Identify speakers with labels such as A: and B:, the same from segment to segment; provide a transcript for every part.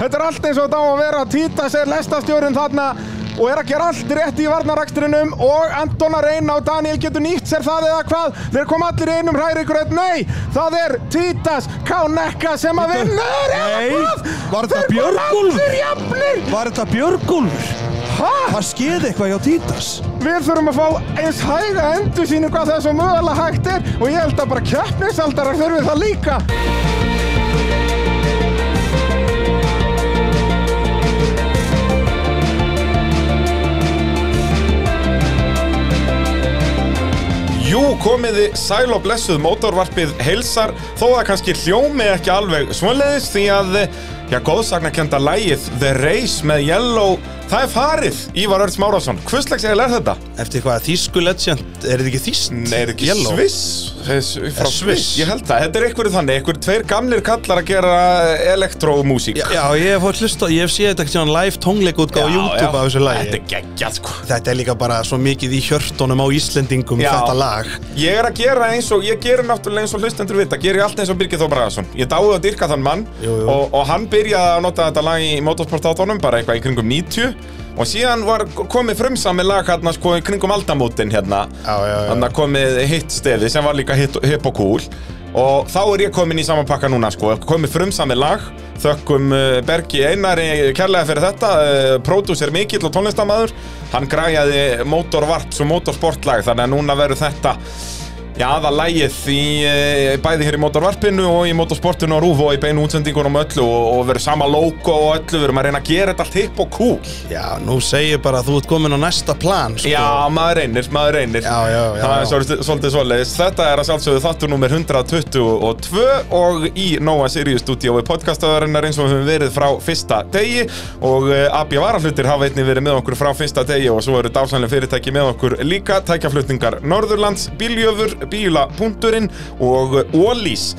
A: Þetta er allt eins og þetta á að vera. Títas er lestastjórun þarna og er að gera allt rétt í varnarakstrinum og Antona Reyna og Daniel getur nýtt sér það eða hvað. Þeir koma allir í einum hræri gröð. Nei, það er Títas Kánekka sem að vinnur eða
B: Nei,
A: hvað.
B: var þetta
A: Þeir voru
B: Björgólfur?
A: Allir jafnir.
B: Var þetta Björgúlfur?
A: Hæ?
B: Það skeði eitthvað hjá Títas.
A: Við þurfum að fá eins hæga endursýningu að þessu mögulega hægt er og ég held að bara keppnisaldarar þurfi það líka.
C: Jú, komiði sæl og blessuð mótorvarpið heilsar þó að kannski hljómi ekki alveg svonleiðis því að já, góðsagnakenda lægið The Race með Yellow það er farið, Ívar Örns Márásson Hvurslags eða er þetta?
B: Eftir hvað þýsku legend, er þetta ekki þýst?
C: Nei, er ekki
B: Yellow?
C: Sviss? Þess, frá
B: Er
C: Eh, Sviss?
B: Sviss?
C: Ég held það, þetta er einhverju þannig einhverju tveir gamlir kallar að gera elektrómúsík
B: Já, já, ég hef fótt hlusta, ég hef séð þetta ekki svona live tónleikutgáð á YouTube af þessu lagi.
C: Þetta er geggjað sko
B: Þetta er líka bara svo mikið í hjörtunum á Íslendingum
C: Já.
B: þetta lag.
C: Ég er að gera eins og, ég gerir náttúrulega eins og hlustendur vita, gerir ég allt eins og Birgir Þór Bragaðsson. Ég dáið að dyrka þann mann
B: Jú, jú.
C: Og, og hann byrjaði að nota þetta lag í motorsportátunum, bara eitthvað í kringum 90 og síðan var komið frumsami lag hérna sko í kringum aldamótin hérna,
B: Já, já, já.
C: hérna komið hitt stefi sem var líka hitt hip og cool og þá er ég komin í saman pakka núna sko, komið frumsami lag, þökkum uh, Bergi Einari kærlega fyrir þetta, uh, pródúsir mikill og tónlistamæður, hann græjaði motorvarps og motorsportlag þannig að núna verður þetta Já, aða lægið í eh, bæði hér í motorvarpinu og í motorsportinu og rúf og í beinu útsendingunum og öllu og, og verður sama logo og öllu, verðum að reyna að gera þetta allt hipp og cool.
B: Já, nú segir bara að þú ert komin á næsta plan, sko.
C: Já, maður reynir, maður reynir.
B: Já, já, já,
C: Það er
B: já.
C: svolítið- svolítið svoleiðis. Þetta er að sjálfsögðu þáttur nummer 122 og í Nóa Sirius stúdíói podcastaðarinnar eins og við höfum verið frá fyrsta degi og eh, AB Varaflutir hafa einnig verið með okkur frá fyrsta degi og svo eru dásanlega fyrirtæki með okkur líka, tækjaflutningar Norðurlands, Bíljöfur, Bíla.in og Ólís.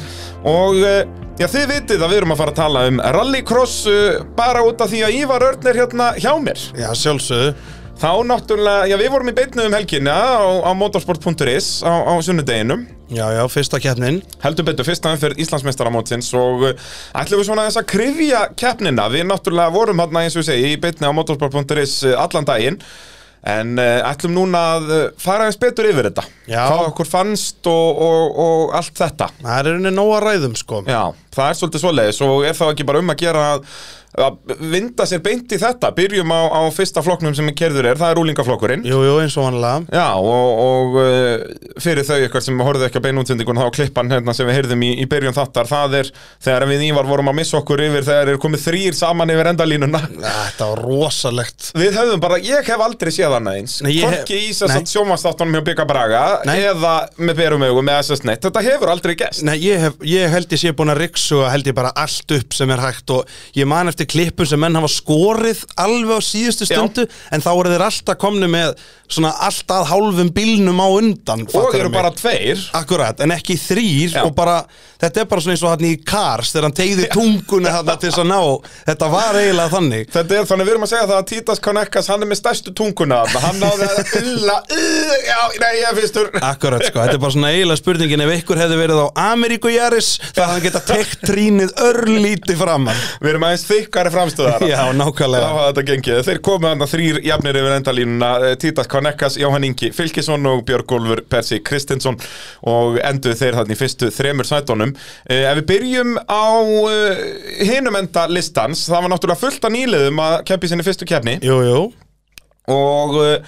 C: Og eh, já, þið vitið að við erum að fara að tala um rallycross eh, bara út af því að Ívar Örn er hérna hjá mér.
B: Já, sjálfsögðu.
C: Þá náttúrulega, já við vorum í beitnu um helgina á, á motorsport.is á, á sunnudeginum
B: Já, já, fyrsta keppnin.
C: heldur betur fyrsta umferð Íslandsmeistaramótsins og uh, ætlum við svona þess að krifja keppnina, við náttúrulega vorum hann eins og ég segi í beitni á motorsport.is uh, allan daginn en uh, ætlum núna að uh, fara eins betur yfir þetta
B: Já.
C: hvað okkur fannst og, og, og allt þetta
B: Það er henni nóg að ræðum, sko.
C: Já, það er svolítið svoleiðis og er þá ekki bara um að gera að, að vinda sér beint í þetta byrjum á, á fyrsta flokknum sem kerður er, það er rúlingaflokkurinn
B: Jú, jú, eins og vanlega.
C: Já, og, og uh, fyrir þau ykkur sem horfðu ekki að beina útsendingun þá klippan hérna sem við heyrðum í, í byrjun þáttar það er þegar við Ívar vorum að missa okkur yfir þegar er komið þrýr saman yfir endalínuna
B: Þetta var rosalegt.
C: Við höfum bara, ég hef aldrei séð annað eins
B: Nei, ég hef-
C: Hvorki í þess
B: Nei.
C: að sjómanstáttunum hjá Bygga Braga
B: Nei.
C: eða með berum augum eða sess neitt Þetta hefur aldrei gæst
B: Nei, ég, hef, ég held ég sé búin að riksuga held ég bara allt upp sem er hægt og ég man eftir klippum sem menn hafa skorið alveg á síðustu
C: Já.
B: stundu en þá eru þeir alltaf komni með svona alltaf hálfum bílnum á undan
C: og
B: fattarðu
C: eru
B: mig?
C: bara tveir
B: Akkurat, en ekki þrýr
C: Já.
B: og bara, þetta er bara svona eins og hann í Cars þegar hann tegði tunguna þarna til þess að ná þetta var eiginlega þannig
C: Þetta er þannig, við erum að segja það að Títas Konekkas, hann er með stærstu tunguna þarna. Hann náði að illa, uh, já, nei, ég er fyrstur
B: Akkurat sko, þetta er bara svona eiginlega spurningin ef ykkur hefði verið á Ameríku Jaris það hann geta tekt trínið örlítið framann
C: Við erum aðeins þykkari framstöðara
B: Já, nákvæmlega
C: Þá hafa þetta gengið. Þeir komu þarna þrýr jafnir yfir endalínuna, eh, Títas Konekkas, Jóhann Ingi Fylkisson og Björgólfur Persi Kristinsson og enduð þeir þarna í fyrstu þremur sætunum. Eh, Ef við byrjum á uh, hinum enda listans, það var náttúrulega fullt af nýliðum að keppi sinni fyrstu keppni
B: Jú, jú
C: og uh,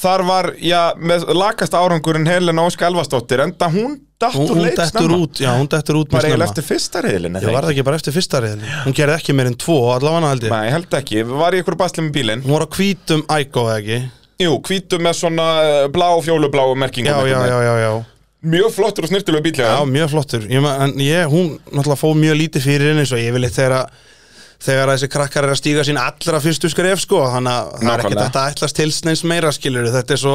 C: þar var, já, með lakasta árangurinn Helena Ósk Elvastóttir, enda hún datt
B: hún,
C: úr
B: hún
C: leik
B: dettur
C: snemma.
B: út, já, hún dettur út
C: Var
B: mjög snemma
C: eiginlega eftir fyrsta reyðlinni
B: Ég var það ekki bara eftir fyrsta reyðinni Hún gerði ekki meir en tvo, allavega held ég
C: Nei, held ekki, var í ykkur basli með bílinn
B: Hún var á hvítum ægó, eða ekki?
C: Jú, hvítum með svona eh, blá, fjólubláu merkingum
B: Já, já, já, já, já
C: Mjög flottur og snirtilegu bíllega
B: Já, mjög flottur ég, man- en ég, Hún náttúrulega fóð mjög lítið fyrir henni Svo ég vil eitt þegar að Þegar að þessi krakkar er að stíga sín allra fyrstu skref sko Þannig að það er
C: Nákvæmlega.
B: ekkert hægt að ætlast tilsneins meira skilur Þetta er svo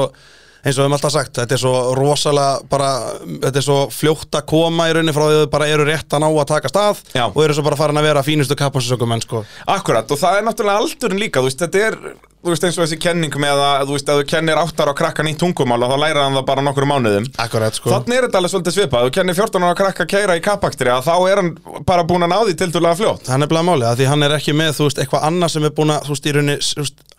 B: eins og við höfum alltaf sagt, þetta er svo rosalega bara, þetta er svo fljótt að koma í rauninni frá því að þau bara eru rétt að ná að taka stað
C: Já.
B: og eru svo bara farin að vera fínustu kapasinsökum menn sko
C: Akkurat, og það er náttúrulega aldurinn líka, þú veist, þetta er, þú veist, eins og þessi kenning með að, þú veist, að þú kennir áttar á krakkan í tungumál og þá læra hann það bara á nokkrum mánuðum.
B: Akkurat sko
C: Þannig er þetta alveg svolítið svipað, þú kennir 14 ára krakka að keira í kappakstri að þá er hann bara búin að ná því tildulega fljótt.
B: Það er nefnilega málið, að því hann er ekki með, þú veist, eitthvað annað sem er búin að, þú veist, í rauninni, s- þú veist,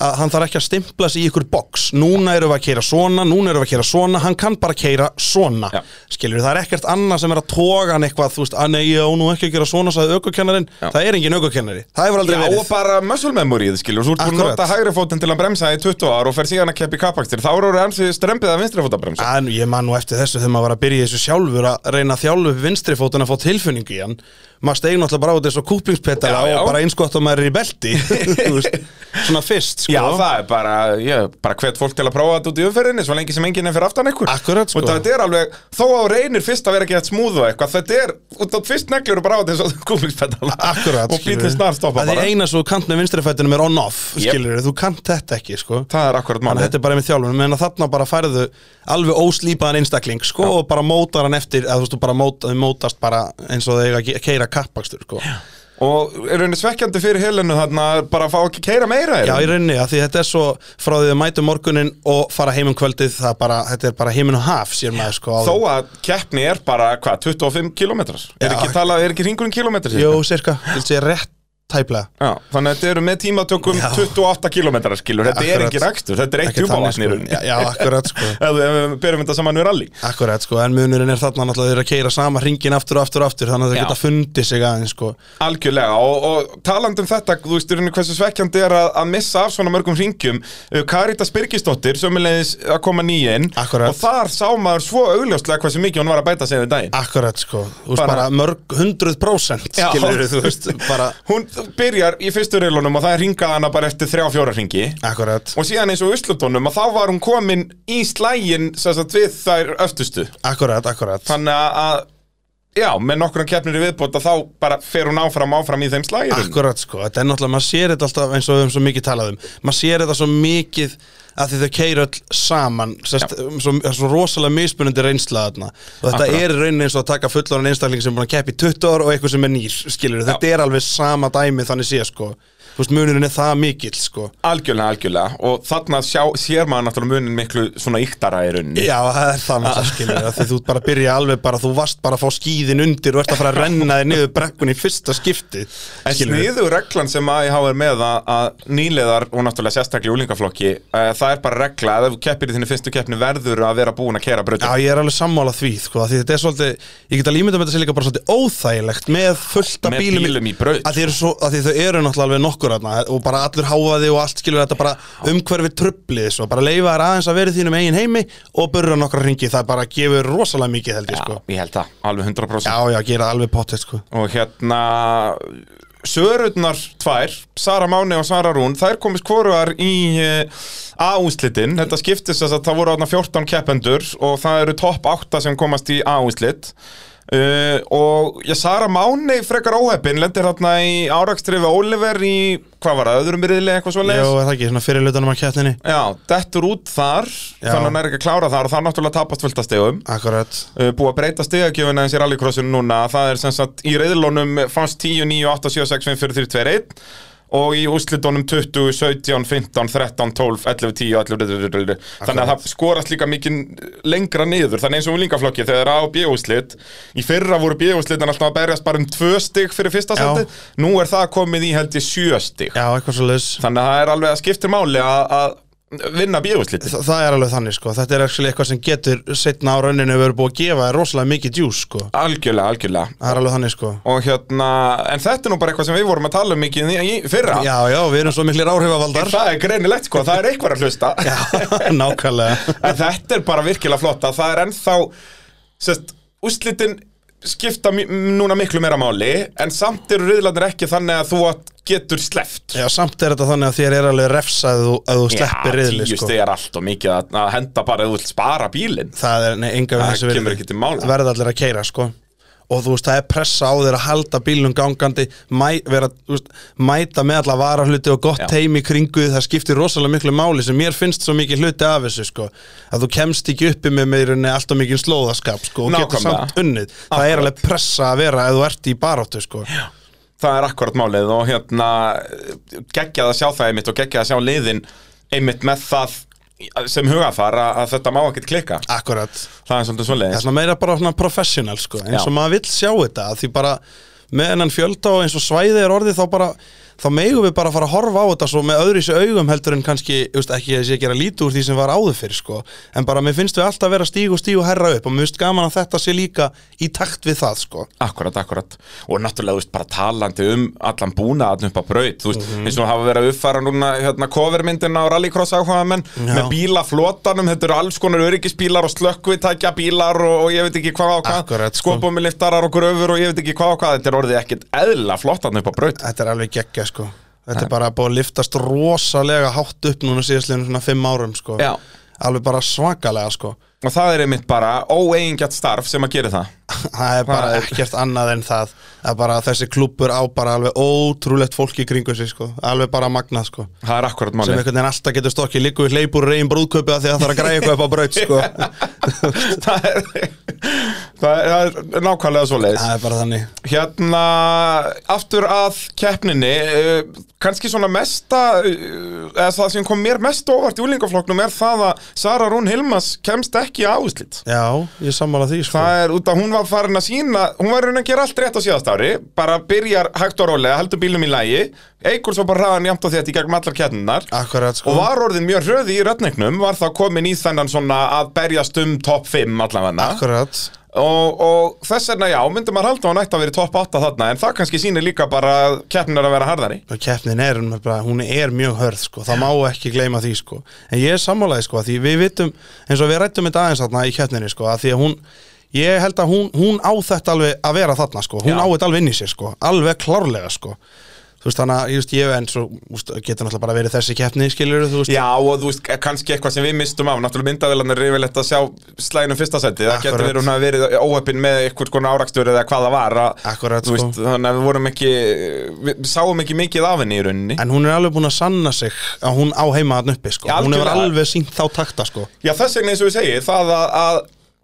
B: að hann þarf ekki að stimpla sig í ykkur box. Núna erum við að keira svona, núna erum við að keira svona, hann kann bara keira svona.
C: Já.
B: Ja. Skilur, það er ekkert annað sem er að toga hann eitthvað, þú veist, að nei, ég á nú ekki að gera svona, sagði aukukennarinn.
C: Já.
B: Það er engin aukukennari. Það hefur
C: Já,
B: aldrei
C: og
B: verið.
C: bara muscle memoryið, skilur, þú ert búin að
B: Akkurat.
C: nota hægri fótinn til að bremsa í 20 ár og fer síðan að keppa í kappakstri, þá eru orðið strempið að vinstri fót að bremsa.
B: En ég man nú eftir þessu þegar maður var að byrja í þessu sjálfur að reyna að þjálfu upp vinstri fótinn að fá tilfunningu í hann maður steig náttúrulega bara á þessu kúplingspetala
C: Já, já.
B: og bara einskott að maður er í belti þú veist, svona fyrst sko.
C: Já, það er bara, ég bara hvet fólk til að prófa þetta út í umferðinni svo lengi sem enginn er fyrir aftan einhver
B: Akkurat, sko.
C: Og þetta er alveg, þó á reynir fyrst að vera ekki eftir smúð og eitthvað Þetta er, og þá fyrst neglur bara á þessu kúmingspedala
B: Akkurat
C: Og bílinn snar stoppa
B: bara
C: bara
B: Það eina svo kant með vinstrifættinum er on-off
C: Yep.
B: skilur þú kant þetta ekki sko
C: Það er akkurat
B: Þannig að
C: málið
B: þetta er bara með þjálfunum En að þarna bara færðu alveg óslýpaðan einstakling sko og bara mótar hann eftir að þú veist þú bara mót, þau mótast bara eins og þau eiga að keira kappakstur sko Já,
C: Og er rauninni svekkjandi fyrir helinu þarna bara að fá ekki keira meira
B: í rauninni að því þetta er svo frá því að mætu morgunin og fara heim um kvöldið það bara, þetta er bara heiminn og haf sér maður sko áður.
C: Þó að keppni er bara, hvað, 25 kilometrar Er
B: Já.
C: ekki talað, er ekki ringurinn kilometrar
B: Jú, cirka, vil sé rétt tæplega
C: Já, þannig að þetta eru með tímatökum
B: Já.
C: 28 kilometrar skilur, þetta er
B: Akkurat.
C: ekki rækstur, þetta er eitt
B: Ekki þannig,
C: júbávatn í
B: sko.
C: rauninni.
B: Já, já, akkurat sko
C: Ef við- ef við berum þetta saman við rally
B: Akkurat sko, en munurinn er þarna náttúrulega þeir eru að keira sama ringin aftur og aftur og aftur þannig að
C: Já.
B: þeir geta fundið sig aðeins sko
C: Algjörlega og, og talandi um þetta, þú veist, í rauninni hversu svekkjandi er að, að missa af svona mörgum uh, ringjum Karita Spyrkisdóttir, sömulegis að koma nýinn
B: Akkurat.
C: Og þar sá maður svo augljóslega hversu mikið hún var að bæta sig við daginn
B: Akkurat sko, þú veist
C: Bara-
B: bara, mörg hundruð prósent
C: Já.
B: skilur þú veist bara
C: Hún byrjar í fyrstu reilunum og það ringaði hana bara eftir þrjá fjóra ringi
B: Akkurat,
C: Og síðan eins og uslutónum að þá var hún komin í slægin sagt, við þær öftustu
B: akkurat, akkurat
C: Þannig að, að já, með nokkrum keppnir í viðbóta þá bara fer hún áfram áfram í þeim slægin
B: Akkurat sko, þetta er náttúrulega, maður sér þetta alltaf eins og við höfum svo mikið talað um maður sér þetta svo mikið að því þau keira öll saman sest, svo, það er svo rosalega mismunandi reynsla þarna og þetta
C: Akkurat.
B: er í rauninni eins og að taka fulloran einstakling sem er búin að keppa í 20 ár og eitthvað sem er nýr skilur, þetta er alveg sama dæmi þannig sé sko, þú veist munurinn er það mikill sko
C: Algjörlega, algjörlega og þarna sjá, sér maður náttúrulega munin miklu svona yktara í rauninni
B: Já, það er það
C: Ah.
B: náttúrulega skilur að því þú ert bara að byrja alveg bara, þú varst bara að fá skíðin undir og ert að fara að renna þér niður brekkun í fyrsta skipti
C: En sniðu reglan sem AIH er með að, að nýleðar og náttúrulega sérstaklega í úlingaflokki uh, það er bara regla að ef þú keppir í þinni fyrstu keppni verður að vera búin að kera brautum
B: Já, ég er alveg sammála því, sko, af því þetta er svolítið, ég get alveg ímyndað með þetta sé líka bara svolítið óþægilegt með fullta
C: með
B: bílum,
C: bílum, í braut
B: Að því, eru svo, að því þau eru náttúrulega alveg nokkur aðna og bara allur háfaði og allt skilur þetta bara umhverfi trublið svo, bara leifa þær aðeins að vera í þínum eigin heimi og burra nokkra ringi, það bara gefur rosalega mikið held ég, sko.
C: Já, ég held það, alveg 100%
B: Já, já, gera alveg pottet, sko.
C: og hérna Sörurnar tvær, Sara Máni og Sara Rún, þær komist hvoruðar í uh, A-úslitin. Þetta skiptist þess að það voru aðna 14 keppendur og það eru topp 8 sem komast í A-úslit. Uh, og já, Sara Máni frekar óheppin, lendir þarna í árakstri við Oliver í, hvað var það, öðrum byrðilega eitthvað svo
B: Jó, er það ekki, svona fyrir lutanum að kjættinni.
C: Já, dettur út þar,
B: Já.
C: þannig að hann er ekki að klára þar og það er náttúrulega tapast fulltastegum
B: Akkurat.
C: uh, búið að breyta stigagjöfuna eins í rallycrossinu núna það er sem sagt í reyðlónum fannst 10, 9, 8, 7, 6, 5, 4, 3, 2, 1 og í úslitónum 20, 17, 15, 13, 12, 11, 10, 11, 11 þannig að það skorast líka mikið lengra niður þannig eins og úlingaflokki þegar það er A og B úslit í fyrra voru B úslitin alltaf að berjast bara um 2 stig fyrir fyrsta
B: Já.
C: seti nú er það komið í held ég 7 stig
B: Já, eitthvað svo
C: þannig að það er alveg að skiptir máli að að vinna B úslit
B: Þa, það er alveg þannig sko, þetta er actually eitthvað sem getur setna á rauninu verið búið að gefa þér rosalega mikið djús sko,
C: algjörlega, algjörlega
B: það er alveg þannig sko
C: og hérna, en þetta er nú bara eitthvað sem við vorum að tala um mikið í, í fyrra
B: Já, já, við erum svo miklir áhrifavaldar
C: það er greinilegt sko, það er eitthvað að hlusta
B: Já, nákvæmlega
C: en þetta er bara virkilega flott að það er ennþá sest, úslitin skipta mi- núna miklu meira máli en samt eru riðlandir ekki þannig að þú átt- getur sleppt
B: Já, samt er þetta þannig að þér er alveg refsa að þú, að þú sleppir riðli
C: tíu
B: sko
C: stig er allt og mikið að, að henda bara að þú vilt spara bílinn
B: Það er, nei, enga við
C: Það
B: þessu
C: kemur ekki til mála.
B: Verða allir að keira sko og þú veist, það er pressa á þeir að halda bílnum gangandi mæ, vera, þú veist, mæta með alla varahluti og gott
C: Já.
B: teim í kringu það skiptir rosalega miklu máli sem mér finnst svo mikið hluti af þessu sko að þú kemst ekki uppi með meirinni alltaf mikið slóðaskap sko og getur
C: Nákvæmlega.
B: samt unnið það er
C: Akkurat.
B: alveg pressa að vera ef þú ert í baráttu sko Já.
C: það er akkurat málið og hérna geggjað að sjá það einmitt og geggjað að sjá liðin einmitt með það sem hugafar að, að þetta má ekkert klikka
B: akkurat
C: það er
B: Það
C: svolítið
B: er
C: svoleiðis
B: svona meira bara svona professional sko eins og
C: Já.
B: maður vill sjá þetta að því bara með hennan fjölda og eins og svæði er orðið þá bara þá megum við bara að fara að horfa á þetta svo með öðru í sig augum heldur en kannski þú veist, ekki að sé að gera lítið úr því sem var áður fyrir sko en bara mér finnst við alltaf vera stíg og stíg og herra upp og mér finnst gaman að þetta sé líka í takt við það sko
C: Akkurat, akkurat og náttúrulega þú veist bara talandi um allan búna upp á braut þú veist
B: Mhm.
C: eins og hafa verið að uppfæra núna hérna covermyndina á rallycross áhugamenn
B: Já.
C: með bílaflotanum þetta eru alls konar öryggisbílar og slökkvitækja bílar og, og ég veit ekki hvað á hvað
B: Akkurat, sko.
C: skopumiliftarar og gröfur og ég veit ekki hvað á hvað þetta er orðið ekkert eðla flottan upp á braut
B: Þetta er alveg geggja sko Þetta er bara búið að liftast rosalega hátt upp núna síðastlegin svona fimm árum sko
C: Já.
B: Alveg bara svakalega sko
C: og það er einmitt bara óeigingjart starf sem að gera það
B: það er bara
C: er-
B: ekkert annað en það að bara þessi klúppur á bara alveg ótrúlegt fólk í kringu sig sko alveg bara magnað sko
C: Það er akkurat
B: sem
C: máli
B: einhvern veginn alltaf getur stokkið líku í hleypur reyn brúðköpi af því að það þarf að græja eitthvað upp á braut sko
C: það, er, það, er, það er nákvæmlega svo leiðis
B: það er bara þannig
C: Hérna, aftur að keppninni uh, kannski svona mesta uh, eða það sem kom mér mest óvart í úlingafloknum er það að Sara Rún Hilmas kemst ekki á úslit
B: já, ég sammála því sko
C: Það er út að hún var farin að sína, hún var raun að gera allt rétt á síðast ári, bara byrjar hægt og rólega, heldur bílum í lægi, eigur svo bara hraðan jæmt og þétt í gegnum allar keppninar
B: akkurat sko
C: Og var orðin mjög hröði í rötningnum, var þá komin í þennan svona að berjast um topp 5 allavega.
B: akkurat
C: Og, og þess vegna já, myndi maður halda að hún ætti að vera í topp 8 þarna, en það kannski sýnir líka bara að keppnin er að vera harðari.
B: og keppnin er, hún er bara, hún er mjög hörð sko, það má ekki gleyma því sko en ég er sammálaði sko, að því við vitum eins og við rættum þetta aðeins þarna í keppninni sko að því að hún, ég held að hún, hún á þetta alveg að vera þarna sko hún
C: Já.
B: á þetta alveg inn í sér sko, alveg klárlega sko þú veist þannig að, ég veist, ég eins og þú veist, getur náttúrulega bara verið þessi keppni, skiljur þú veist
C: Já, og þú veist, e, kannski eitthvað sem við mistum af, náttúrulega myndavélarnar er yfirleitt að sjá slæðinum fyrsta seti, það getur
B: Akkurat.
C: verið hún að verið óheppin með eitthvað konar árakstur eða hvað það var, að,
B: Akkurat,
C: þú veist, þannig að við vorum ekki, við sáum ekki mikið af henni í rauninni.
B: en hún er alveg búin að sanna sig að hún á heima þarna uppi sko,
C: Já,
B: hún hefur
C: algjörlega.
B: alveg sínt þá takta sko
C: Já, þess vegna eins og ég segi, það að, að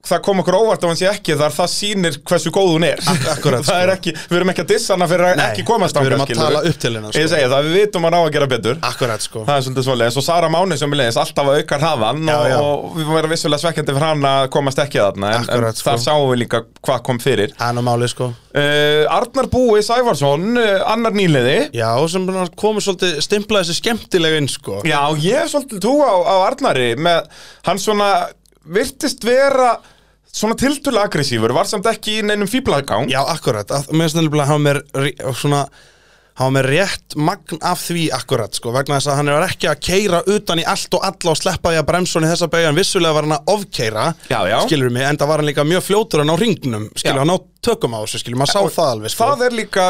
C: það kom okkur óvart ef hann sé ekki þar, það sýnir hversu góð hún er.
B: Ak- akkurat,
C: það er
B: sko.
C: ekki, við erum ekki að dissa hana fyrir að
B: Nei,
C: ekki komast
B: við erum að
C: þangað, skilurðu.
B: tala upp til hennar, sko.
C: Ég segi það, við vitum hann á að gera betur.
B: akkurat sko
C: Það er svolítið svoleiðis og Sara Máni sem er leiðis alltaf að aukar hafan
B: Já,
C: og,
B: já.
C: og við verðum vissulega svekkjandi fyrir hann að komast ekki þarna en,
B: Akkurat,
C: en
B: sko.
C: þar sáum við líka hvað kom fyrir
B: það er nú málið sko
C: uh, Arnar Búi Sævarsson, uh, annar nýliði
B: já, sem bara komur svolítið stimplaði þessi skemmtilega inn sko
C: Já, ég hef svolítið trú á, á Arnari með, hann svona virtist vera svona tiltölu aggressífur, var samt ekki í neinum fíblagang
B: Já, akkurat, að, mér finnst nefnilega að hafa mér ré- svona hafa mér rétt magn af því akkurat sko, vegna þess að hann er ekki að keira utan í allt og alla og sleppa því að bremsun í þessa beigja, en vissulega var hann að ofkeira
C: Já, já.
B: skilur mig, en það var hann líka mjög fljótur hann á ringnum, skilur
C: Já.
B: hann á tökum á þessu skilur, maður sá það alveg sko
C: Það er líka,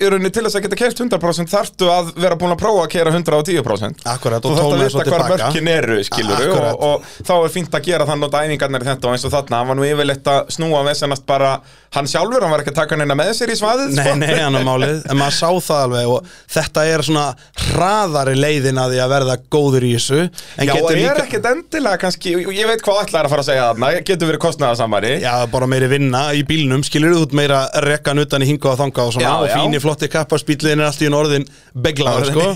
C: í rauninni til þess að geta keirt 100% þarftu að vera búin að prófa að keira 110%
B: Akkurat,
C: Þú
B: og
C: þarft að
B: tóna
C: vita
B: svo
C: hvar
B: tilbaka
C: mörkin eru, skilur
B: Akkurat.
C: og, og þá er fínt að gera þann og dæfingarnar í þetta og eins og þarna, hann var nú yfirleitt að snúa vesennast bara hann sjálfur, hann var ekki að taka neina með sér í svaðið sko.
B: Nei, nei, hann er málið, en maður sá það alveg og þetta er svona hraðari leiðin að því að verða góður í þessu en
C: Já,
B: getur
C: er
B: líka-
C: ekkert endilega kannski, ég veit hvað allar er að fara að segja þarna, getur verið kostnaðarsamari
B: Já, bara meiri vinna í bílnum, skilur þú út meira rekkan utan í hinga og þanga og svona
C: Já,
B: og
C: já.
B: fíni flotti kapparspíllin er allt í enn orðin beglaður, sko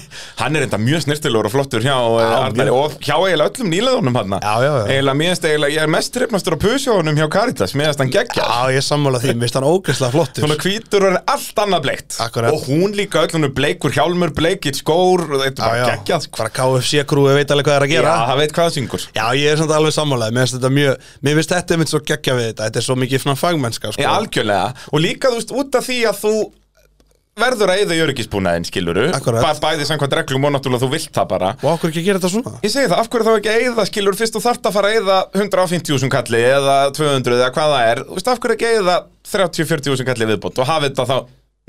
C: Hann er enda mjög snirtilur og flottur hjá já, Arnari
B: mjög.
C: og hjá eiginlega öllum nýleðunum hann
B: Já, já, já.
C: Eiginlega, mér finnst eiginlega, ég er mest hrifnastur á pusjónum hjá Caritas, mér finnst hann geggja
B: Já, ég er sammála því, mér finnst hann ógeðslega flottur
C: Svona hvítur og hann er allt annað bleikt
B: Akkurat.
C: Og hún líka öll, hún er bleikur hjálmur, bleikir skór, og
B: Já,
C: þetta er bara
B: já,
C: geggjað sko.
B: bara KFC-krúi veit alveg hvað er að
C: Já,
B: gera
C: það veit hvað það syngur
B: Já, ég er samt alveg sammálaði, mér finnst þetta mjög Mér finnst þetta einmitt svo geggja við þetta, þetta er svo mikið svona fagmennska, sko
C: Já, algjörlega Og líka, þú veist, út af því að þú verður að eyða jörgisbúnaðin, skiluru
B: Akkurat.
C: Bæði samkvæmt reglum og náttúrulega þú vilt það bara
B: Og okkur ekki að gera þetta svona
C: Ég segi það, af hverju þá ekki að eyða, skilur, fyrst þú þarft að fara að eyða 150.000 kalli eða 200 eða hvað það er, þú veist, af hverju ekki að eyða 30-40.000 kalli viðbót og hafa þetta þá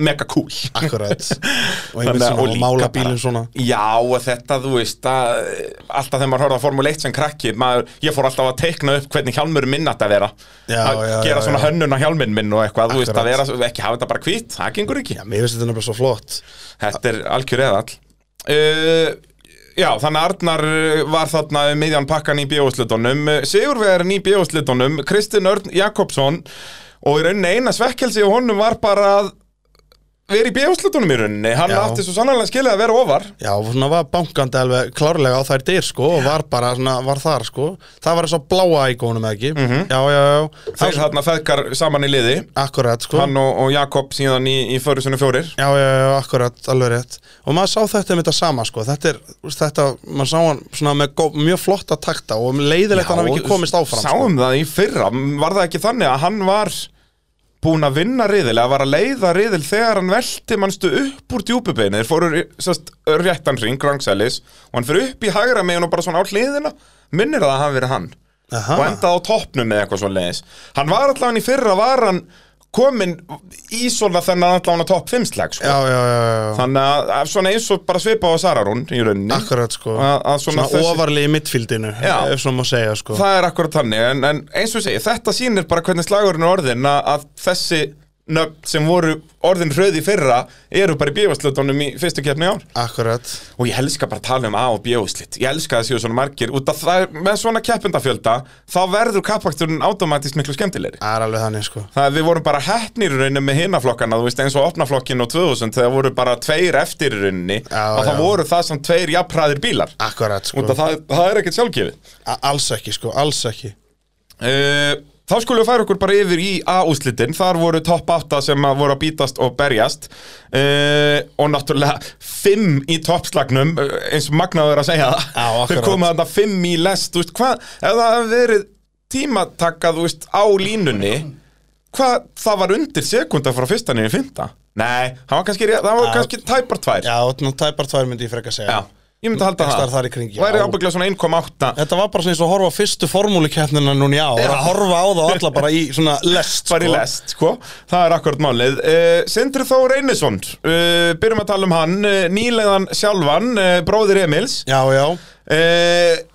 C: mega cool
B: akkurat og einmitt
C: Þannig að-
B: svona
C: og
B: að
C: líka
B: mála
C: bara-
B: bílinn svona
C: Já, og þetta, þú veist, að, alltaf þegar maður horfði á Formule 1 sem krakki, maður, ég fór alltaf að teikna upp hvernig hjálmur minn ætti að vera.
B: Já,
C: að
B: já,
C: gera
B: já,
C: svona
B: já.
C: hönnun á hjálminn minn og eitthvað, þú veist, að vera,
B: Akkurat.
C: ekki hafa þetta bara hvít, það gengur ekki.
B: já, mér finnst þetta nefnilega svo flott
C: Þetta er algjör eðall. Uh, já, þannig að Arnar var þarna um miðjan pakkan í Eh, bjóðslutunum. Sigurvegarinn í bjóðslutunum, Kristinn Örn Jakobsson, og í rauninni eina svekkelsi og honum var bara að vera í bjóðslutunum í rauninni. Hann
B: Já.
C: átti svo sannlega skilið að vera ofar.
B: já, og svona var bankandi alveg klárlega á þær dyr sko og var bara svona, var þar sko það var eins og bláa íkónum eða ekki já, já, já,
C: Mhm. Þeir
B: Ás,
C: þarna feðgar saman í liði
B: akkurat sko
C: Hann og, og Jakob síðan í, í förusinu fjórir
B: Já, já, já, akkurat, alveg rétt Og maður sá þetta með þetta sama, sko Þetta er, þetta, maður sá hann svona með gó, mjög flotta takta og um leiðilegt hann hafi ekki komist áfram sko.
C: Sáum það í fyrra, var það ekki þannig að hann var búinn að vinna riðil að var að leiða riðil þegar hann velti mannstu upp úr djúpubeinu þeir fóru sest, réttan ring, rangsælis og hann fyrir upp í hægra megin og bara svona á hliðina minnir það að hann verið hann
B: sko. Aha.
C: og endaði á toppnum með eitthvað svo leiðis hann var allavega í fyrra var hann kominn í svona þennan allavega topp 5 slag sko.
B: Já, já, já, já, já.
C: Þannig að að svona eins og bara svipa á Sararún í rauninni
B: akkurat, sko
C: að, að svona
B: Svona
C: þessi,
B: ofarlega í mittfíldinu,
C: Já.
B: ef svona má segja, sko
C: Það er akkurat þannig en, en eins og ég segi, þetta sýnir bara hvernig slagurinn er orðin að, að þessi nöfn sem voru orðin hröði í fyrra eru bara í bjöfaslutunum í fyrstu keppni í ár
B: Akkurat,
C: og ég elska bara að tala um A og bjöfaslut ég elska að það séu svona margir út að það er með svona keppendafjölda þá verður kappakturinn automatist miklu skemmtilegri
B: það er alveg þannig, sko
C: Það er- við vorum bara heppnir í rauninni með hinaflokkana, þú veist eins og opnaflokkin og 2000 þegar voru bara tveir eftir í rauninni
B: Já,
C: og það
B: já.
C: voru það sem tveir jafnræðir bílar
B: Akkurat, sko
C: Út að það, það er ekkert sjálfgefið
B: A- Alls ekki, sko, alls ekki
C: uh, Þá skulum við færa okkur bara yfir í A-úslitin Þar voru topp 8 sem að voru að bítast og berjast uh, Og náttúrulega 5 í toppslagnum eh, Eins og magnaður að segja
B: Já,
C: það
B: akkurat.
C: Þeir komu þarna 5 í lest Þú veist hvað, ef það hafði verið tímatakka Þú veist á línunni Hvað, það var undir sekunda frá fyrsta niður fymta Nei, það var kannski, rétt- það var
B: Já.
C: kannski tæpar tvær
B: Já, ná, tæpar tvær myndi ég frekar segja
C: Já, Ég myndi halda
B: Staðar
C: það
B: þar í kring, já.
C: Væri ábygglega svona 1,8
B: Þetta var bara svona eins og að horfa á fyrstu formúlikeppnina núna í ár
C: Já.
B: að horfa á það alla bara í svona lest
C: bara í
B: sko.
C: lest, sko, það er akkurat málið uh, Sindri Þór Einarsson uh, byrjum að tala um hann, uh, nýlegan sjálfan, uh, bróðir Emils
B: Já, já
C: uh,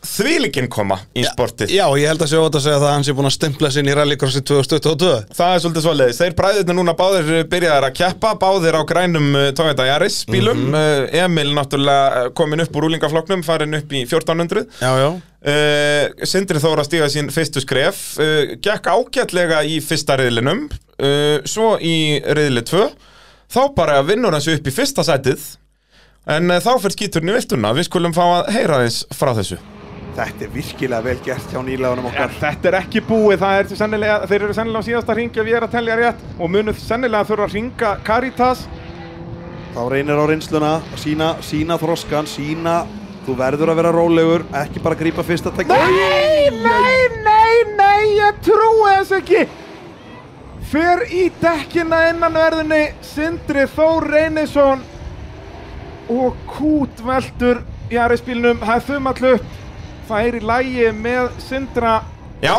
C: þvílikinn koma í sportið
B: Já, ég held að sé ótt að segja það að hans er búin að stempla sinni í rallycrossi 2022
C: Það er svolítið svoleiðis. Þeir bræðirna núna báðir uh, byrjaðar að keppa, báðir á grænum uh, Toyota Yaris bílum.
B: Mhm.
C: Uh, Emil náttúrulega uh, kominn upp úr úlingafloknum, farinn upp í 1400.
B: Já, já
C: Uh, Sindri Þóra stíga sín fyrstu skref uh, Gekk ágætlega í fyrsta riðlinum uh, Svo í riðli 2 Þá bara vinnur hans upp í fyrsta sætið En uh, þá fyrir skíturinn í viltuna Við skulum fá að heyra þess frá þessu
D: Þetta er virkilega vel gert hjá nýlaðunum okkar.
C: Þetta er ekki búið Það er sennilega, þeir eru sennilega á síðasta ringi Við erum að telja rétt Og munum sennilega þurfa að ringa Caritas
D: Þá reynir á reynsluna, sína, sína þroskan, sína, þú verður að vera rólegur, ekki bara grípa fyrsta tækni.
A: Nei, nei, nei, nei, ég trúi þessu ekki Fer í dekkina innanverðinni Sindri Þór Reynisson og kút veldur Jarisbílnum hæðum allu upp fær í lægi með Sindra
C: Já,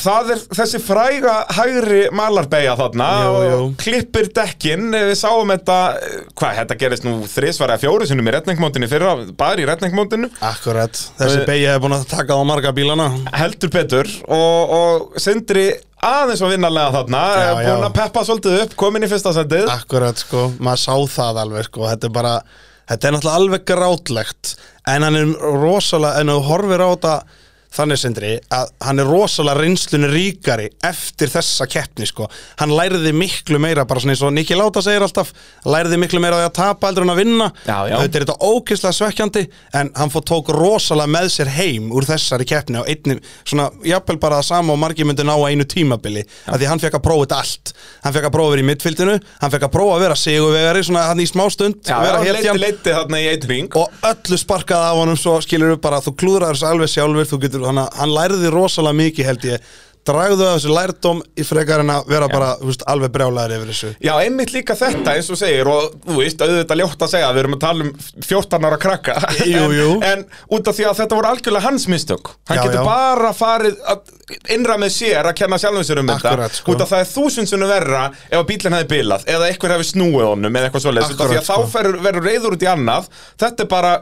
C: það er þessi fræga hægri malarbeigja þarna
B: Jú, jú.
C: og klippir dekkin, við sáum þetta eh, hvað, þetta gerist nú þrisvar eða fjóru sinnum í retningmótinu fyrra, bara í retningmótinu
B: Akkurat, þessi
C: Það-
B: beigja er búin að taka á marga bílana
C: heldur betur og, og Sindri aðeins og vinnarlega þarna,
B: Já,
C: eh, búinn
B: já.
C: að peppa svolítið upp, komin í fyrsta sendið
B: Akkurat, sko, maður sá það alveg, sko Þetta er bara, þetta er náttúrulega alveg grátlegt En hann er rosalega, en þú horfir á þetta Þannig sindri, að hann er rosalega reynslunni ríkari eftir þessa keppni, sko Hann læriði miklu meira, bara svona eins og Niki Láta segir alltaf Læriði miklu meira á því að tapa heldur en að vinna
C: Já, já.
B: Auðvitað er þetta ókyslega svekkjandi en hann fór tók rosalega með sér heim úr þessari keppni og einni, svona, jafnvel bara það sama og margir myndi ná að einu tímabili af því hann fekk að prófa þetta allt hann fekk að prófa að vera í mittfildinu, hann fekk að prófa að vera sigurvegari, svona hann í smá stund vera
C: leiti,
B: hetjan
C: leiti þarna í eitt ring
B: og öllu sparkaði af honum svo skilur upp bara þú klúðrar þessu alveg sjálfur, þú getur hann, hann læriði rosalega mikið held ég dragðu af þessu lærdóm í frekar en að vera bara, þú veist, alveg brjálæðir yfir þessu
C: Já, einmitt líka þetta eins og segir og þú veist, auðvitað ljótt að segja við erum að tala um 14 ára krakka
B: Jú, jú.
C: en, en út af því að þetta voru algjörlega hans mistök
B: Já,
C: hann getur
B: já.
C: bara farið að innra með sér að kenna sjálfum sér um
B: Akkurat,
C: þetta
B: sko.
C: út af það er þúsundsunum verra ef að bílinn hefði bilað eða eitthvað hefði snúið honum eða eitthvað svoleiðis út af því að
B: Akkurat, sko.
C: þá ferur, verður reyður út í annað þetta er bara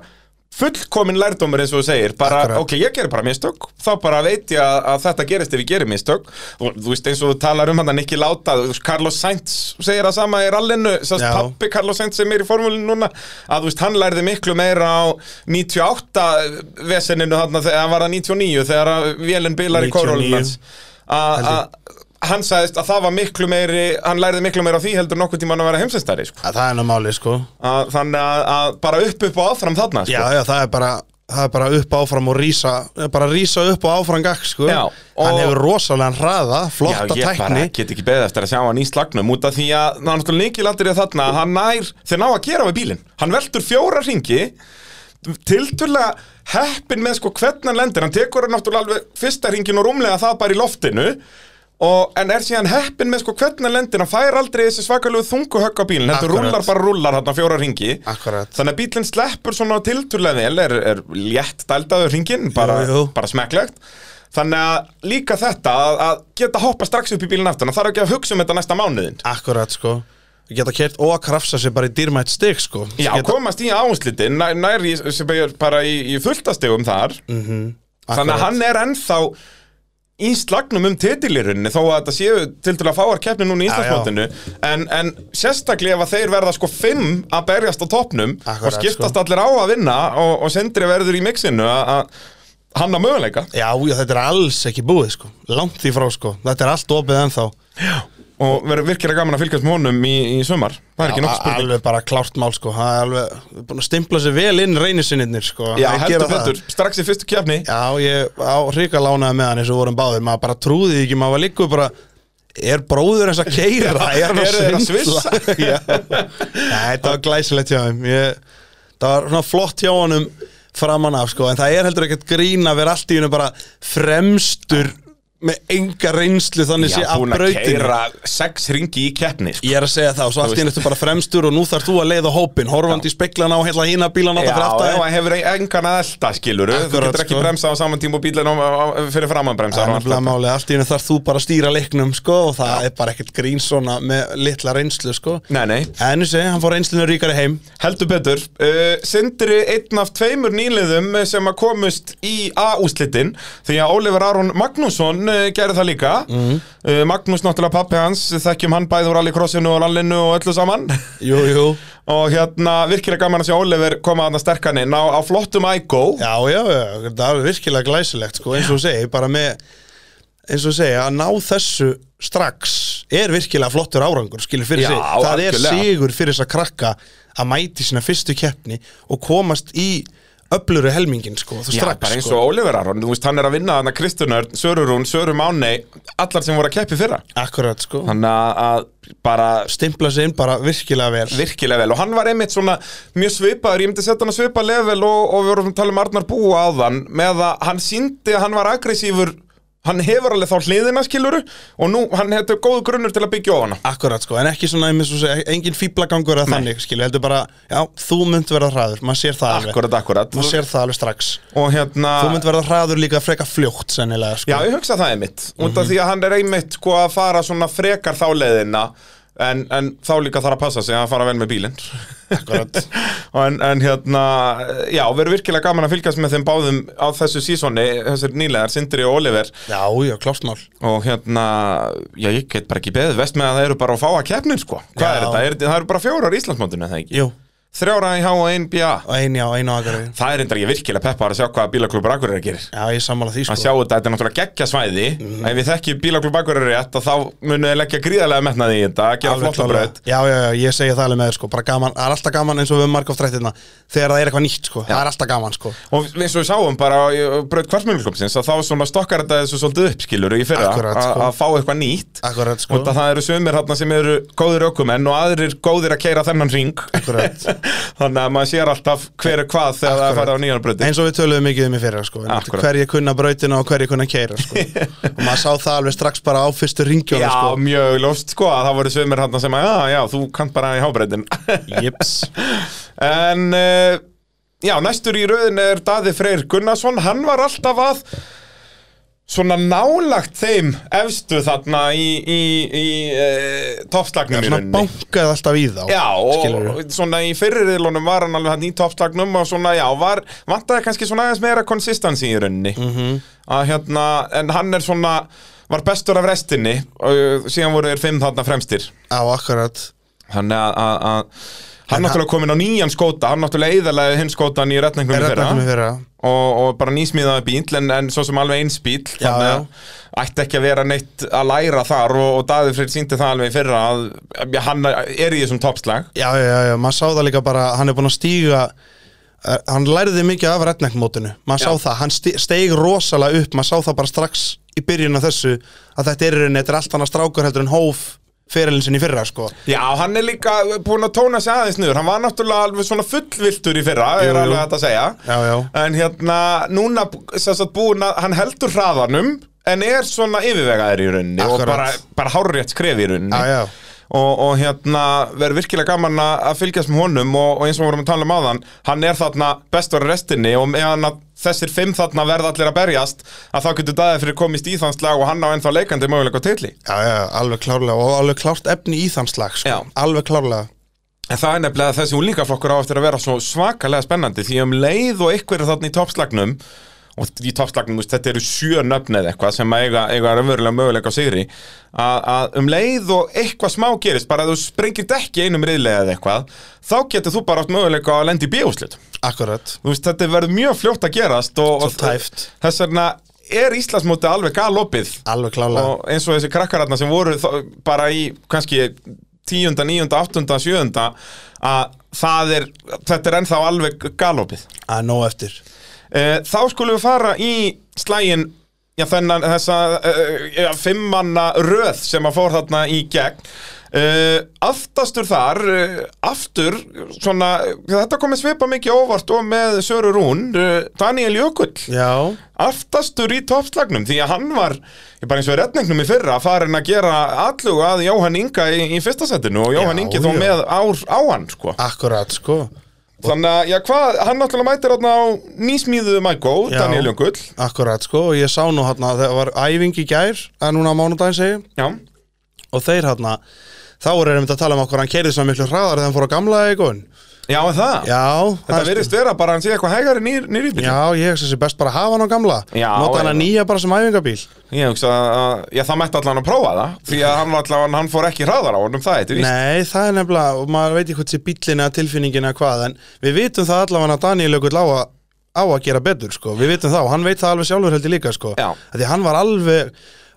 C: fullkomin lærdómur eins og þú segir bara,
B: Akkurat.
C: ok, ég gerir bara mistök þá bara veit ég að, að þetta gerist ef ég gerir mistök og þú veist eins og þú talar um hann að Nicky Láta, þú veist, Carlos Sainz segir það sama í rallinu, sást
B: Já.
C: pappi Carlos Sainz sem er í formúlinu núna að þú veist, hann lærði miklu meira á 98 veseninu þarna þegar hann var að 99 þegar að vélinn bilar í
B: 99.
C: korólinu hans að að hann sagðist að það var miklu meiri hann lærði miklu meira á því heldur nokkuð tíma að vera heimsestari sko.
B: að það er nú máli, sko
C: að, þannig að, að bara upp upp og áfram þarna sko.
B: já, já, það er bara, það er bara upp áfram og rísa, bara rísa upp og áfram gakk, sko
C: Já, og-
B: hann hefur rosalega hraða, flotta
C: Já, ég
B: tækni
C: bara get ekki beðið eftir að sjá hann í slagnum út af því að það er náttúrulega líkilandir í þarna að hann nær, þeir ná að gera við bílinn hann veltur fjóra ringi tilturlega heppin með sko hvernig hann lendir, hann tekur hann náttúrulega alveg fyrsta ringin og rúmlega það bara í loftinu og, en er síðan heppin með sko hvernig hann lendir, hann fær aldrei þessi svakalegu þungu högg á bílinn, þetta
B: Akkurat.
C: rúllar bara rúllar hann fjóra ringi
B: Akkurat.
C: þannig að bílinn sleppur svona tilturlega vel, er, er létt dældaður ringin, bara,
B: Jú, jú.
C: bara smekklegt Þannig að líka þetta að, að geta hoppa strax upp í bílinn aftur Það þarf ekki að hugsa um þetta næsta mánuðin
B: akkurat, sko geta kert og að krafsa sig bara í dýrmætt stig, sko
C: Já,
B: geta,
C: komast í áherslitin nær, nær í, sem er bara í, í fulltastegum þar Þannig að
B: Mhm, akkurat.
C: hann er ennþá í slagnum um titilirunni þó að þetta séu til til að fáar keppni núna
B: Já,
C: í
B: já.
C: Íslandsmótinu en, en sérstaklega ef að þeir verða sko fimm að berjast á toppnum
B: Akkurat,
C: og skiptast
B: sko.
C: allir á að vinna og, og sendri verður í mixinu að- að hann á möguleika
B: Já, já, þetta er alls ekki búið, sko Langt því frá, sko, þetta er allt opið ennþá
C: og verður virkilega gaman að fylgjast með honum í, í sumar það er ekki nokkuð spurning
B: Alveg bara klárt mál, sko Hann er alveg búin að stimpla sig vel inn reynisinnir, sko
C: Já,
B: Þeir
C: heldur
B: gera það.
C: betur, strax í fyrstu kefni
B: Já, ég á hrika lánaði með hann eins og við vorum báðir Maður bara trúði því ekki, maður var líku bara Er bróður eins að keira? er hann
C: eru þeir að svissa?
B: Já. Nei, þetta var glæsilegt hjá þeim ég, Það var svona flott hjá honum framan af sko En það er heldur ekkert grín að vera allt í hennu bara fremstur Með enga reynslu þannig
C: Já,
B: sé af
C: búin að
B: brautinu
C: keira sex ringi í keppni sko.
B: Ég er að segja það og svo allt í hennu ertu bara fremstur og nú þarfst þú að leiða hópin Horfandi í hérna, speklana og heila hína bílan
C: Já,
B: alltaf fyrir
C: ef
B: aftan
C: hann hefur engan að elta, skilur Þú
B: Akkurat,
C: getur ekki
B: sko.
C: bremsa á saman tíma og bílinn á- á- fyrir framan bremsa
B: Það er nefnilega málið, allt í hennu þarf þú bara að stýra leiknum sko og það er bara ekkert grín svona með litla reynslu sko
C: Nei, nei,
B: En þessi, hann fór reynslinu ríkari heim
C: heldur betur uh, Sindri einn af tveimur nýliðum sem að komust í A-úslitin því að Oliver Aron Magnússon uh, gerði það líka mm. Magnús náttúrulega pappi hans, þekkjum hann bæði úr rallycrossinu og rallinu og öllu saman
B: Jú, jú
C: og hérna virkilega gaman að sjá Oliver koma að það sterkan inn á, á flottum IGO
B: Já, já, já, það er virkilega glæsilegt sko eins og þú segir, bara með eins og þú segir, að ná þessu strax er virkilega flottur árangur skilur fyrir
C: Já,
B: sig, það
C: algjörlega.
B: er sigur fyrir þess að krakka að mæti sína fyrstu keppni og komast í öfluru helmingin sko, þú
C: Já, bara
B: strax
C: eins
B: sko
C: og Oliver Aron, þú veist, hann er að vinna þarna Kristjörnur, Sörurún, Sörum Ánei, allar sem voru að keppi fyrra.
B: Akkurat sko,
C: Þannig að- að bara
B: stimpla sig inn bara virkilega vel
C: virkilega vel og hann var einmitt svona mjög svipaður, ég myndi setja hann að svipa level og, og við vorum að tala um Arnar Búa áðan með að hann síndi að hann var aggressífur, hann hefur alveg þá hliðina skiluru og nú hann hefði góð grunnur til að byggja ofana.
B: Akkurat sko, en ekki svona, eins og segja, engin fíblagangur að þannig, skilur, heldur bara, já, þú mynd verða hraður, maður sér það alveg
C: Akkurat, akkurat.
B: maður sér það alveg strax
C: Og hérna...
B: þú mynd verða hraður líka freka fljótt sennilega sko.
C: Já, ég hugsa það einmitt Út af
B: Mhm.
C: því að hann er einmitt sko að fara svona frekar þá leiðina En, en þá líka þarf að passa sig að hann fara vel með bílinn
B: Akkúrat.
C: en, en hérna, já, verður virkilega gaman að fylgjast með þeim báðum á þessu sísoni Þessir nýlegar, Sindri og Oliver
B: já, já, klárt mál
C: Og hérna, já, ég get bara ekki beðið Vest með að það eru bara að fá að keppnir sko Hvað
B: Já.
C: er þetta? Er, það eru bara fjórar í Íslandsmótinu, er það ekki?
B: Jú,
C: Þrjára í H og ein BA
B: og ein já, ein á agari
C: Það er reyndar ég virkilega peppar að sjá hvað bílaklubur akkur er að gerir
B: Já, ég er sammála því
C: að
B: sko
C: sjá þetta, þetta er náttúrulega geggja svæði
B: Mhm.
C: ef við þekkjum bílaklub Akureyri rétt að þá munu þeir leggja gríðarlega metnaði í þetta að gera
B: Alveg
C: flotta
B: klárlega.
C: bröð
B: Já, já, já, ég segi það alveg með þér sko bara gaman, það er alltaf gaman eins og við margum þrættirna þegar það er eitthvað nýtt sko, það er alltaf gaman sko
C: og eins og við sáum bara bröð kvartmjölklubsins að þá svona stokkar þetta þessu svolítið upp skilur í fyrra
B: Akkurat,
C: að-
B: sko.
C: að fá eitthvað nýtt
B: Akkurat sko,
C: og það eru sumir hérna sem eru góðir ökumenn og aðrir góðir að keira þennan ring
B: akkurat
C: þannig að maður sér alltaf hver er hvað þegar það er
B: Akkurat.
C: farið á nýjan bröndi
B: eins og við töluðum mikið um í fyrra sko,
C: Akkúrat.
B: hverja kunna brautina og hverja kunna keira sko. og maður sá það alveg strax bara á fyrstu
C: Já,
B: ringjónu sko.
C: mjög ljóst sko að það voru sömur hann sem að, já, já, þú kant bara í hábreytin
B: Jips.
C: En, uh, já, næstur í rauðin er Daði Freyr Gunnarsson Hann var alltaf að svona nálagt þeim efstu þarna í, í, í uh,
B: Já,
C: toppslagnum í
B: svona
C: rauninni
B: bankaði alltaf í þá
C: Já,
B: skilurðu.
C: og svona í fyrririlunum var hann alveg hann í toppslagnum og svona, já, var, vantaði kannski svona aðeins meira konsistansi í rauninni
B: Mhm.
C: -hmm. að hérna, en hann er svona var bestur af restinni og síðan voru þeir fimm þarna fremstir
B: Já, akkurat
C: þannig að- að að- hann náttúrulega komin á nýjan skóta hann náttúrulega eðalega hinn skótan Um í retningum
B: Er þetta með
C: fyrra
B: fyrra?
C: og, og bara nýsmíðaði bíl en, en svo sem alveg eins bíl
B: Já,
C: þannig að ætti ekki að vera neitt að læra þar og, og Daði Freyr síndi það alveg í fyrra að ja, hann er í þessum toppslag
B: Já, já, já, já, maður sá það líka bara hann er búin að stíga eh, hann læriði mikið af retnækmótinu maður
C: Já.
B: sá það, hann sti- steig rosalega upp maður sá það bara strax í byrjun af þessu að þetta er í rauninni, þetta er allt annað strákur heldur en hóf fyrirlin sinni í fyrra sko.
C: Já, hann er líka búin að tóna sig aðeins niður hann var náttúrulega alveg svona fullviltur í fyrra
B: Jú,
C: er
B: jú.
C: alveg hægt að segja
B: Já, já,
C: en hérna, núna sem sagt búin að hann heldur hraðanum en er svona yfirvegaður í rauninni og
B: Akkurat.
C: bara, bara hárrétt skref í rauninni
B: já, já
C: og, og hérna verður virkilega gaman að að fylgjast með honum og, og eins og við vorum að tala um áðan hann er þarna bestur í restinni og meðan að þessir fimm þarna verða allir að berjast að þá getur daðið fyrir komist í þann slag og hann á ennþá leikandi möguleika á titli
B: Já, já, alveg klárlega og alveg klárt efni í þann slag sko.
C: Já.
B: Alveg klárlega
C: en það er nefnilega að þessi úlingaflokkur á eftir að vera svo svakalega spennandi því um leið og ykkur er þarna í toppslagnum og í toppslagnum, þú veist, þetta eru sjö nöfn eða eitthvað sem að eiga, eiga raunverulega möguleika á sigri að, að um leið og eitthvað smá gerist, bara að þú sprengir dekki einum riðlega eða eitthvað þá getur þú bara átt möguleika á að lenda í bíóslut
B: Akkurat
C: þú veist, þetta verður mjög fljótt að gerast og,
B: Svo
C: og
B: tæpt.
C: þess vegna er Íslandsmóti alveg galopið
B: Alveg klárlega
C: og eins og þessi krakkararna sem voru þá- bara í kannski tíunda, níunda, áttunda, sjöunda að það er, þetta er ennþá alveg galopið
B: að nóg eftir
C: Eh, Þá skulum við fara í slægin Já, þennan, þessa uh, ja, fimmanna röð sem að fór þarna í gegn uh, Aftastur þar, uh, aftur, svona, þetta komið svipa mikið á óvart og með Söru Rún, uh, Daniel Jökull
B: Já
C: aftastur í toppslagnum því að hann var, ég bara eins og í retningnum í fyrra farin að gera allug að Jóhann Inga í, í fyrsta setinu og Jóhann
B: Já,
C: Ingi þó
B: já.
C: með ár á hann sko.
B: Akkurat, sko
C: þannig að, já hvað, hann náttúrulega mætir þarna á nýsmíðuðu Mækó,
B: Já.
C: Daniel Jökull
B: Akkurat, sko, og ég sá nú hérna það var æfing í gær, að núna á mánudaginn segi
C: já,
B: og þeir hérna þá eru einmitt að tala um okkur hann keirði svona miklu hraðar þegar hann fór á gamla eigun
C: já en það
B: Já,
C: þetta virðist vera bara að hann sé eitthvað hægari nýr, nýr íbyrð
B: Já, ég hugsa sér best bara að hafa hann á gamla
C: Já,
B: Nota hann
C: já.
B: að nýja bara sem æfingabíl
C: ég hugsa að, já það mætti allan að prófa það því að hann, var allan, hann fór ekki hraðar á honum það eitthvað
B: Nei, það er nefnilega, og maður veit ekki hvort sé bíllina, tilfinningina, hvað En við vitum það allavega að Daniel Jökull á að á að gera betur, sko, við vitum það og hann veit það alveg sjálfur heldur líka, sko
C: Já.
B: Af Því að hann var alveg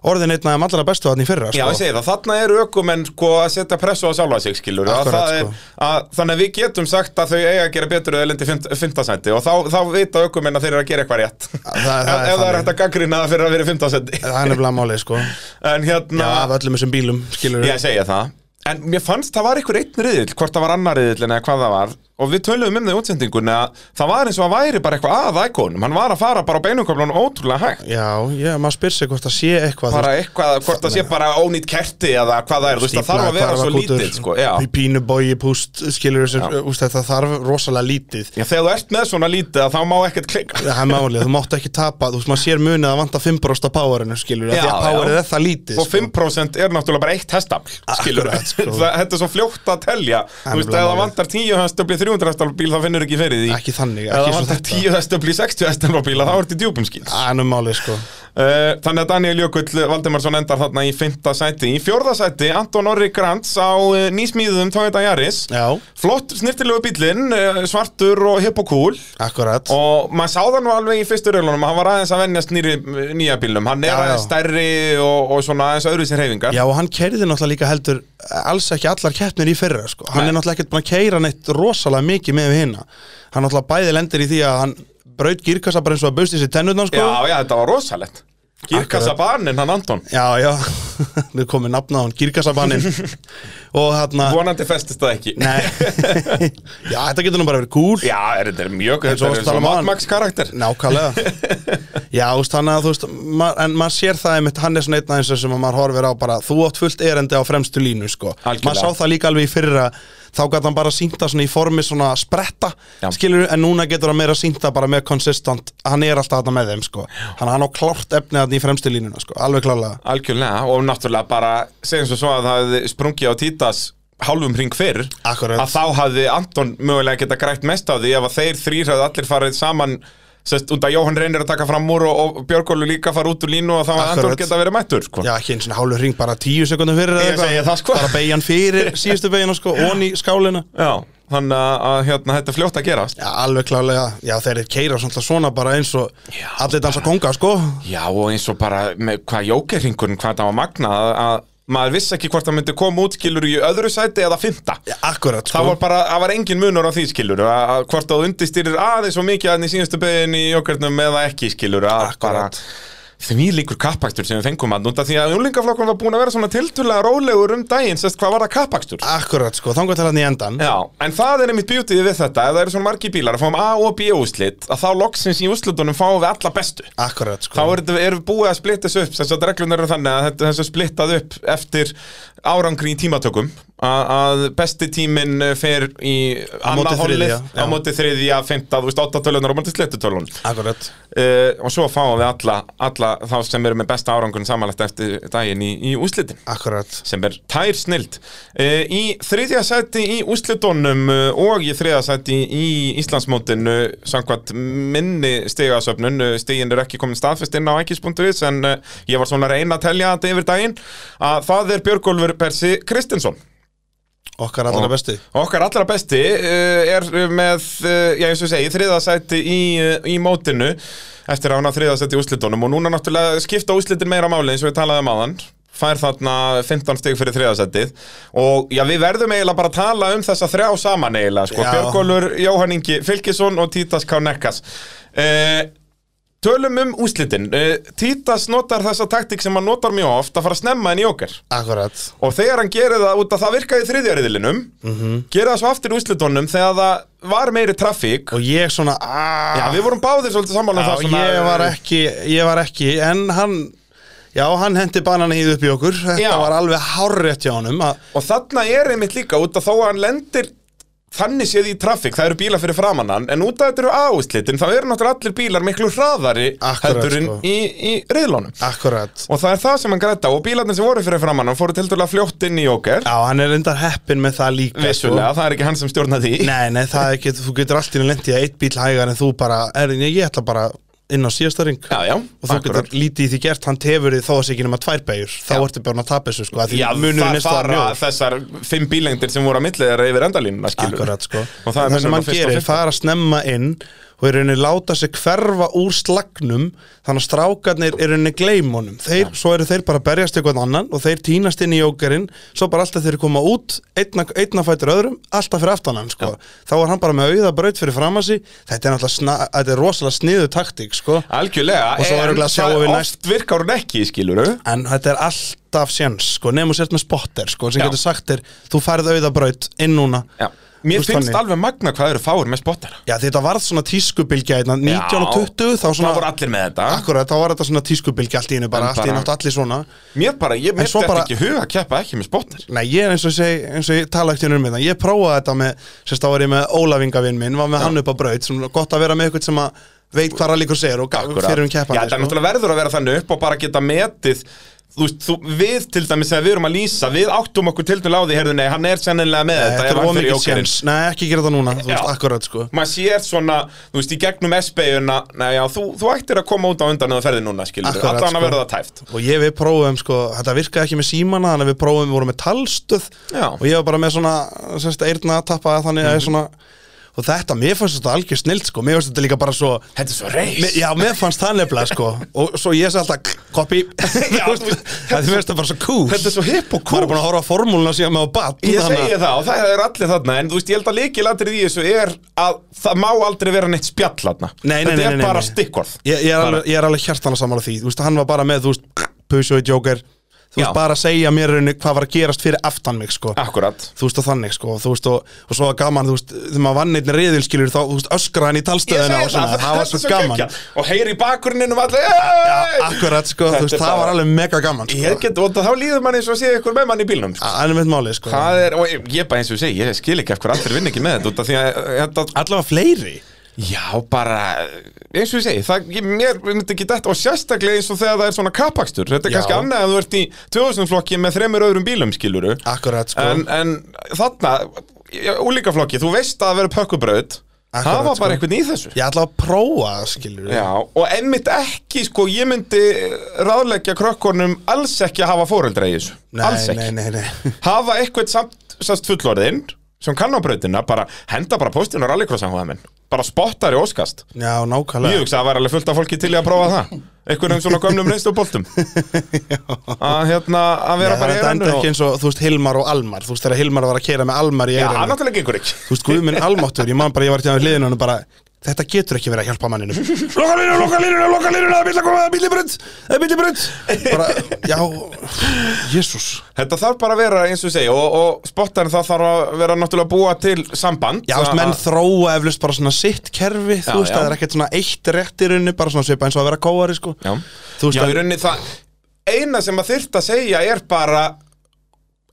B: orðin einn af þeim allra bestu hann í fyrra, sko
C: Já, ég segi það, þarna er ökumenn sko að setja pressu á sjálfa sig skilur að
B: Akkurat,
C: það er,
B: sko.
C: að, þannig að við getum sagt að þau eiga að gera betur eða lendi fymtasændi og þá, þá vita ökumenn að þeir eru að gera eitthvað rétt
B: það- það er
C: ef ef það er
B: þannig.
C: hægt að gaggrina það fyrir að vera fymtasændi
B: Það er nefnilega málið, sko
C: en
B: Já,
C: hérna,
B: af öllum þessum bílum, skilur
C: ég segi það en mér fannst það var einhver einn riðil hvort það var annar riðil en eða hvað það var og við töluðum um það í útsendingunni að það var eins og að væri bara eitthvað að ækonum hann var að fara bara á beinumköflunum ótrúlega hægt
B: Já, já, maður spyr sig hvort það sé eitthvað
C: bara eitthvað, hvort það sé bara ónýtt kerti eða hvað það er, þú veist, það þarf að vera svo lítið sko, já.
B: Í pínu bói, púst, skilur þessu,
C: Já.
B: úst, þetta þarf rosalega lítið
C: Já, þegar þú ert með svona lítið að þá má ekkert klikka
B: Það er málið, þú mátt ekki tapa, þú veist, maður sér munið að vanta 5% á powerinu, skilur
C: Já,
B: Því að powerið
C: já.
B: er það lítið, sko.
C: Og 5% er náttúrulega bara eitt hestafl Skilur
B: Akkurat, sko.
C: það, þetta er svo fljótt að telja Þú veist,
B: nefnilega
C: ef það
B: málið.
C: vantar 10 hestafli 300 hestafla bíl þá finnur ekki fyrir því
B: Ekki þannig,
C: Ef
B: ekki
C: það
B: svo
C: vantar
B: þetta.
C: 10 hestafli 60 hestafla bíl þá ertu í djúpum skýt uh,
B: Það er nú málið, sko
C: Þannig að Daniel Jökull Valdimarsson endar þarna í 5. sæti Í 4. sæti Anton Orri Grants á uh, nýsmíðum Toyota Yaris
B: Já,
C: Flott snirtilegu bílinn, uh, svartur og hipp og cool
B: akkurat
C: Og maður sá það nú alveg í fyrstu raulunum Hann var aðeins að venjast nýri, nýja bílnum Hann er
B: Já, já.
C: aðeins stærri og, og svona aðeins öðru sér
B: Já, og hann keiriði náttúrulega líka heldur alls ekki allar keppnir í fyrra, sko. Hann
C: Nei.
B: er náttúrulega ekkert búin að keira neitt rosalega mikið með við hinna. Hann náttúrulega bæði lendir í því að hann braut girkassa bara eins og að bausti sér tennutna, sko.
C: Já, já, þetta var rosalegt Girkassa
B: Akkurat.
C: barnin, hann Anton
B: Já, já, við komið nafna á hann, Girkasabannin og hérna
C: Vonandi festist það ekki
B: Nei Já, þetta getur nú bara verið cool
C: Já, er þetta er mjög,
B: En svo varstu
C: þetta er
B: að tala
C: svo
B: um áðan.
C: Mad Max karakter
B: Nákvæmlega Já, þú veist, þannig að þú veist ma En maður sér það einmitt, hann er svona einn aðeins sem að maður horfir á bara Þú átt fullt erindi á fremstu línu, sko
C: Algjörlega.
B: Maður sá það líka alveg í fyrra Þá gæti hann bara sýnta svona í formi svona spretta
C: Já.
B: Skilur, en núna getur hann meira sýnta bara með consistent Hann er alltaf þarna með þeim, sko Hann, hann á klárt efni þarna í fremstu línuna, sko Alveg klálega
C: Algjörlega, og náttúrulega bara segjum svo svo að það hefði sprungið á Títas hálfum hring fyrr
B: Akkurat.
C: að þá hafði Anton mögulega geta grætt mest á því ef að þeir þrýr hafði allir farið saman sest, út að Jóhann reynir að taka fram úr og, og Björgólu líka fara út úr línu og þá hafði Anton
B: Akkurat.
C: geta verið mættur sko.
B: Já, ekki einu sinni hálfur hring bara tíu sekundum fyrir
C: Ég segi það, sko.
B: Bara beigjan fyrir síðustu beigjan, sko, onni skálina
C: Já, þannig að, að hérna, þetta er fljótt að gerast
B: Já, alveg klálega, já þeir eru keira svona, svona bara eins og allir dansa konga sko
C: Já, og eins og bara með hvað jókerringurinn, hvað það var magnað að- að maður vissi ekki hvort það myndi koma út skilur í öðru sæti eða fymta
B: já, Akkurat sko
C: Það var bara, það var engin munur á því skilur að, að hvort þú undistýrir aðeins og mikið aðeins í síðustu beginni í okkurnum eða ekki skilur að
B: Akkurat.
C: bara því líkur kappakstur sem við fengum að núnda því að júlingaflokkur var búin að vera svona tiltulega rólegur um daginn sérst hvað var það kappakstur
B: Akkurat sko, þangar til hann í endan
C: Já, en það er einmitt bjútið við þetta ef það eru svona margi bílar að fáum A og B úslit að þá loksins í úslitunum fáum við alla bestu
B: Akkurat sko
C: Þá er þetta- erum við búið að splitta þessu upp þess að reglunar eru þannig að þetta þessu splittað upp eftir árangri í tímatökum að, að besti tíminn eh, fer í
B: móti þriðja,
C: annað hollið
B: já.
C: á móti þriðja, fymta, þú veist, átta tölunar og móti slettu tölun
B: Akkurat
C: uh, og svo fáum við alla, alla þá sem eru með besta árangun samanlegt eftir daginn í, í úslitin
B: Akkurat
C: sem er tær snild uh, í þriðja sæti í úslitónum uh, og í þriðja sæti í Íslandsmótinu samkvæmt minni stigasöfnun uh, stigin er ekki komin staðfest inn á ekis.is en uh, ég var svona að reyna að telja þetta yfir daginn að það er Björgólfur Persi Kristinsson
B: Okkar allra
C: Og-
B: besti
C: Okkar allra besti uh, er með, uh, já eins og ég segi, þriðasæti í, uh, í mótinu eftir að hann að þriðasæti í úslitunum og núna náttúrulega skipta úslitin meira máli eins og við talaðum áðan fær þarna 15 stig fyrir þriðasætið og já við verðum eiginlega bara að tala um þessa þrjá saman eiginlega sko,
B: Já.
C: Björgólfur, Jóhann Ingi Fylkisson og Títas K. Nekkas uh, Tölum um úslitin uh, Títas notar þessa taktík sem hann notar mjög oft að fara snemma inn í okkar
B: Akkurat
C: Og þegar hann gerir það út að það virkaði í þriðja riðlinum
B: Mhm.
C: Gerir það svo aftur í úslitunum þegar það var meiri trafík
B: Og ég svona
C: Já,
B: Já,
C: við vorum báðir svolítið sammála um það svona,
B: ég var ekki, ég var ekki En hann, já hann hendi banan í upp í okkur Þetta
C: Já.
B: var alveg hárrétt hjá honum að,
C: Og þarna er einmitt líka út að þó að hann lendir Þannig séð í trafík, það eru bílar fyrir framann hann En út að þetta eru áúslitin, þá eru náttúrulega allir bílar miklu hraðari
B: Akkurat,
C: heldur en
B: sko.
C: í, í riðlunum
B: Akkurat
C: Og það er það sem hann græta og bílarnir sem voru fyrir framann hann fóru til dæla fljótt inn í okkar
B: Já, hann er reyndar heppin með það líka sko.
C: Vissulega, það er ekki hann sem stjórna því
B: Nei, nei, það er ekki, þú getur allt í enn lendi að eitt bíl hægar en þú bara, er, nei, ég ætla bara inn á síðasta ring
C: Já, já,
B: og þú
C: akkurat.
B: getur lítið í því gert, hann tefur því þó að sé ekki nema tvær beigur, þá ertu bara að tapa þessu sko, að því
C: Já,
B: munurinn
C: það
B: er staðar
C: fara
B: mjór
C: þessar fimm bílengdir sem voru að milli þeirra yfir endalínuna skilur
B: Akkurat sko,
C: Og það er
B: sem
C: munurinn á
B: hann
C: fyrsta og
B: gerir,
C: fimmta.
B: fara snemma inn og í rauninni láta sig hverfa úr slagnum þannig að strákarnir í rauninni gleym honum þeir, svo eru þeir bara að berjast eitthvað annan og þeir týnast inn í jókerinn svo bara alltaf þeir koma út, einna, einna fætur öðrum alltaf fyrir aftan hann sko. þá er hann bara með auða braut fyrir framasi þetta er náttúrulega, sna, þetta er rosalega sniðu taktík sko.
C: Algjörlega
B: Og svo
C: en
B: örugglega sjáum
C: það
B: við næst-
C: Oft virkar hún ekki, skilur
B: en þetta er alltaf séns sko, nefnum sért með spotter sko, sem
C: Já.
B: getur sagt þér, þú færð auðabraut inn núna
C: Já
B: Þú
C: Mér
B: veist
C: finnst
B: þannig.
C: alveg magna hvað eru fáir með spottara
B: Já, þetta varð svona tískubilgja hérna, 19 og
C: Já.
B: 20 þá svona,
C: Það voru allir með þetta
B: akkurat, þá var þetta svona tískubilgja allt í einu bara,
C: En
B: allt í einu
C: bara-
B: áttu allir svona
C: Mér bara, ég mér
B: svo
C: þetta
B: bara-
C: ekki í hug að keppa ekki með spottar
B: Nei, ég er eins og, seg, eins og ég tala ekkert um þetta Ég prófaði þetta með, sérst þá var ég með Ólafingavinn minn, var með hann upp á braut sem var gott að vera með eitthvað sem að veit hvað rallíkur segir og gaf fyrir um
C: Já, það er
B: keppandi sko.
C: náttúrulega verður að vera þannig upp og bara geta metið Þú veist, þú, við til dæmis þegar við erum að lýsa Við áttum okkur til dæmis á því, heyrðu, nei, hann er sennilega með
B: Nei,
C: þetta
B: Þetta
C: ef
B: er
C: hann fer í
B: ómikið
C: jókerinn.
B: séns Nei, ekki gera þetta núna, þú veist,
C: Já.
B: akkurat sko
C: maður sér svona, þú veist, í gegnum SB-una, næja, þú, þú ættir að koma út á undan eða ferði núna, skilur,
B: Akkurat,
C: allan að
B: sko.
C: verða það tæft
B: og ég við prófum sko, þetta virkaði ekki með símana þannig að við prófum, við vorum með talstöð
C: Já. Mhm.
B: og ég var bara með svona sérst, eyrna að tappa þannig að ég svona og þetta, mér fannst þetta algjör snilt sko mér fannst þetta líka bara svo
C: Þetta er svo reis
B: Mér, já, mér fannst það nefnilega sko og svo ég sé alltaf copy
C: Já,
B: Þú veist,
C: þú veist,
B: það mér finnst það bara svo cool
C: Þetta er svo hipp og
B: maður
C: cool
B: er búin að horfa á formúluna síðan með á bat
C: Ég segi það og það er allir þarna En þú veist, ég held að líkilatrið í þessu er að það má aldrei vera neitt spjall þarna
B: Nei, nei, nei,
C: Þetta
B: nei,
C: er
B: nei,
C: bara
B: nei.
C: stikkorð
B: ég, ég, er alveg, ég er alveg hjartan að samála því Þú veist, hann var bara með, þú veist, Pusho í Joker þú veist,
C: Já.
B: bara að segja mér raunni hvað var að gerast fyrir aftan mig, sko
C: Akkurat
B: þú veist, og þannig, sko, þú veist, og, og svo var gaman, þú veist, þegar maður vann einnig reyðilskilur þá, þú veist, öskraði hann í talstöðuna og svona, það var svo gaman
C: geggjað. Og heyri í bakgrunninum allir
B: Já,
C: "Ey!"
B: akkurat, sko,
C: Þetta
B: þú veist,
C: er
B: það
C: bara-
B: var alveg mega gaman, sko
C: Ég get, og þá líður manni eins og sé ykkur með manni í bílnum sko.
B: Það er mitt málið, sko
C: Það er, og ég, ég bara eins og ég segi, ég skil ekki af hverju allir vinn ekki með þetta út af því að, þetta,
B: Allavega fleiri
C: já, bara, eins og ég segi, það, ég, mér myndi ekki þetta, og sérstaklega eins og þegar það er svona kapakstur, þetta er
B: Já.
C: kannski annað að þú ert í 2000 flokki með þremur öðrum bílum, skiluru,
B: Akkurat, sko
C: en, en þarna, úlíka flokki, þú veist að það verður pökkubraut,
B: Akkurat,
C: það var
B: sko.
C: bara einhvern í þessu.
B: Ég ætla að prófa, skilur
C: Já, og einmitt ekki, sko, ég myndi ráðleggja krökkunum alls ekki að hafa fóreldra í þessu,
B: nei,
C: alls ekki.
B: Nei, nei, nei
C: hafa eitthvað samt sérst fullorðinn sem kann á brautina, bara henda bara póstinn á rallycrossanhúðamenn, bara spottar í óskast
B: Já,
C: ég
B: nákvæmlega
C: hugsa að það væri alveg fullt af fólki til í að prófa það einhvern veginn svona gömnum reynst og boltum að hérna að vera
B: Nei,
C: bara
B: þetta enda ekki eins og, þú veist, Hilmar og Almar Þú veist, þegar Hilmar var að keira með Almar í
C: já, hann
B: eirinu
C: náttúrulega gengur ekki
B: Þú veist, Guðminn Almáttur, ég man bara, ég var hérna til að hliðinu hann og bara Þetta getur ekki verið að hjálpa manninu Loka línuna, loka línuna, loka línuna, það er bíll að koma, það er bíll í brönd Það er bíll í brönd Bara, já, jésús
C: þetta þarf bara að vera eins og ég segi og, og spottarinn það þarf að vera náttúrulega búa til samband
B: Já, þú veist, menn
C: Að-
B: þróa eflust bara svona sitt kerfi,
C: Já,
B: þú veist,
C: já.
B: það er ekkert svona eitt rétt í rauninni, bara svona svipa eins og að vera kóari, sko.
C: Já.
B: Þú veist,
C: Já,
B: að-
C: í rauninni það eina sem að þyrft að segja er bara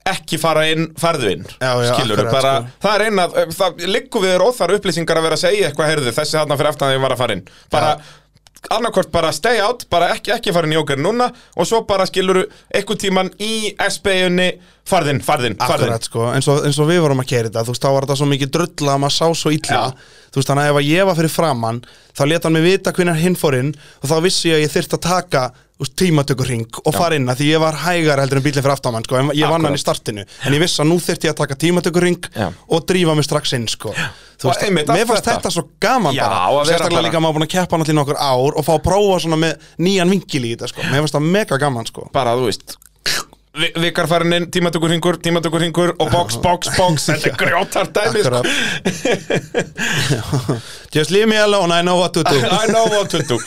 C: ekki fara inn, farðu inn
B: Já, já,
C: skilur
B: akkurat,
C: bara,
B: sko.
C: það er eina, eh, það liggur við þér óþar upplýsingar að vera að segja eitthvað, heyrðu, þessi þarna fyrir aftan þegar ég var að fara inn, bara annarkvort bara stay out, bara ekki, ekki fara inn í okkar núna og svo bara skilur eitthvað tíman í SB-unni farðinn, farðinn, farðinn
B: Akkurat, sko, eins og, eins og við vorum að kæra þetta, þú veist, þá var þetta svo mikið drulla að maður sá svo illa, þú veist, þannig að ef að ég var fyrir framann, þá leta hann mig vita hvernig hinn fór inn og þá vissi ég að ég þyrfti að taka þú veist, tímatökurring og fara inn að því ég var hægar heldur en bílinn fyrir aftamann, sko, en ég vann
C: Akkurat.
B: hann í startinu, en ég vissi að nú þyrfti ég að taka tímatökurring
C: Já.
B: og drífa mig strax inn, sko. Þú
C: Og
B: veist,
C: einmitt,
B: mér
C: allt
B: fannst
C: þetta.
B: þetta svo gaman
C: Já, að
B: bara,
C: vera
B: sérstaklega
C: bara-
B: líka að maður búin að keppa hann allir nokkur ár og fá að prófa svona með nýjan vingil í þetta, sko, mér fannst það mega gaman, sko.
C: bara, þú veist vi- Vikar farin inn, tímatökur hringur, tímatökur hringur og box, box, box, þetta er grjótar dæmi sko.
B: Akkurat. Just leave me alone, I know what to do.
C: I know what to do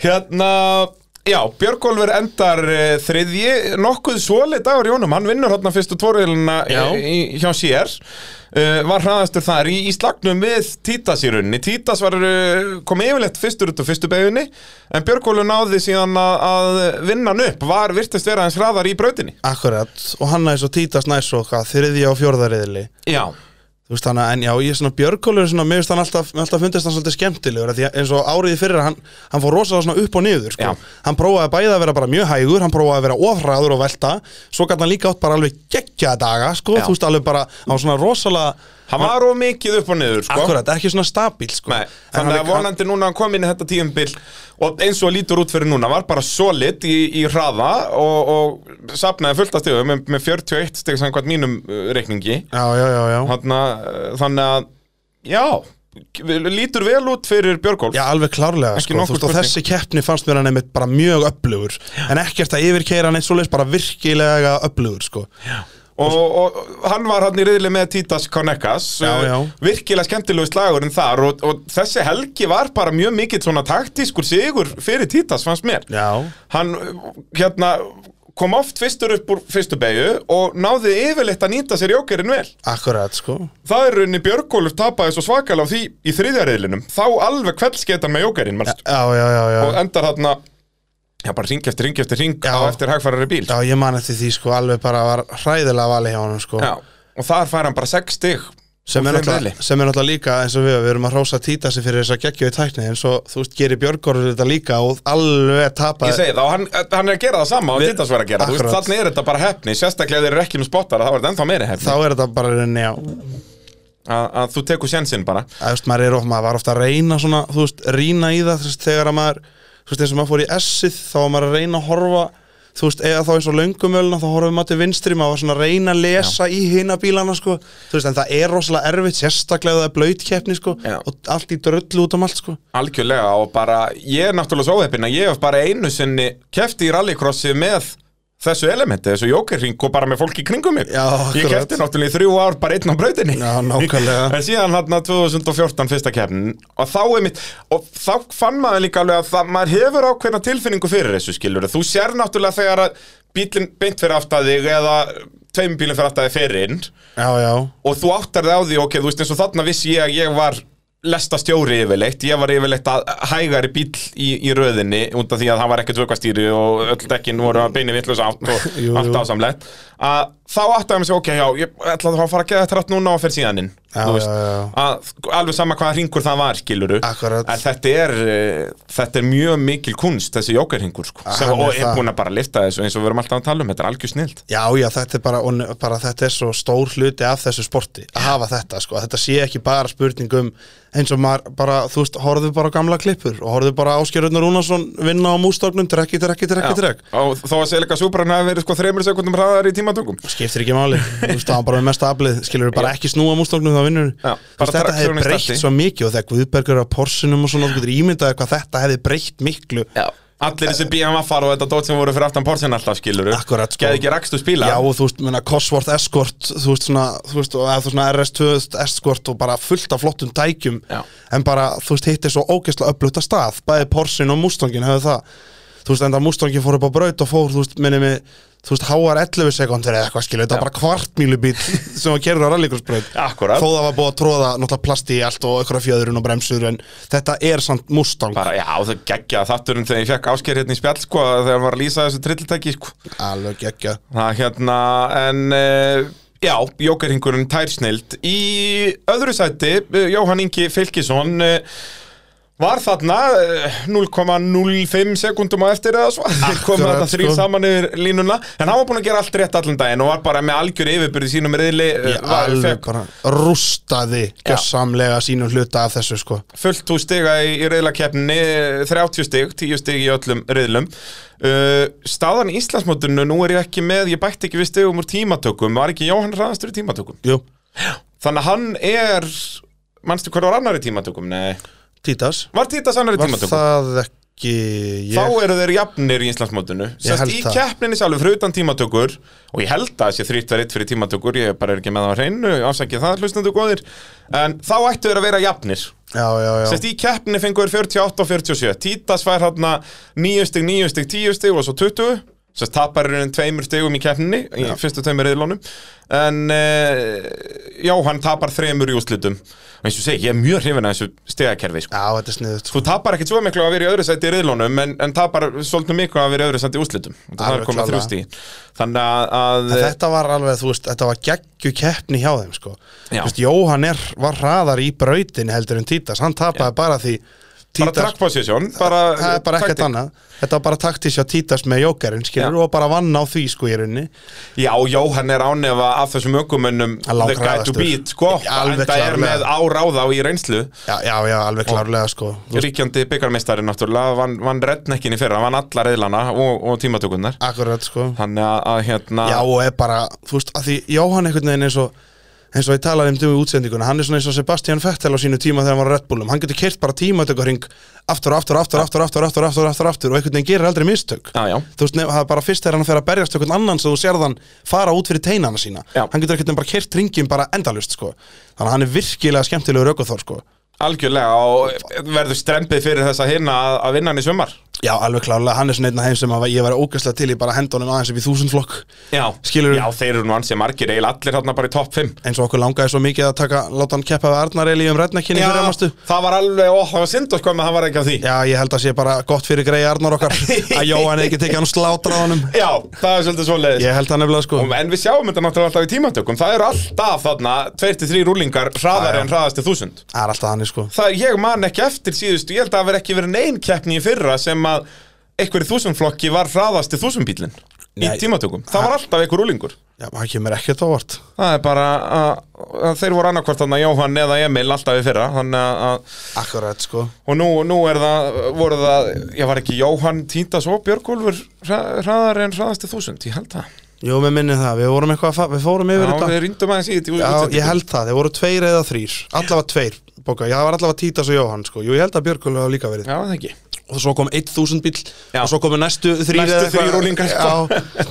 C: Hérna Já, Björgólfur endar uh, þriðji, nokkuð svolít dagur í honum, hann vinnur hérna fyrstu tvorilina
B: Já.
C: hjá sér, uh, var hraðastur þar í, í slagnum við Títas í rauninni, Títas var, uh, kom yfirleitt fyrstur út á fyrstu beginni, en Björgólfur náði síðan að, að vinna hann upp, var virtist vera hans hraðar í brautinni.
B: Akkurat, og hann aðeins og títast næst og hvað, þriðja og fjórðariðli
C: Já.
B: Þú veist þannig, að- en já, ég er svona Björgólfur er svona, mér finnst hann alltaf, mér alltaf fundist hann svolítið skemmtilegur af Því að eins og áriði fyrir hann, hann fór rosalega svona upp og niður, sko
C: Já.
B: Hann prófaði bæði að vera bara mjög hægur, hann prófaði að vera ofræður og velta Svo gæti hann líka átt bara alveg geggja daga, sko,
C: Já.
B: þú veist alveg bara, hann var svona rosalega
C: Hann var of mikið upp og niður, sko.
B: Akkurat, ekki svona stabíl, sko
C: Nei,
B: En hann
C: þannig
B: er-
C: að vonandi núna hann kom inn í þetta tíumbil og eins og lítur út fyrir núna var bara solid í, í hraða og, og sapnaði fullt að stegum með, með 41 steg samkvæmt mínum uh, reikningi
B: Já, já, já, já
C: Þarna, uh, þannig að já, lítur vel út fyrir Björgólf
B: Já, alveg klárlega,
C: Ekki
B: sko,
C: nokkur
B: þú veist, og
C: spurning.
B: þessi keppni fannst mér hann einmitt bara mjög öflugur En ekkert að yfirkeira hann eins og leist bara virkilega öflugur, sko Já
C: og, og, hann var hann í riðli með Títas Konekas
B: Já, já.
C: virkilega skemmtilegu slagurinn þar og, og þessi helgi var bara mjög mikill svona taktískur sigur fyrir Títas fannst mér
B: Já,
C: hann uh, hérna kom oft fyrstur upp úr fyrstu beigju og náði yfirleitt að nýta sér jókerinn vel.
B: akkurat sko
C: Það er rauninni Björgólfur tapaði svo svakalega á því í þriðjarriðlinum. Þá alveg kveldskeitan með jókerinn, mannst.
B: Já, já, já, já,
C: Og endar þarna, já bara ring eftir ring eftir ring
B: Já.
C: á eftir hagfarari bíl.
B: já ég man eftir því sko alveg bara var hræðilega vali hjá honum sko
C: Já. Og þar fær hann bara sex stig.
B: sem, er
C: úr þeim
B: náttúrulega-
C: riðli.
B: sem er náttúrulega líka eins og við, við erum að hrósa títa sig fyrir þess að geggju í tækni en svo þú veist gerir Björgóru þetta líka og alveg
C: Ég
B: tapaði
C: segi það og hann, hann er að gera það sama og
B: Við-
C: Títas var að gera. Þú veist,
B: Akkurat.
C: þannig er þetta bara hefni, sérstaklega ef þeir eru ekki með spottara, þá er þetta ennþá meiri hefni.
B: þá er þetta bara reyni á
C: Að, að þú tekur sjensinn bara.
B: að þú veist maður, er of, maður var ofta að reyna svona þú veist rýna í það þú veist, þegar að maður þú veist eins og maður fór í S-ið þá var maður að reyna að horfa þú veist eða þá eins og löngumölna þá horfum maður til vinstri maður var svona að reyna að lesa í hina bílana sko þú veist en það er rosalega erfitt sérstaklega ef það er blöyt keppni sko
C: Já.
B: og allt í dröllu út um allt sko
C: Algjörlega og bara, ég er náttúrulega svo óheppinn að ég hef bara einu sinni kefti í rallycrossi með þessu elementi, þessu jókerring og bara með fólki í kringum mig
B: Já,
C: ég
B: akkurat.
C: kefti náttúrulega í þrjú ár bara einn á brautinni
B: Já, nákvæmlega.
C: en síðan hann 2014 fyrsta keppnin og þá er mitt og þá fann maður líka alveg að það, maður hefur ákveðna tilfinningu fyrir þessu skilur þú sér náttúrulega þegar að bílinn beint fyrir aftaði eða tveimur bílinn fyrir aftaði fyrir inn
B: Já, já,
C: og þú áttar þig á því, ok, þú veist eins og þarna vissi ég að ég var lesta stjóri yfirleitt, ég var yfirleitt að hægari bíll í, í röðinni út af því að það var ekkert vökkvastýri og öll dekkin voru að beinu vittlaus átt og
B: Jú,
C: allt
B: jú.
C: ásamlegt að þá áttaði mig sig, ok, já, ég ætla þá að fara að geða þetta rætt núna og fyrir síðan inn
B: Já,
C: þú
B: já, já.
C: Að, sko, alveg sama hvaða hringur það var, skiluru
B: Akkurat.
C: en þetta er, eh, þetta er mjög mikil kunst, þessi jókerhingur sko, sem,
B: Ah, hann er
C: og er
B: það.
C: búin að bara lifta þessu eins og við erum alltaf að tala um, þetta er algjör snild
B: já, já, þetta er bara, og, ne- bara þetta er svo stór hluti af þessu sporti að hafa þetta, sko, að þetta sé ekki bara spurningum eins og maður bara, þú veist, horfðu bara á gamla klippur og horfðu bara Áskerurnar Rúnarsson vinna á mústóknum, trekki, trekki, trekki,
C: Já.
B: trekki
C: og þó að Selika Súbrann hafi verið sko þreymur sekundum hraðar í tímatökum
B: skiptir ekki máli, þú veist, það var bara með mesta aflið skilur bara ekki snúa mústóknum þá vinnur
C: Já,
B: þú veist,
C: bara
B: þetta hefði
C: traktorinn í
B: breytt
C: starti.
B: svo mikið og þegar Guðbergur á porsinum og svona, þú getur ímyndaði hvað þetta hefði breytt miklu
C: Já. Allir þessi BMF-ar og þetta dót sem voru fyrir aftan Porsen alltaf skilur
B: Akkurat, sko.
C: Geði ekki rakstu spila
B: Já, og þú veist, menna, Cosworth Escort þú veist, svona, þú veist, og eða þú veist, svona RS2 Escort og bara fullt af flottum tækjum
C: Já.
B: en bara, þú veist, hittir svo ógeðslega upplutta stað, bæði Porsin og Mustangin hefur það, þú veist, enda Mustangin fór upp á braut og fór, þú veist, minni mig þú veist, háar 11 sekundir eða eitthvað skilu þetta var bara kvartmýlubíl sem var kerður á rallycrossbraut
C: Akkurat.
B: þó það var búið að tróða náttúrulega plasti í allt og einhverja fjöðurinn og bremsur en þetta er samt Mustang
C: bara, Já, það geggja þátturinn þegar ég fekk ásker hérna í spjall sko, þegar hann var að lýsa þessu trilltæki sko.
B: alveg ekki
C: Það hérna, en uh, Já, jókerhingurinn tærsnild Í öðru sæti, eh, Jóhann Ingi Fylkisson uh, Var þarna eh, 0,05 sekundum á eftir eða svo Þeir komu
B: Akkurat,
C: þarna þrýr
B: sko.
C: saman yfir línuna En hann var búin að gera allt rétt allan daginn Og var bara með algjör yfirbyrði sínum eh, reyðli
B: Ég alveg bara rústaði gjössamlega sínum hluta af þessu sko
C: fullt hús stiga í, í reyðlakeppni 30 stig, 10 stig í öllum reyðlum uh, staðan í Íslandsmótinu nú er ég ekki með, ég bætti ekki við stigum úr tímatökum, var ekki Jóhann hraðastur í tímatökum
B: Jú,
C: þannig að hann er manstu hver var annar í tímatökum? Nei.
B: Títas
C: var Títas annar í
B: Var
C: tímatökum?
B: það ekki ég?
C: þá eru þeir jafnir í Íslandsmótinu
B: held
C: Sest, í
B: það.
C: keppninni sjálfur fyrir utan tímatökur og ég held að þessi þrýtt verið fyrir tímatökur ég bara er ekki með það á hreinu, afsækja það hlustandu góðir en þá ættu þeir að vera jafnir
B: Já, já, já
C: Sest í keppni fengur þeir 48 og 47 Títas fær hérna 9 stig, 9 stig, 10 stig og svo 20 Sest tapar hérna tveimur stigum í keppninni í fyrstu tveimur reyðlónum En uh, já, hann tapar þreimur í úslitum Og eins og ég segi, ég er mjög hrifin að þessu stigakerfi sko.
B: Já, þetta er sniðut
C: Þú tapar ekkit svo miklu að vera í öðru sæti í reyðlónum en, en tapar svolítið miklu að vera í öðru sæti í úslitum Og Það
B: Alveg
C: er komið
B: klárlega.
C: þrjú stig Þannig að, að
B: Þetta var alveg, þú veist, þetta var geggju keppni hjá þeim sko
C: Já.
B: Þú veist, Jóhann er, var hraðar í brautin heldur en Títas Hann tapaði bara því
C: bara
B: Títas
C: trackposition bara,
B: Það er bara ekkert
C: taktik.
B: annað Þetta var bara taktísja Títas með jókarinn skilur
C: Já.
B: og bara vann á því sko í rauninni
C: Já, Jóhann er ánefa af þessum ökumönnum
B: Hann lá
C: The guy to
B: hraðastur.
C: beat, sko
B: Alveg
C: Enda er
B: klárlega.
C: með áráð á í reynslu
B: Já, já, já, alveg klárlega sko Þú
C: Ríkjandi byggarmeistari náttúrulega Vann van reddnekkin í fyrra, vann alla reyðlana og, og tímatökunnar
B: Akkurat sko
C: Þannig að, að hérna
B: Já og er bara, þú veist, að því Jóhann einhvern veginn eins og eins og ég talaði um dömu í útsendinguna, hann er svona eins og Sebastian Vettel á sínu tíma þegar hann var á Red Bullum, hann getur kert bara tíma þetta hring aftur og aftur og aftur og aftur og aftur og aftur, og aftur, og aftur, og aftur og einhvern veginn gerir aldrei mistök
C: Já, já.
B: þú veist, nef, það er bara fyrst þegar hann fer að berjast einhvern annan sem þú sérð hann fara út fyrir teinana sína
C: Já.
B: hann getur einhvern veginn bara kert ringin bara endalust sko. þannig að hann er virkilega skemmtilegur aukoþór sko.
C: Algjörlega og verður strempið fyrir þessa hinna að, að vinna hann í sumar
B: já, alveg klálega, hann er svona einn af þeim sem að ég var ógæslega til í bara hendunum aðeins upp í þúsund flokk
C: Já,
B: Skilurðu?
C: Já, þeir eru nú ansið margir, eiginlega allir hérna bara í topp 5
B: eins og okkur langaði svo mikið að taka, láta hann keppa við Arnar Eli um rednekkinni fyrir að mástu
C: það var alveg, ó, það var synd og sko, menn það var ekki að því
B: Já, ég held að sé bara gott fyrir greið Arnar okkar að Jóhann ekki tekið hann og slátra á honum
C: Já, það er svolítið svoleiðis
B: Ég held það nefnilega sko
C: Og- En við sjáum þetta náttúrulega alltaf í tímatökum Það eru alltaf þarna 2-3 rúlingar hraðar
B: Já, já.
C: en hraðasti þúsund
B: Það er alltaf þannig sko
C: Það er, ég man ekki eftir síðustu Ég held að það veri ekki verið neinn keppni í fyrra sem að einhverju þúsundflokki var hraðasti þúsundbílinn í
B: Nei.
C: tímatökum Það var alltaf einhver rúlingur
B: Já, það kemur ekkert ávart
C: Það er bara að, að þeir voru annarkvort þarna Jóhann eða Emil alltaf í fyrra Þannig að- að,
B: Akkurat sko
C: og nú, nú er það, voru það Ég var ekki Jóhann Tíntas og Björgólfur hra, hraðar en hraðasti þúsund, ég held það
B: Jú, við minnum það, við vorum eitthvað að fa- við fórum
C: Já,
B: yfir
C: við
B: þetta
C: rindum aðeins í þetta í
B: Já,
C: útsendingu.
B: ég held það, þeir voru tveir eða þrýr Allavega tveir, bóka, já, það var allavega Títas og Jóhann sko Jú, ég held að Björgulur hafa líka verið
C: Já, það ekki
B: og svo kom 1000 bíl
C: Já.
B: og svo komu næstu þrýr
C: Næstu þrír úlingar, sko.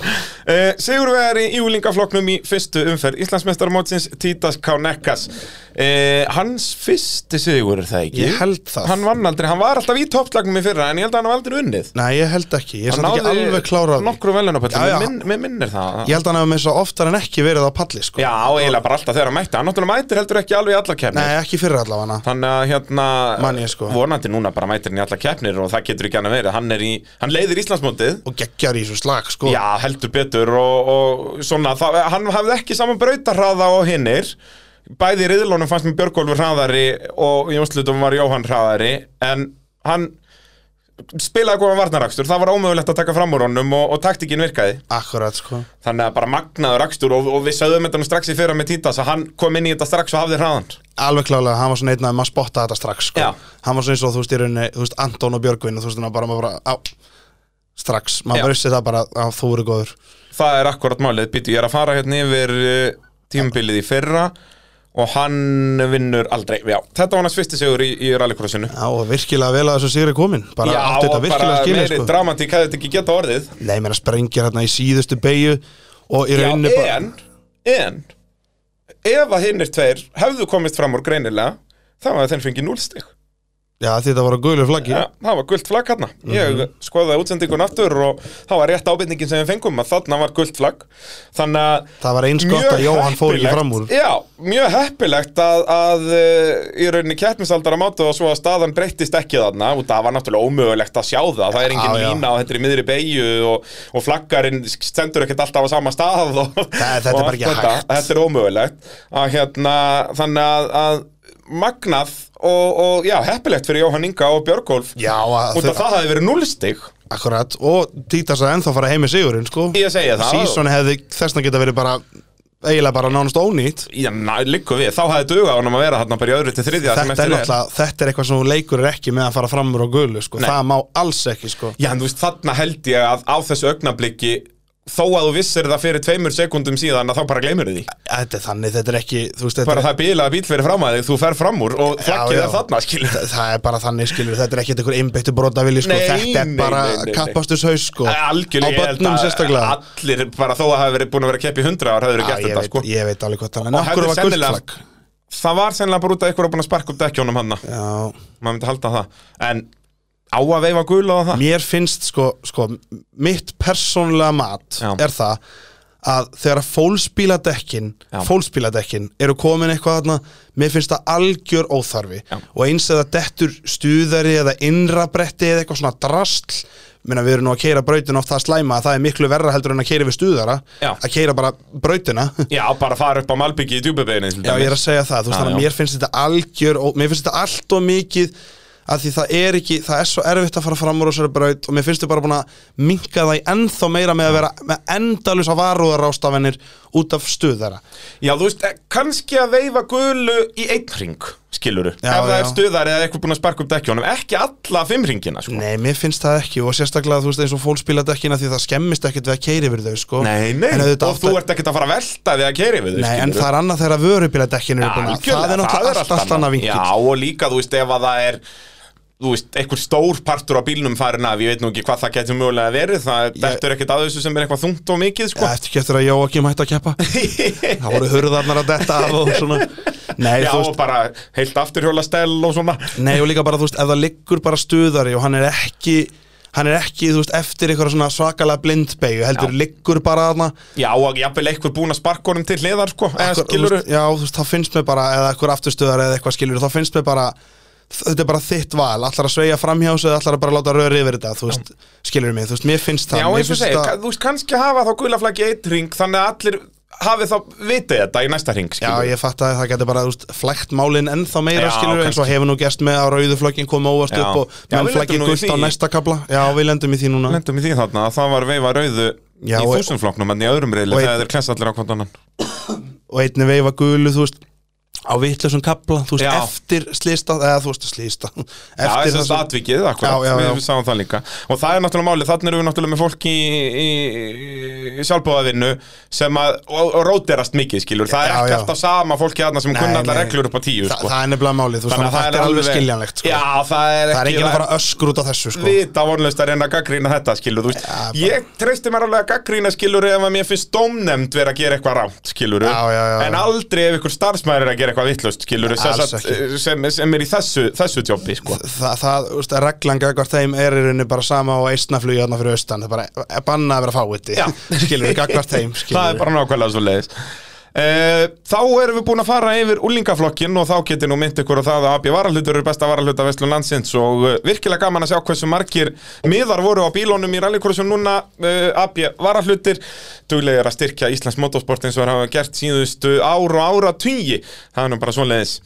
C: Uh, Sigurvegari í úlingafloknum í fyrstu umferð Íslandsmeistarmótsins Títas K. Nekkas uh, Hans fyrsti sigur er það ekki
B: Ég held það.
C: Hann vann aldrei, hann var alltaf í topplagnum í fyrra en ég held að hann var aldrei unnið
B: Nei, ég held ekki, ég er samt ekki alveg klárað
C: nokkru
B: Já, já.
C: velunapöldum, minn, minn minnir það
B: Ég held að hann hafa með þess að oftar en ekki verið á palli sko.
C: Já, eiginlega bara alltaf þegar hann mætti Hann náttúrulega mætir heldur ekki alveg í alla keppnir
B: Nei, ekki fyrir allavega
C: Þannig að hérna,
B: Man ég, sko.
C: vonandi núna bara mætir hann í alla keppnir og það getur ekki hann að vera Hann, er í, hann leiðir Íslandsmótið
B: og geggjar í þessu slag sko.
C: Já, heldur betur og, og svona, það, hann hafði ekki saman brautarhraða og hinnir Bæði í riðlónum fannst mér Björgólfur hraðari og í umslutum var Jóhann hraðari En hann spilaði góðan varnarakstur, það var ómögulegt að taka fram úr honum og, og taktikinn virkaði
B: Akkurat, sko
C: Þannig að bara magnaður akstur og, og við sögðum þetta nú strax í fyrra með Títas að hann kom inn í þetta strax og hafði hraðan
B: Alveg klálega, hann var svona einn að maður spotta þetta strax sko.
C: Já.
B: Hann var svona eins og þú veist í rauninni Þú veist Anton og Björgvin og þú veist hann var bara, maður bara á, Strax,
C: Já.
B: maður vissi það bara að þú eru góður
C: Það er akkurat málið, býtu ég er að fara hérna yfir eh, tímabilið í fyrra og hann vinnur aldrei Já, þetta var hans fyrsti sigur í, í rallycrossinu
B: Já, og virkilega vel að þessu sigri komin Bara
C: Já,
B: átti þetta
C: og bara
B: virkilega skilja
C: meiri
B: sko.
C: dramatík hefði þetta ekki geta orðið
B: Nei, mér að sprengja hérna í síðustu beigju Og í
C: Já,
B: rauninni bara
C: en, en ef að hinnir tveir hefðu komist fram úr greinilega þá var þeim fengið núlstig
B: Já, því þetta var að guðlu flaggi Mhm.
C: Já, það var gult flagg hérna Ég skoðaði útsendingun aftur og það var rétt ábyrningin sem við fengum að þarna var gult flagg Þannig að
B: Það var eins gott að Jóhann fór ekki fram úr
C: Já, mjög heppilegt að, að eh, í rauninni keppnisaldara mátu og svo að staðan breyttist ekki þarna og það var náttúrulega ómögulegt að sjá það það er engin
B: Já, já.
C: lína og þetta er í miðri beigju og, og flaggarinn stendur ekkert alltaf á sama stað og,
B: Nei, þetta er bara
C: og allt
B: ekki
C: þetta.
B: hægt.
C: Þetta er ómögulegt að, hérna, þannig að, að magnað og, og já, heppilegt fyrir Jóhann Inga og Björgólf
B: Já, að
C: Út af
B: þau,
C: það hafi verið núllstig
B: akkurat Og Títas að ennþá fara heim í sigurinn sko.
C: Ég segi það.
B: Season hefði þessna geta verið bara Eiginlega bara nánast ónýtt
C: Já, na, liggur við, þá hafði dugað honum að vera þarna bara í öðru til þriðja sem
B: þetta
C: eftir
B: er náttúrulega, þetta er eitthvað sem hún leikur er ekki með að fara framur á gulu, sko,
C: Nei.
B: það má alls ekki, sko
C: Já, en þú veist, þarna held ég að á þessu augnabliki þó að þú vissir það fyrir tveimur sekundum síðan að þá bara gleymur því
B: þetta er þannig, þetta er ekki, þú veist, þetta
C: bara það er bílaða bíl fyrir fram að þig, þú fer fram úr og flaggið
B: já.
C: er þarna, skilur
B: er, það er bara þannig, skilur, þetta er ekki einhver einbeittu brotavili, sko,
C: Nei,
B: þetta er
C: nei,
B: bara
C: nei, nei, nei.
B: kappastushaus, sko, á
C: Algjörlega, ég held
B: börnum
C: að
B: sérstaklega
C: allir bara þó að hafi verið búin að vera keppi í 100 ár hafður
B: Já,
C: gert
B: ég,
C: þetta,
B: veit,
C: sko
B: ég veit alveg hvað það er, en
C: Og
B: okkur
C: hefði
B: var
C: sennilega-
B: guldflag
C: Það var sennilega bara út að ykkur var búin að sparka upp dekkjónum hann maður
B: Já,
C: myndi halda það, en á að veifa gula og það
B: mér finnst, sko, sko mitt persónlega mat
C: Já.
B: er það að þegar að fólksbíladekkin
C: Já.
B: fólksbíladekkin eru komin eitthvað þarna mér finnst það algjör óþarfi
C: Já.
B: og eins eða dettur stuðari eða innrabretti eða eitthvað svona drastl minna við erum nú að keira brautin oft það slæma að það er miklu verra heldur en að keira við stuðara
C: Já.
B: að keira bara brautina
C: Já, bara fara upp á Malbyggi í djúbubeginni
B: Já, ég er að segja það, þú veist
C: Já,
B: þannig að
C: já.
B: mér finnst þetta algjör og mér finnst þetta allt og mikið að því það er ekki, það er svo erfitt að fara fram úr þessari braut og mér finnst þau bara búin að minka það í ennþá meira með að vera með endalus að varúðarástafennir út af stuðara
C: Já, þú veist, eh, kannski að veifa gulu í einn ring, skiluru
B: Já,
C: Ef það
B: já.
C: er stuðar eða eitthvað búin að sparka upp dekkjónum Ekki alla fimm ringina, sko
B: Nei, mér finnst það ekki og sérstaklega þú veist eins og fólkspíladekkina því það skemmist ekkert við að keiri yfir þau sko En
C: og
B: auðvitað
C: þú
B: átt að-
C: ert ekkert að fara að velta því að keiri við þau,
B: Nei, en
C: skilurðu.
B: það er annað þegar vörubíladekkin eru
C: Já,
B: búin að
C: algjörlega,
B: það er náttúrulega allt allt annað vinkil
C: Já, og líka, þú veist, ef að það er Þú veist, einhver stór partur á bílnum farin af Ég veit nú ekki hvað það getur mögulega verið Það ég... dettur ekkert að þessu sem er eitthvað þungt og mikið, sko
B: Já, eftir ekki eftir að Jóakim hætti að keppa Það voru hurðarnar að detta af og svona Nei,
C: Já,
B: þú
C: og
B: veist
C: bara heilt afturhjólastell og svona
B: Nei, og líka bara, þú veist, ef það liggur bara stuðari og hann er ekki hann er ekki, þú veist, eftir eitthvað svona svakalega blindbegju, heldur
C: Já.
B: liggur bara þarna
C: Já, og jafnvel eitthvað búin að sparka honum til hliðar, sko Eða
B: Akkur- þú
C: skilurðu-
B: veist, Já, þú veist, þá finnst mér bara, eða eitthvað afturstuðari eða eitthvað skilur, þá finnst mér bara þetta er bara þitt val, allar að sveigja framhjás eða allar að bara láta röri yfir þetta, þú veist skilur mig, þú veist, mér finnst það
C: Já,
B: mér
C: eins og
B: finnst
C: segir,
B: það-
C: þú veist kannski hafa þá gulaflaggi eitt ring þannig að allir hafi þá vitið þetta í næsta ring
B: Já, ég fatt að það getur bara þú veist, flækt málinn ennþá meira
C: Já,
B: skilur eins og
C: kannski.
B: hefur nú gerst með að rauðuflöggin koma óvast
C: Já.
B: upp og
C: Já, við
B: menn
C: lendum
B: flækir
C: nú í
B: gult á
C: því.
B: næsta kabla Já, við lendum í því núna
C: Lendum í því þarna að það var veifa rauðu
B: Já,
C: í
B: og-
C: þúsundflokknum en í öðrum reyli
B: og-
C: þegar þeir klessa allir á kontanann
B: og einni veifa gulu, þú veist á vitlausum kapla, þú veist,
C: Já.
B: eftir slista, eða þú veist, slista
C: Já,
B: eftir
C: þess að atvikið, akkurat,
B: Já, já, já.
C: við sáum það líka Og það er náttúrulega málið, þannig erum við náttúrulega með fólk í, í, í sjálfbóðavinnu sem að, og, og róterast mikið, skilur Það er
B: Já,
C: ekki
B: já.
C: alltaf sama fólki aðna sem
B: Nei,
C: kunna allar
B: nei.
C: reglur upp á tíu,
B: Þa,
C: sko
B: það er nefnilega málið, þú veist, þannig að þetta er alveg skiljanlegt sko.
C: Já, það er ekki
B: það er ekki að fara öskur út af þessu sko.
C: vita vonlust að reyna að gaggrína þetta skilur, þú veist,
B: bara-
C: ég treysti mér alveg að gaggrína skilur ef að mér finnst dómnefnd vera að gera eitthvað rámt skilur,
B: Já, já, já,
C: en
B: já.
C: aldrei ef ykkur starfsmæður er að gera eitthvað vittlust skilur,
B: Nei, alls
C: sem, sem, sem er í þessu, þessu tjópi, sko
B: það, það, þú veist, að reglan gagvar þeim er í rauninni bara sama og eistnaflugi þarna fyrir austan, það er bara banna að vera
C: Já.
B: fáiði, skilur við gagvar þeim skilur
C: það er bara nákvæmlega svo leiðis Þá erum við búin að fara yfir úlingaflokkin og þá getur nú mynd ykkur á það að AB varahlutur eru besta varahluta vestlun landsins og eh, virkilega gaman að sjá hversu margir miðar voru á bílónum í rallykursum núna eh, AB varahlutir duglegir að styrkja Íslands motorsport eins og þeir hafa gert síðustu ár og ára tvíi það er nú bara svo leiðis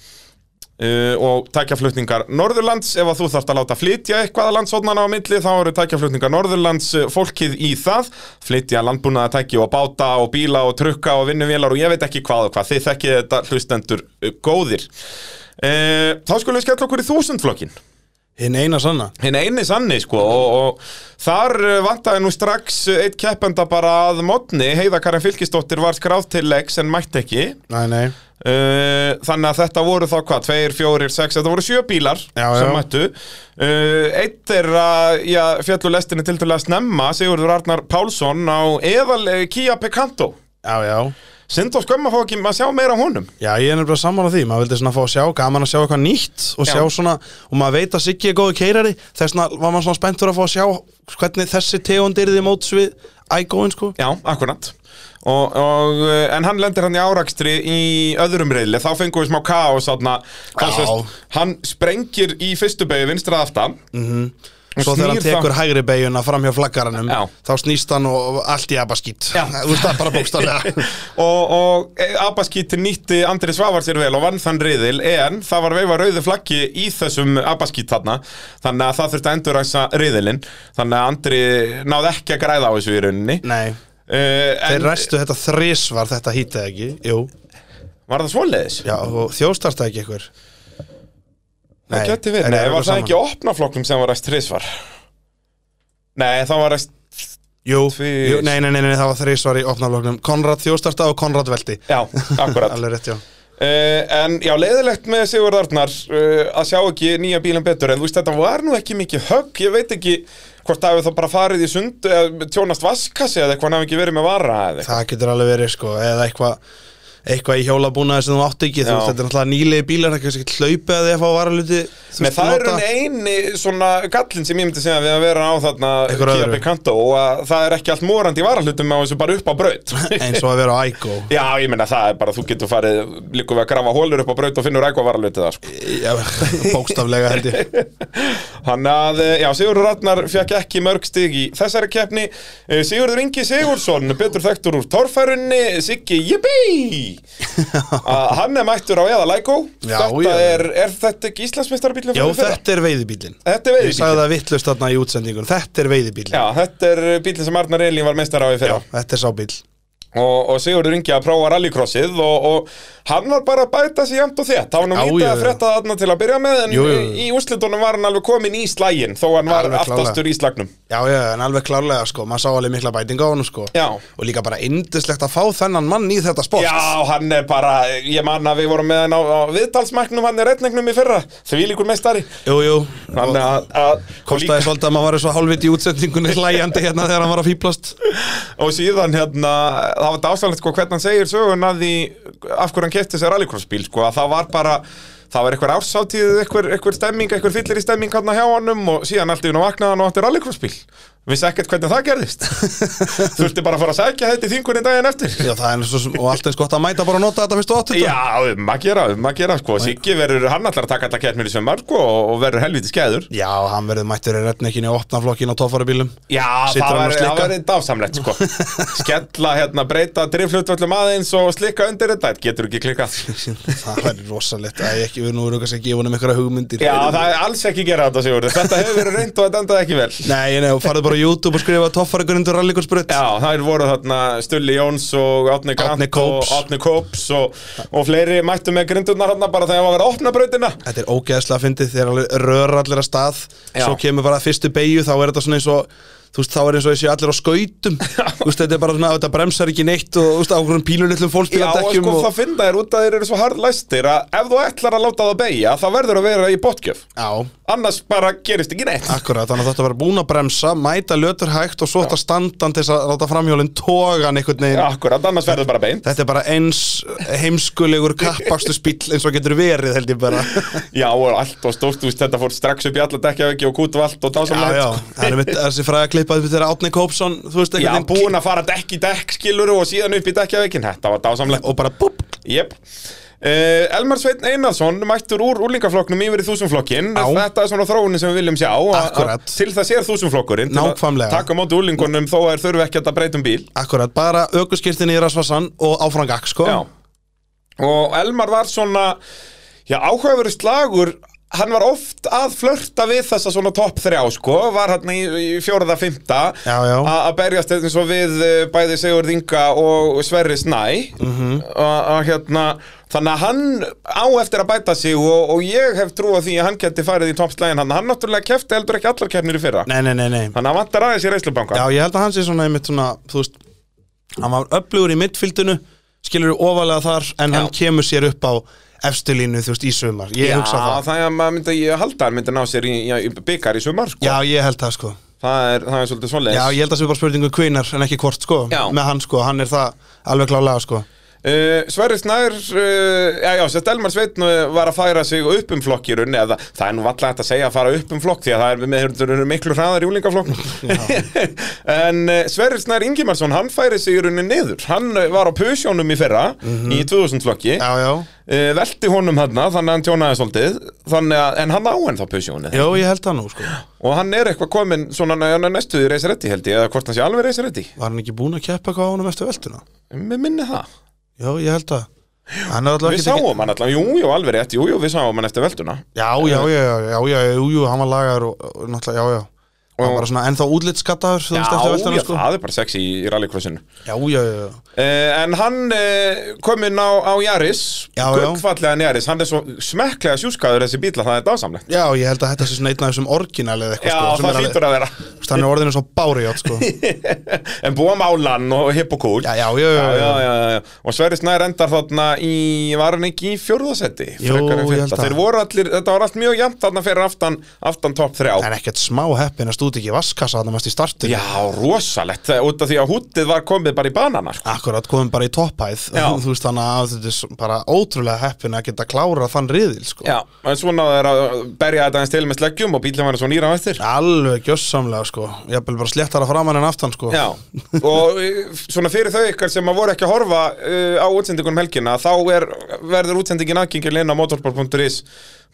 C: Uh, og tækjaflutningar Norðurlands ef að þú þarft að láta flytja eitthvað að landsóðnana á milli þá eru tækjaflutningar Norðurlands uh, fólkið í það flytja landbúnaða tæki og báta og bíla og trukka og vinnuvélar og ég veit ekki hvað og hvað þið þekkið þetta hlustendur uh, góðir uh, þá skulum við skella okkur í þúsundflokkin
B: hinn eina sanna
C: hinn eini sanni sko og, og þar eh, vantaði nú strax eh, einn keppenda bara að mótni Heiða Karin Fylkisdóttir var skráð til leiks en mætti ekki
B: nei, nei.
C: Uh, þannig að þetta voru þá hvað, tveir, fjórir, sex, þetta voru sjö bílar
B: Já,
C: sem
B: já.
C: mættu uh, Eitt er að, já, fjallu lestinni til til að snemma, Sigurður Arnar Pálsson á eðal uh, Kia Picanto
B: Já, já,
C: Sind og skömm að fá ekki að sjá meira af honum
B: já, ég er nefnilega sammála því, maður vildi svona fá að sjá, gaman að sjá eitthvað nýtt og
C: Já.
B: sjá svona, og maður veit að Siggi er góðu keirari, þessna var maður svona spenntur að fá að sjá hvernig þessi tegund er því móts við ægóin, sko.
C: Já, akkurat og, og, uh, En hann lendir hann í árakstri í öðrum reyðli Þá fengum við smá kaos þarna Þá
B: Já.
C: sést, Hann sprengir í fyrstu beigju vinstrað aftan mm -hmm.
B: Mhm. Svo þegar hann tekur hægri beiguna fram hjá flaggaranum,
C: Já.
B: þá snýst hann og allt í abaskýtt.
C: Já.
B: Þú veist það bara bókstaflega.
C: og, og Abaskíti nýtti Andri Svavar sér vel og vann þann riðil en það var veifa rauðu flaggi í þessum Abaskít þarna þannig að það þurfti að enduræsa riðilinn þannig að Andri náði ekki að græða á þessu í rauninni
B: Nei,
C: uh,
B: þeir
C: en
B: restu þetta þrisvar þetta hítið ekki, jú.
C: var það svoleiðis?
B: Já, og þjóstarst það ekki ykkur.
C: það geti verið,
B: þeir
C: nei,
B: eru
C: var það
B: saman.
C: ekki opnaflokkum sem var ræst þrisvar? Nei, það var ræst
B: Jú,
C: Tvis-
B: jú nei, nei, nei, nei, það var þrisvar í opnafloknum. Konrad þjóstarsta og Konrad veldi.
C: Já, akkurat
B: Alveg rétt, já.
C: Uh, en já, leiðilegt með Sigurð Arnar uh, að sjá ekki nýja bílinn betur en þú veist þetta var nú ekki mikið högg ég veit ekki hvort það hefur þá bara farið í sund eða tjónast vaskassi eða eitthvað hann hafi ekki verið með vara eða eitthvað
B: Það getur alveg verið sko, eða eitthvað eitthvað í hjólabúnaði sem þú átt ekki þú
C: Já.
B: veist, þetta er náttúrulega nýlegi bílar, það er kannski ekki hlaupið að þið að fá varaluti þú
C: Með
B: veist,
C: það er
B: nota.
C: enn eini svona gallin sem ég myndi segja við að vera á þarna
B: Einhver
C: Kia
B: öðru.
C: Picanto og að það er ekki allt morandi í varahlutum á þessu bara upp á braut
B: eins og að vera á ægó
C: Já, ég meina það er bara þú getur farið líka við að grafa hólur upp á braut og finnur eitthvað varahluti það sko
B: bókstaflega held ég
C: Hann að, eh, já, Sigurður Ratnar fekk ekki mörg stig í þessari keppni Eh, Sigurður Ingi Sigursson, betur þekktur úr torfærunni, Siggi Jibbi Hann er mættur á eða Lækó
B: Já,
C: Þetta
B: já, já.
C: Er, er þetta ekki Íslandsmeistarabílum
B: já þetta er veiðibílin
C: Þetta er
B: ég sagði
C: veiðbíl
B: það vittlust þarna í útsendingun þetta er veiðibílin
C: Já, þetta er bílinn sem Arnar Elín var meistar á í fyrra
B: þetta er sábíl
C: og, og Sigurður Ingi að prófa rallycrossið og, og hann var bara að bæta sig jæmt og þett hann var
B: Já,
C: nú mítið
B: já,
C: að
B: já.
C: frétta þarna til að byrja með en
B: Jú, jú, jú.
C: í úrslitunum var hann alveg komin í slægin þó hann var
B: Alveg klárlega.
C: aftastur í slagnum
B: já já en alveg klárlega sko maður sá alveg mikla bætinga á hann sko
C: Já.
B: og líka bara indislegt að fá þennan mann í þetta sport
C: Já, hann er bara, ég man að við vorum með hann á, á viðtalsmæknum, hann er retningnum í fyrra, því líkur meistari.
B: jú jú
C: Þannig að, að og, líka,
B: kostaði svolítið að maður var svo hálfitt í útsendingunni hlæjandi hérna þegar hann var að fýblast
C: og síðan hérna, það var þetta ástæðanlegt sko hvernig hann segir sögun að því af hverju hann kefti sér rallycrossbíl, sko að það var bara, það var einhver ársátíð, einhver, einhver stemming, einhver fyllir í stemming hann hjá honum og síðan allt í hún að vaknaði hann og átti rallycrossbíl. Vissi ekkert hvernig það gerðist. Þurfti bara að fara að sækja þetta í þingunni daginn eftir.
B: Já, það er eins og, og allt eins gott að mæta bara að nota þetta fyrst og 80
C: Já, um að gera, um að gera, sko. Siggi verður, hann allar að taka alla keppnir í sömmar, sko, og- og verður helviti skæður.
B: Já, hann verður mættur í retnekkinni og opna flokkin á toffarabílum
C: Já,
B: Situr
C: það
B: hann
C: var,
B: og
C: það
B: slikkar?
C: var dásamlegt sko Skella, hérna, breyta driflutvöllum aðeins og slikka undir þetta Þetta getur ekki klikkað
B: Það verður rosalegt Æ, ekki, kannski við nú erum kannski að gefa honum einhverja hugmyndir
C: Já, það er alls ekki gera þetta, Sigurður. Þetta hefur verið reynd og þetta endaði ekki vel.
B: Nei, nei, og farðu bara á YouTube og skrifa toffarikunnindur rallikursbrut
C: Já, það eru voru þarna Stulli Jóns og Átni Grant
B: Árni Kóps.
C: og Átni Kóps og, og fleiri mættu með grindurnar þarna bara þegar það var að opna brautina.
B: Þetta er ógeðslega fyndið, þeir alveg röra allir að stað
C: Já.
B: Svo kemur bara fyrstu beigju, þá er þetta svona eins og Þú veist, þá er eins og þessi allir á skautum Þú veist, þetta er bara svona, þetta bremsar ekki neitt Og þú veist, á okkur pílulitlum
C: Já, og
B: fólksbíladekkjum
C: sko það finna þér út að þeir eru svo hardlæstir að ef þú ætlar að láta það beigja þá verður að vera í botgjöf.
B: Já,
C: Annars bara gerist ekki neitt.
B: akkurat, þannig að þetta var búin að bremsa Mæta lötur hægt og svo þetta standan til þess að láta framhjólinn togan einhvern veginn
C: Akkurat, annars verður bara beint.
B: Þetta er bara eins heimskulegur kappakslu eins og getur verið held ég bara
C: Já, og allt og stórt, þú veist, þetta fór strax upp í alla dekkjaveggi og kútu allt og
B: Já,
C: dásamlega.
B: já, það er mitt þessi fræða klippað þegar Átni Kópsson, þú veist,
C: Já,
B: einhvern
C: búin að fara dekk í dekk, skilur og síðan upp í dekkjavegin. Þetta var dásamlega.
B: og bara búpp
C: Jep. Uh, Elmar Sveitn Einarsson mættur úr úrlingaflokknum yfir í þúsumflokkin
B: Já.
C: Þetta er svona þróunin sem við viljum sjá að- að-
B: Akkurat.
C: Til þess er þúsumflokkurinn til að
B: Nákvæmlega.
C: Taka á móti úrlingunum þó að þeir þurfi ekki að breyta um bíl
B: Akkurat, bara aukuskirtin í Rasvassan og áfram gakk, sko
C: Já Og Elmar var svona Já, áhugaveru slagur Hann var oft að flörta við þessa svona topp þrjá sko, var hann í, í fjóraða fymta
B: Já, já.
C: að berjast eins og við eh, bæði Sigurð Inga og Sverri Snæ mm
B: Mhm.
C: -hmm. hérna, þannig að hann á eftir að bæta sig og, og ég hef trúið því að hann geti farið í toppslægin hann, hann náttúrulega kefti heldur ekki allar keppnir í fyrra
B: Nei, nei, nei, nei
C: þannig að hann vantar aðeins í reislubanka
B: Já, ég held að hann sé svona einmitt svona, þú veist Hann var upplugur í mittfildinu, skilur ofalega þar En hann kemur sér upp á efstilínu, þú veist, í sumar Ég hugsa það
C: það er að maður myndi ég halda hann myndi ná sér í, í, í byggar í sumar sko.
B: Já, ég held það, sko
C: það, er, það er svolítið svoleiðis
B: Já, ég held að það sé bara spurningu kvinnar en ekki hvort, sko
C: Já.
B: Með hann, sko, hann er það alveg klálega, sko
C: Uh, Sverri Snær uh, já, já, sérst Elmar Sveitn uh, var að færa sig upp um flokk í rauninni eða það er nú vallega hægt að segja að fara upp um flokk því að það er, með, það eru miklu hraðar í úlingaflokk en uh, Sverri Snær Ingimarsson hann færi sig í rauninni niður hann uh, var á pusjónum í fyrra í 2000 flokki
B: Mhm. Já, já,
C: uh, velti honum hann þannig að hann tjónaði svolítið þannig að, en hann á ennþá pusjónið
B: Jó, ég held það nú, sko
C: og hann er eitthvað komin svona hann er næstuði reysiretti held ég eða hvort hann sé alveg reysiretti
B: Var hann ekki búinn að keppa hvað á honum eftir veltuna?
C: mér minni það
B: Jó, ég held það Hann er allavega
C: Við
B: ekki
C: sáum hann allavega, jú, jú, alveg rétt, jú, jú, við sáum hann eftir velduna
B: Já, já, já, já, já, já, jú, jú, hann var lagaður og, og náttúrulega, já, já Hann var bara svona ennþá útlitskaddaður, þú
C: Já,
B: veist, eftir veltuna,
C: já,
B: sko
C: það er bara sexy í rallycrossinu
B: Já, já, já, já,
C: uh, En hann uh, kom inn á, á Jaris
B: Já, já.
C: Guggfallegan Jaris, hann er svo smekklega sjúskaður þessi bíla, það er dásamlegt
B: já, ég held að þetta sé svona einn af þessum orginal eða
C: Já,
B: eitthvað, sko sem er
C: það
B: alveg-
C: hlýtur að vera
B: þú veist, Hann er orðinu svo bári, já, sko Já,
C: En búa málan og hipp og kúl
B: já, já, já,
C: já,
B: já,
C: já, já, já. Og Sverri Snær endar þarna í, var hann ekki í fjórðasetti?
B: Jú, ég held það.
C: Þeir voru allir, þetta var allt mjög jæmt þarna fyrir aftan, aftan top 3
B: En ekkert smá heppin að stúti ekki vaskassa þannig mest í startinu
C: Já, rosalegt, það er út af því að hútið var komið bara í sko. bananar
B: Akkurat, komum bara í topphæð
C: Já.
B: Þú veist, þannig að þetta er s- bara ótrúlega heppin að geta klára þann riðil, sko
C: Já, en svona það er að berja þetta eins til með sleggjum og bílum verður svo nýra á eftir
B: Alveg gjössamlega sko Jafnvel bara sléttara framann en aftan sko
C: Já, og eh, svona fyrir þau ykkar sem að voru ekki að horfa uh, á útsendingunum helgina þá er, verður útsendingin aðgengileg inn á motorsport.is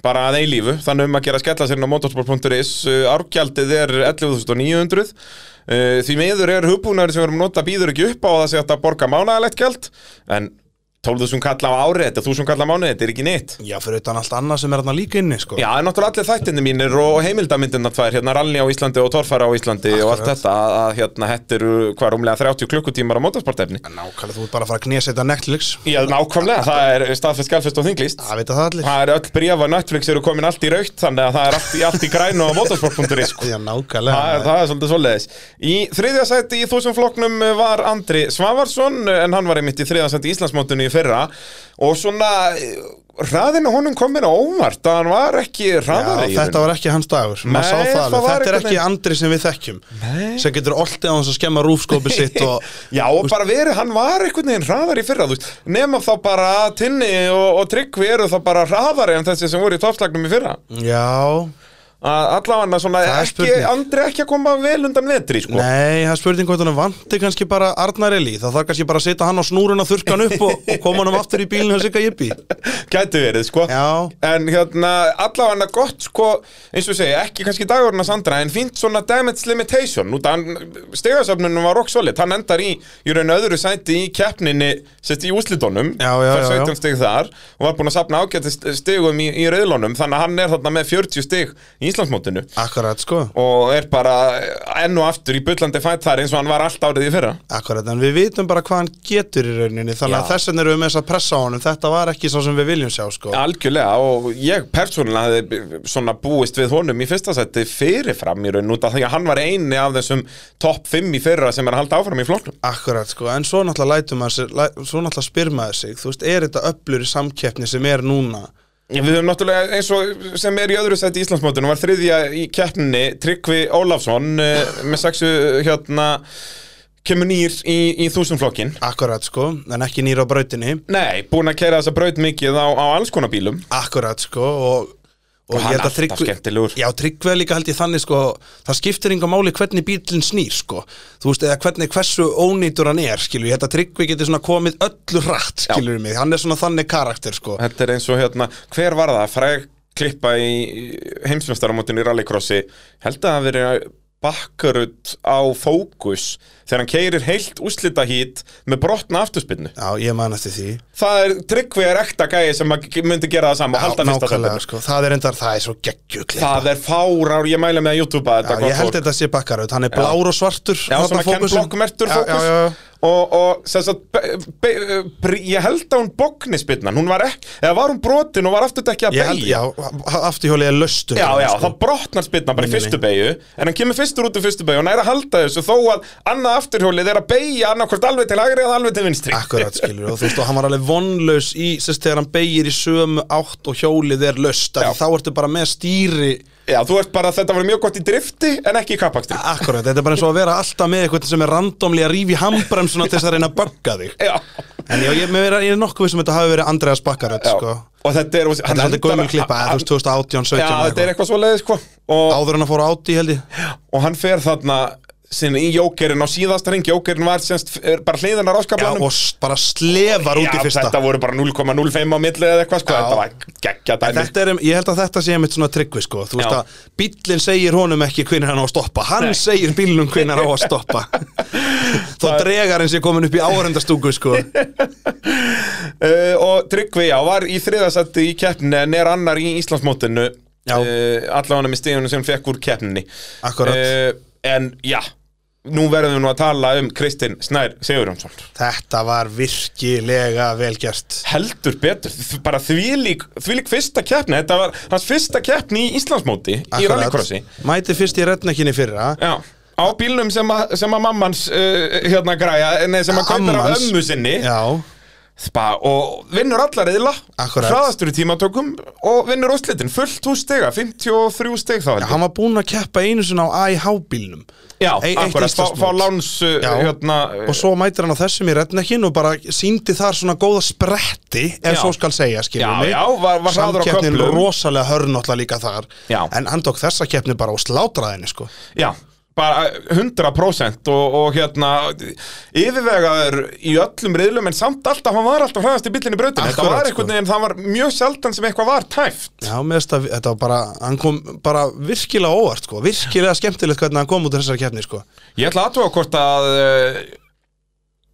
C: bara að eilífu, þannig um að gera skella sér inn á motorsport.is uh, árgjaldið er 11.900 uh, því meður er hugbúnaður sem við erum að nota býður ekki upp á að það sé hægt að borga mánaðalegt gjald en 12.000 kalla á árið, þetta er 1.000 kalla á mánuði, þetta er ekki neitt
B: Já, fyrir utan allt annað sem er þarna líka inni sko
C: Já, en náttúrulega allir þættinni mínir og heimildamyndirna tvær, hérna ralli á Íslandi og torfæra á Íslandi og allt þetta, að, að hérna hettir hvað rúmlega 30 klukkutímar á mótorsportefni.
B: Nákvæmlega, þú ert bara að fara að knéseta Netflix
C: Já, nákvæmlega, það er staðfest, galfest og þinglist.
B: Það vita það allir
C: Það er öll brífa Netflix eru komin allt í raukt, þannig að það er allt í, allt í grænu á motorsport.is. sko.
B: Já,
C: Það er,
B: nákvæmlega
C: það er svolítið svoleiðis Í þriðja sæti í þúsum flokknum var Andri Svavarsson en hann var einmitt í þriðja sæti í Íslandsmótinu í fyrra og svona hraðinu honum komin á óvart að hann var ekki hraðari í
B: Já, þetta var ekki hans dagur
C: Nei,
B: Maður sá það
C: það
B: alveg
C: var
B: Þetta er
C: einhvern
B: ekki Andri sem við þekkjum Nei. sem getur oltið á hans að skemma rúfskópi sitt og
C: Já, og bara verið, hann var einhvern veginn hraðar í fyrra, þú veist, nema þá bara að Tinni og, og Tryggvi eru þá bara hraðari en þessi sem voru í toppslagnum í fyrra.
B: Já,
C: að allavega svona
B: Það er
C: ekki,
B: spurning.
C: Andri ekki að koma vel undan vetri sko.
B: Nei, það er spurning hvort hann vanti kannski bara Arnar Eli Það þarf kannski bara að setja hann á snúrun og þurrka hann upp og, og koma hann aftur í bílinu og sigga jippi
C: gæti verið sko
B: Já.
C: en hérna allavega gott sko eins og ég segi, ekki kannski dagurinn að Sandra en fínt svona damage limitation út að stegasöfnunum var rock solid hann endar í, í raun öðru sæti í keppninni sett í úslitónum
B: Já, já, já, já.
C: 17 stig þar og var búinn að sapna ágæti stigum í, í rauðlónum þannig að hann er þarna með 40 stig í Íslandsmótinu
B: Akkurat sko
C: og er bara enn og aftur í bullandi fætt þar eins og hann var allt árið í fyrra
B: Akkurat, en við vitum bara hvað hann getur í rauninni Þannig að
C: Já.
B: þess vegna erum við með þess að pressa á honum Þetta var ekki svo sem við viljum sjá sko
C: Algjörlega og ég persónulega hefði b- svona búist við honum í fyrsta seti fyrirfram í raun út af því að hann var eini af þessum topp 5 í fyrra sem er að halda áfram í flokknum.
B: Akkurat sko, en svo náttúrulega lætur maður sig, læ, Svo náttúrulega spyr maður sig, þú veist, er þetta öllur í samkeppni sem er núna?
C: Við höfum náttúrulega eins og sem er í öðru seti í Íslandsmótinu var þriðja í keppninni Tryggvi Ólafsson eh, með sexu hérna kemur nýr í, í þúsundflokkin.
B: Akkurat sko, en ekki nýra á brautinni
C: Nei, búin að kæra þessa braut mikið á, á alls konar bílum.
B: Akkurat sko og,
C: Og hann
B: ég held Sko, að
C: alltaf skemmtilegur.
B: Já, tryggveð líka held ég þannig sko Það skiptir enga máli hvernig bílinn snýr sko Þú veist, eða hvernig hversu ónýtur hann er skilur Ég held að tryggveð getur svona komið öllu hratt skilur mig Hann er svona þannig karakter sko
C: Þetta er eins og hérna, hver var það? Fræg klippa í heimsmjöstaramótinu í rallycrossi held að það hafi verið bakkarut á fókus þegar hann keirir heilt úslita hít með brotna afturspinnu
B: Já, ég man eftir því
C: það er tryggvið er ekta gæði sem að ge- myndi gera það sama og
B: Já,
C: halda fyrsta
B: nákvæmlega
C: sætinu.
B: sko Það er endar, það er svo geggjukli
C: það er fárár, ég mæla með að YouTube
B: Já,
C: þetta gott
B: ég held
C: fólk.
B: þetta sé bakkaraut, hann er blár og svartur
C: Já,
B: þarna
C: svona Ken
B: fókusinn.
C: Block-mertur
B: Já,
C: fókus
B: já, já, já.
C: og, og sem sagt, be, be, be, ég held að hún bókni spinnan, hún var ekki eða var hún brotin og var afturdekkja að
B: Ég held,
C: beigja
B: já, afturhjólið er löstur
C: Já, já,
B: sko.
C: það brotnar spilna bara
B: Nei,
C: í
B: nei,
C: fyrstu beigju En hann kemur fyrstur út úr fyrstu beigju og næra að halda þessu Þó að annað afturhjólið er að beigja annarkvort alveg til hægri eða alveg til vinstri
B: Akkurat skilur og þú veist og hann var alveg vonlaus í sérst þegar hann beigir í sömu átt og hjólið er löst af því
C: Já.
B: þá ertu bara með stýri
C: Já, þú ert bara, þetta var mjög gott í drifti en ekki í kappakstri
B: Akkurat, þetta er bara eins og að vera alltaf með eitthvað sem er randomli að rífi handbremsuna til þess að reyna að bögga þig
C: Já,
B: En já, ég, mér er, ég er nokkuð vissum að þetta hafi verið Andreas Bakkaröld
C: já
B: sko.
C: Og þetta er,
B: Þetta er svolítið gömul klippa, eða, þú veist 2018,
C: Já,
B: 17 eða
C: þetta er
B: eitthvað.
C: eitthvað svo leiðis, sko og,
B: Áður en að fóra átt í held ég
C: og hann fer þarna sinni í jókerinn á síðasta ring Jókerinn var semst er bara hliðin á
B: Já,
C: ráskablanum
B: og s- bara slefar út í fyrsta
C: þetta voru bara 0,05 á milli eða eitthvað,
B: Já.
C: sko Þetta var geggja
B: En
C: dæmi sko.
B: þetta er, um- ég held að þetta sé einmitt svona tryggvi sko, þú veist
C: Já.
B: að bíllinn segir honum ekki hvenær hann á að stoppa, hann segir bílnum hvenær á að stoppa þó dregar hans ég komin upp í áhörendastúku sko,
C: Uh, og Tryggvi, já, var í þriðasætti í keppninu en er annar í Íslandsmótinu uh,
B: Já.
C: allavega með stíðunum sem fekk úr keppninni
B: Akkurat.
C: uh, En já, nú verðum við nú að tala um Kristinn Snær Sigurjónsson
B: þetta var virkilega vel gert
C: Heldur betur, þ- bara þvílík, þvílík fyrsta keppni Þetta var hans fyrsta keppni í Íslandsmóti í
B: Akkurat.
C: rallycrossi
B: mæti fyrst í rednekinni fyrra
C: Já Á bílnum sem að, sem að mammans uh, hérna græja, nei sem að kaupir af
B: Ammans.
C: ömmu sinni
B: já,
C: Spa, og vinnur alla reyðla
B: Akkurat.
C: hraðastur í tímatökum og vinnur úrslitin fullt hús stega, 53 steg þá held ég
B: hann var búinn að keppa einu sinna á IH bílnum
C: já,
B: Ei- eitt
C: akkurat, fá,
B: Íslandsmót.
C: fá láns uh,
B: Já.
C: hérna,
B: og svo mætir hann á þessum í rednekkin og bara síndi þar svona góða spretti ef
C: Já.
B: svo skal segja,
C: Já,
B: skiljum mig
C: já, var- var hraður á
B: Samkeppnin
C: köflum.
B: rosalega hörnáttla líka þar
C: Já.
B: en hann tók þessa keppni bara og slátraði henni sko.
C: já, bara 100% og, og hérna yfirvegaður í öllum reyðlum en samt alltaf, hann var alltaf hraðast í bílinni brautin þetta
B: Akkurat,
C: var
B: sko.
C: einhvern veginn, það var mjög sjaldan sem eitthvað var tæft
B: Já, mér finnst að þetta var bara, hann kom bara virkilega óvart, sko, virkilega skemmtilegt hvernig hann kom út af þessari keppni, sko.
C: ég ætla aðtúa hvort að uh,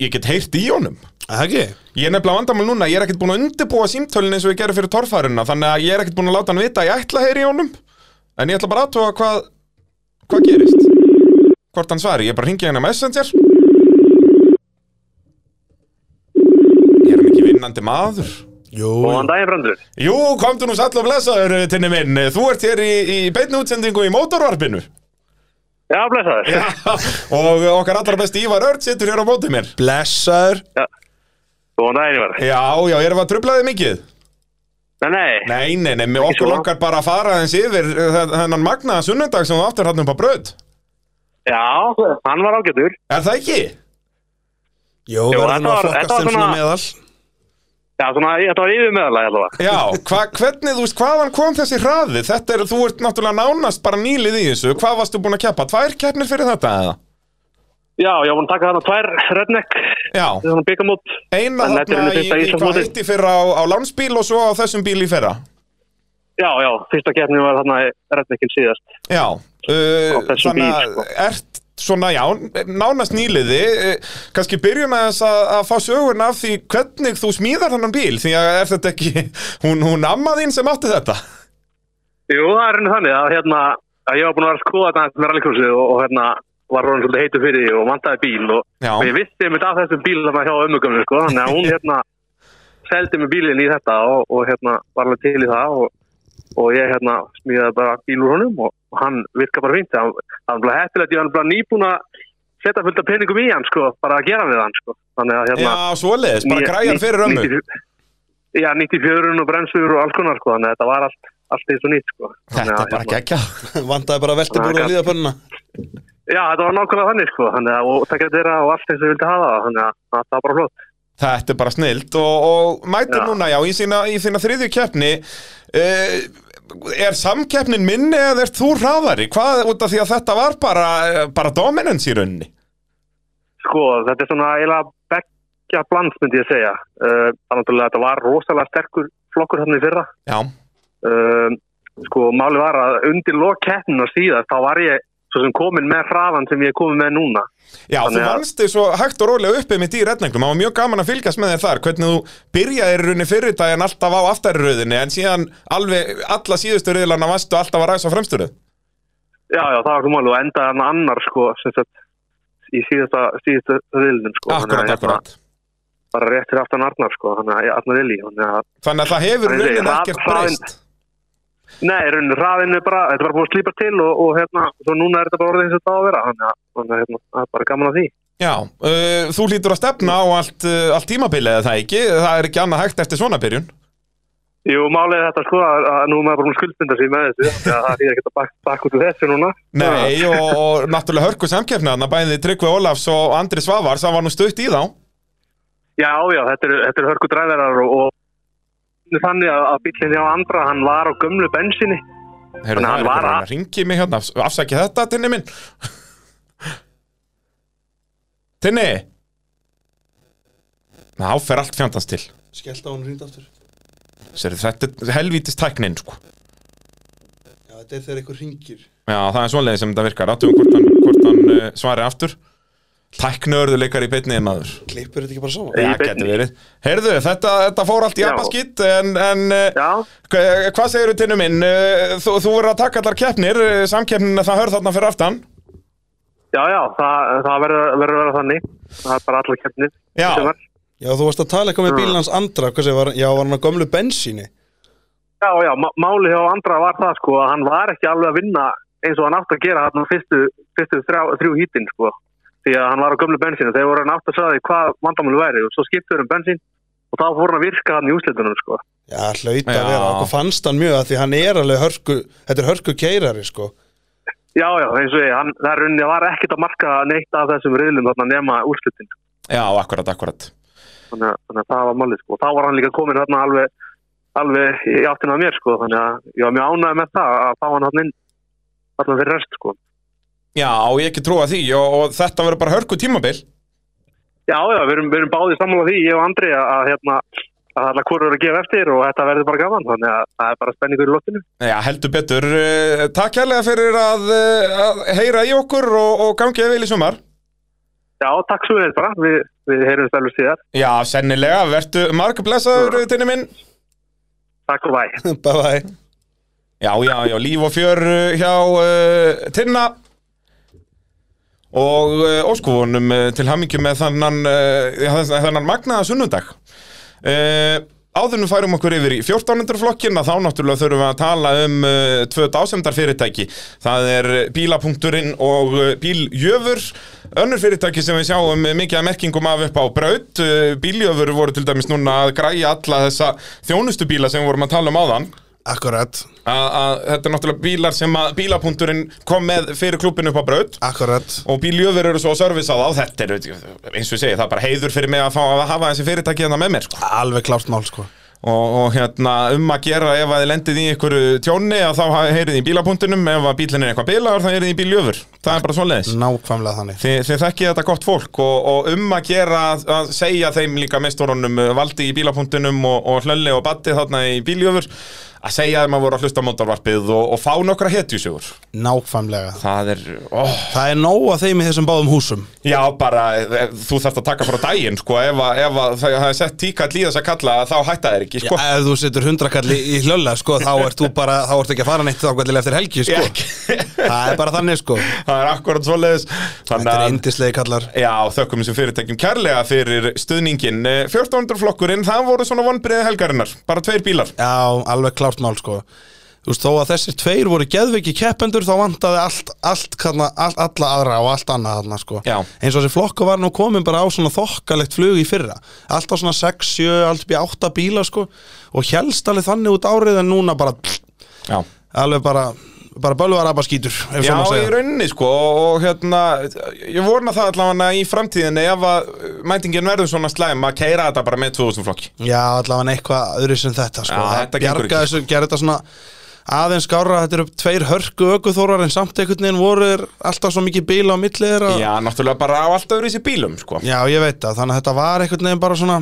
C: ég get heyrt í honum
B: Er Það ekki?
C: Ég er nefnilega vandamál núna, ég er ekkert búin að undirbúa símtölin eins og ég gerði fyrir torfærunna Þannig að ég er ekkert búin að láta hann vita að ég ætla að heyri í honum En ég ætla bara aðtóa hvað, hvað gerist Hvort hann svari, ég bara ringi hann á Messenger Ég er hann ekki vinnandi maður
B: Jú,
E: Góðan daginn, Brandur.
C: Jú, komdu nú sall og blessaður, tinni minn Þú ert hér í, í beinni útsendingu í mótorvarpinu
E: Já, blessaður. Já.
C: Og okkar allra besti Ívar Örd situr hér á móti mér
B: blessaður.
E: Góðan daginn, Ívar.
C: Já, já, erum við að trublaði mikið?
E: Nei, nei.
C: Nei, nei, nei, mér okkur
E: svona.
C: langar bara að fara aðeins yfir uh, þe- þennan magnaða sunnundag sem þú áttir hann upp á bröð.
E: Já, hann var ágætur.
C: Er það ekki?
B: Jú,
E: Jú,
B: verður
E: þetta
B: nú að
E: var-
B: flokkast
E: þetta var
B: þeim svona
E: svona-
B: meðal.
E: Já, svona, þetta var yfir meðalega allavega.
C: Já, hva, hvernig, þú veist, hvaðan kom þessi hraði? Þetta er, þú ert náttúrulega nánast bara nýlið í þessu. Hvað varstu búin að keppa? Tvær keppnir fyrir þetta eða?
E: Já, ég var búin að taka þarna tvær redneck,
C: Já,
E: svona byggamót.
C: eina
E: En þetta er
C: þarna
E: henni
C: í, í
E: fyrsta
C: hvað
E: Íslandsmótið.
C: eitt í fyrra á, á landsbíl og svo á þessum bíl í fyrra.
E: Já, já, fyrsta keppnin var þarna redneckin síðast.
C: Já, uh,
E: Á þessum
C: þannig
E: bíl,
C: að
E: sko.
C: ert svona, já, nánast nýliði, uh, kannski byrjum að þess að, að fá sögurna af því hvernig þú smíðar þennan bíl, því að er þetta ekki, hún, hún amma þín sem átti þetta.
E: Jú, það er henni þannig að hérna, að ég var búin að vera að skoða þetta aðeins með rallycrossið og, og hérna var hún svolítið heitu fyrir því og vantaði bíl og,
C: Já.
E: og ég vissi einmitt af þessum bíl þarna hjá ömmugamlu sko, þannig að hún hérna seldi mig bílinn í þetta og, og hérna var alveg til í það og, og ég hérna smíðaði bara bíl úr honum og, og hann virka bara fínt hann, hann bleið hættilegt, ég var bara nýbúin að setja fullt af peningum í hann sko, bara að gera við hann sko, þannig að hérna
C: Já, svoleiðis, bara
E: Níu-
C: græjar
E: níu-
C: fyrir ömmu.
E: 94 Já, 94 og bremsur og alls konar sko, þannig að þetta var allt, allt eins og nýtt sko.
C: Þetta er
E: Þannig að,
C: bara
E: hérna,
C: gekkja.
B: Vandaði bara veltibúrið
E: Raka.
B: að líða pönnuna
E: Já, þetta var nákvæmlega þannig sko, þannig að og takkja þeirra og allt eins og ég vildi hafa það, þannig að að þetta var bara flott.
C: Þetta er bara snilt og, og mætir
E: Já.
C: núna, já, í, sína, í þína þriðju keppni uh, Er samkeppnin minni eða ert þú hraðari? Hvað, út af því að þetta var bara, eh, bara dominance í rauninni
E: Sko, þetta er svona eiginlega beggja bland, myndi ég segja. Uh, þannig að þetta var rosalega sterkur flokkur hérna í fyrra.
C: Já,
E: Um, sko, máli var að undir lokkeppnina síðast, þá var ég svo sem komin með hraðan sem ég er komin með núna.
C: já þú
E: Þannig að-
C: vannst þig svo hægt og rólega uppið mitt í redningum Það var mjög gaman að fylgjast með þér þar Hvernig þú byrjaði í rauninni fyrir daginn alltaf á aftarröðinni En síðan alveg alla síðustu röðlana varstu alltaf að ræsa fremsturðu
E: Já, já, það var svo mál og endaði hann annar sko, sem sagt, í síðasta, síðasta riðlinum sko. Þannig að
C: Akkurat,
E: hérna,
C: akkurat
E: Bara rétt fyrir aftan Arnar sko, þannig að Arnar Eli, þannig að,
C: Þannig að það hefur í
E: Þannig að
C: rauninni
E: það-
C: ekkert
E: það-
C: breyst
E: nei, rauninu, hraðinu bara, þetta var búin að slípa til og, og hérna, svo núna er þetta bara orðið eins og þetta á að vera, þannig að, þannig að hérna, það er bara gaman að því.
C: Já, uh, þú lítur að stefna á allt, uh, allt tímabilið eða það ekki, það er ekki annað hægt eftir svona byrjun.
E: Jú, málið er þetta sko, að, að nú er maður bara búin að skuldbinda sig með þessu, þannig að það er ekki að bak, bak út úr þessu núna.
C: Nei, og, og náttúrulega hörku samkeppnaðna, bæði Tryggvi Ólafs og Andri Svavars, það var nú stutt í þá.
E: Já, já, þetta eru þetta er hörku dræðarar og, og þannig að, að bílinn hjá Andra, hann var á gömlu bensinni.
C: Heyrðu, það
E: Þannig að hann
C: er
E: var
C: bara
E: að-
C: að ringi mig hérna, afs- afsakið þetta, Tinni minn. Tinni! Ná, fer allt fjandans til.
B: Skellt á hann hringt aftur
C: Sér, þetta er helvítist tæknin, sko.
B: Já, þetta er þegar einhver hringir
C: Já, það er svoleiði sem þetta virkar. Áttum hvort hann, hvort hann uh, svari aftur. Tæknörðuleikar í beinniði maður.
B: Klippur þetta ekki bara saman?
E: Í
C: Já,
E: beinni.
C: getur verið. Heyrðu, þetta, þetta fór allt í
E: Já.
C: apaskitt, en, en eh,
E: Já,
C: hva- hvað segirðu tinnu minn? Eh, Þú, þú verður að taka allar keppnir, eh, samkeppnin það hörð þarna fyrir aftan.
E: já, já, það, það verður verður að vera þannig. Það er bara allar keppnir.
C: Já,
E: Sem var-
B: Já, þú varst að tala eitthvað með bílans andra hvað sem var, Já, var hann á gömlu bensíni
E: Já, já, má- málið hjá Andra var það sko að hann var ekki alveg að vinna eins og hann átt að gera hann fyrstu, fyrstu þrjá, þrjú hýtin sko því að hann var á gömlu bensínu þegar voru hann átt að sagði hvað vandamáli væri og svo skiptur um bensín og þá fór hann að virka hann í úslitunum sko
B: Já, hlaut að
C: Já.
B: vera, okkur fannst hann mjög að því hann er alveg hörku, þetta er hörku keirari sko
E: Já, já, eins og ég, hann, það er unni var ekkert að marka neitt af þessum riðlum þarna nema úslitin
C: já, akkurat, akkurat.
E: þannig, að- þannig að það var málið sko og þá var hann líka komin þarna alveg alveg í áttina að mér sko þannig að ég var mjög ánægð með það að fá hann hann inn þarna fyrir rest sko
C: Já, og ég ekki trúa því og, og þetta verður bara hörku tímabil.
E: Já, já, við erum, við erum báðið sammála því, ég og Andri, að, að hérna, að alla hvort eru að gefa eftir og þetta verður bara gaman, þannig að það er bara spenningur í loftinu.
C: Já, heldur betur. Eh, Takk hérlega fyrir að, eh, að heyra í okkur og, og gangið vel í sumar.
E: Já, takk svo veit bara, við, við heyrum stælur síðar.
C: Já, sennilega, verður margblessaður, tinnu minn.
E: Takk og bæ.
B: Bye bye
C: Já, já, já, líf og fjör uh, hjá uh, Tinna og uh, óskúfunum uh, til hamingju með þannan, uh, já, þess- þannan magnaða sunnundag. Uh, áðunum færum okkur yfir í 1400 flokkin að þá náttúrulega þurfum við að tala um uh, tvö dásemdar fyrirtæki. Það er uh, bílapunkturinn og uh, bíljöfur. Önnur fyrirtæki sem við sjáum uh, mikið að merkingum af upp á braut. Eh, Uh, bíljöfur voru til dæmis núna að græja alla þessa þjónustubíla sem við vorum að tala um áðan.
B: Akkurat,
C: að að þetta er náttúrulega bílar sem að bílapunkturinn kom með fyrir klubinu upp á braut
B: akkurat
C: og bíljöfur eru svo að servisa það og þetta er, eins og ég segi, það er bara heiður fyrir mig að fá að hafa þessi fyrirtæki hérna með mér sko.
B: Alveg klárt mál sko
C: og, og hérna um að gera ef að þið lendið í einhverju tjóni að þá heyrið í bílapunktinum, ef að bílinn er eitthvað bilaður þá heyrið í bíljöfur, það er bara
B: Mm.
C: svoleiðis
B: Nákvæmlega þannig
C: Þið, þið þekkið þetta gott fólk og, og um að gera að- að segja þeim líka meistorunum eh, valdi í bílapunktunum og, og hlölli og batti þarna í bíljöfur að segja þeim að voru að hlusta á mótorvarpið og, og fá nokkra hetjusjóður.
B: Nákvæmlega
C: Það er, óh,
B: Það er nóg að þeim í þessum báðum húsum
C: já bara, eh, þú þarft að taka frá daginn sko ef, að- ef að það hefði sett tíkall í þess að kalla þá hætta þeir ekki
B: Já,
C: sko.
B: ef þú setur hundrakalli í hlölla sko, þá ert þú bara, þá ert ekki að fara neitt þá kallilega eftir helgi sko. það er bara þannig sko
C: það er akkurat svoleiðis.
B: Þetta
C: Þannig
B: er
C: að-
B: indislegi kallar
C: Já, þökkum þessum fyrirtækjum kærlega fyrir stuðningin. Eh, 1400 flokkurinn, það voru svona vonbreiði helgarinnar, bara tveir bílar.
B: Já, alveg klárt mál sko Þú veist, þó að þessir tveir voru geðveiki keppendur þá vantaði allt, allt, kanna, all, alla aðra og allt annað þarna sko
C: Já.
B: eins og þessi flokku var nú komin bara á svona þokkalegt flug í fyrra allt á svona 6, 7, allt upp í 8 bíla sko og helst alveg þannig út árið en núna bara
C: Já. um
B: alveg bara, bara bölvar abba skýtur ef
C: Já,
B: svo má
C: í
B: segja.
C: rauninni sko og, og hérna, ég vorna það allavega í framtíðinni ef að mætingin verður svona slæm að keira þetta bara með 2000 flokki
B: Já, allavega eitthvað öðru sem þetta sko.
C: Já,
B: Það
C: þetta gengur
B: bjargaði
C: ekki, sko.
B: þessu, gerði þetta svona aðeins skára, þetta eru tveir hörku ökuþórar en samt einhvern veginn voru þeir alltaf svo mikið bíla á milli þeirra
C: Já, náttúrulega bara á allt öðru í sér bílum sko
B: Já,
C: Já,
B: ég veit það, þannig að þetta var einhvern veginn bara svona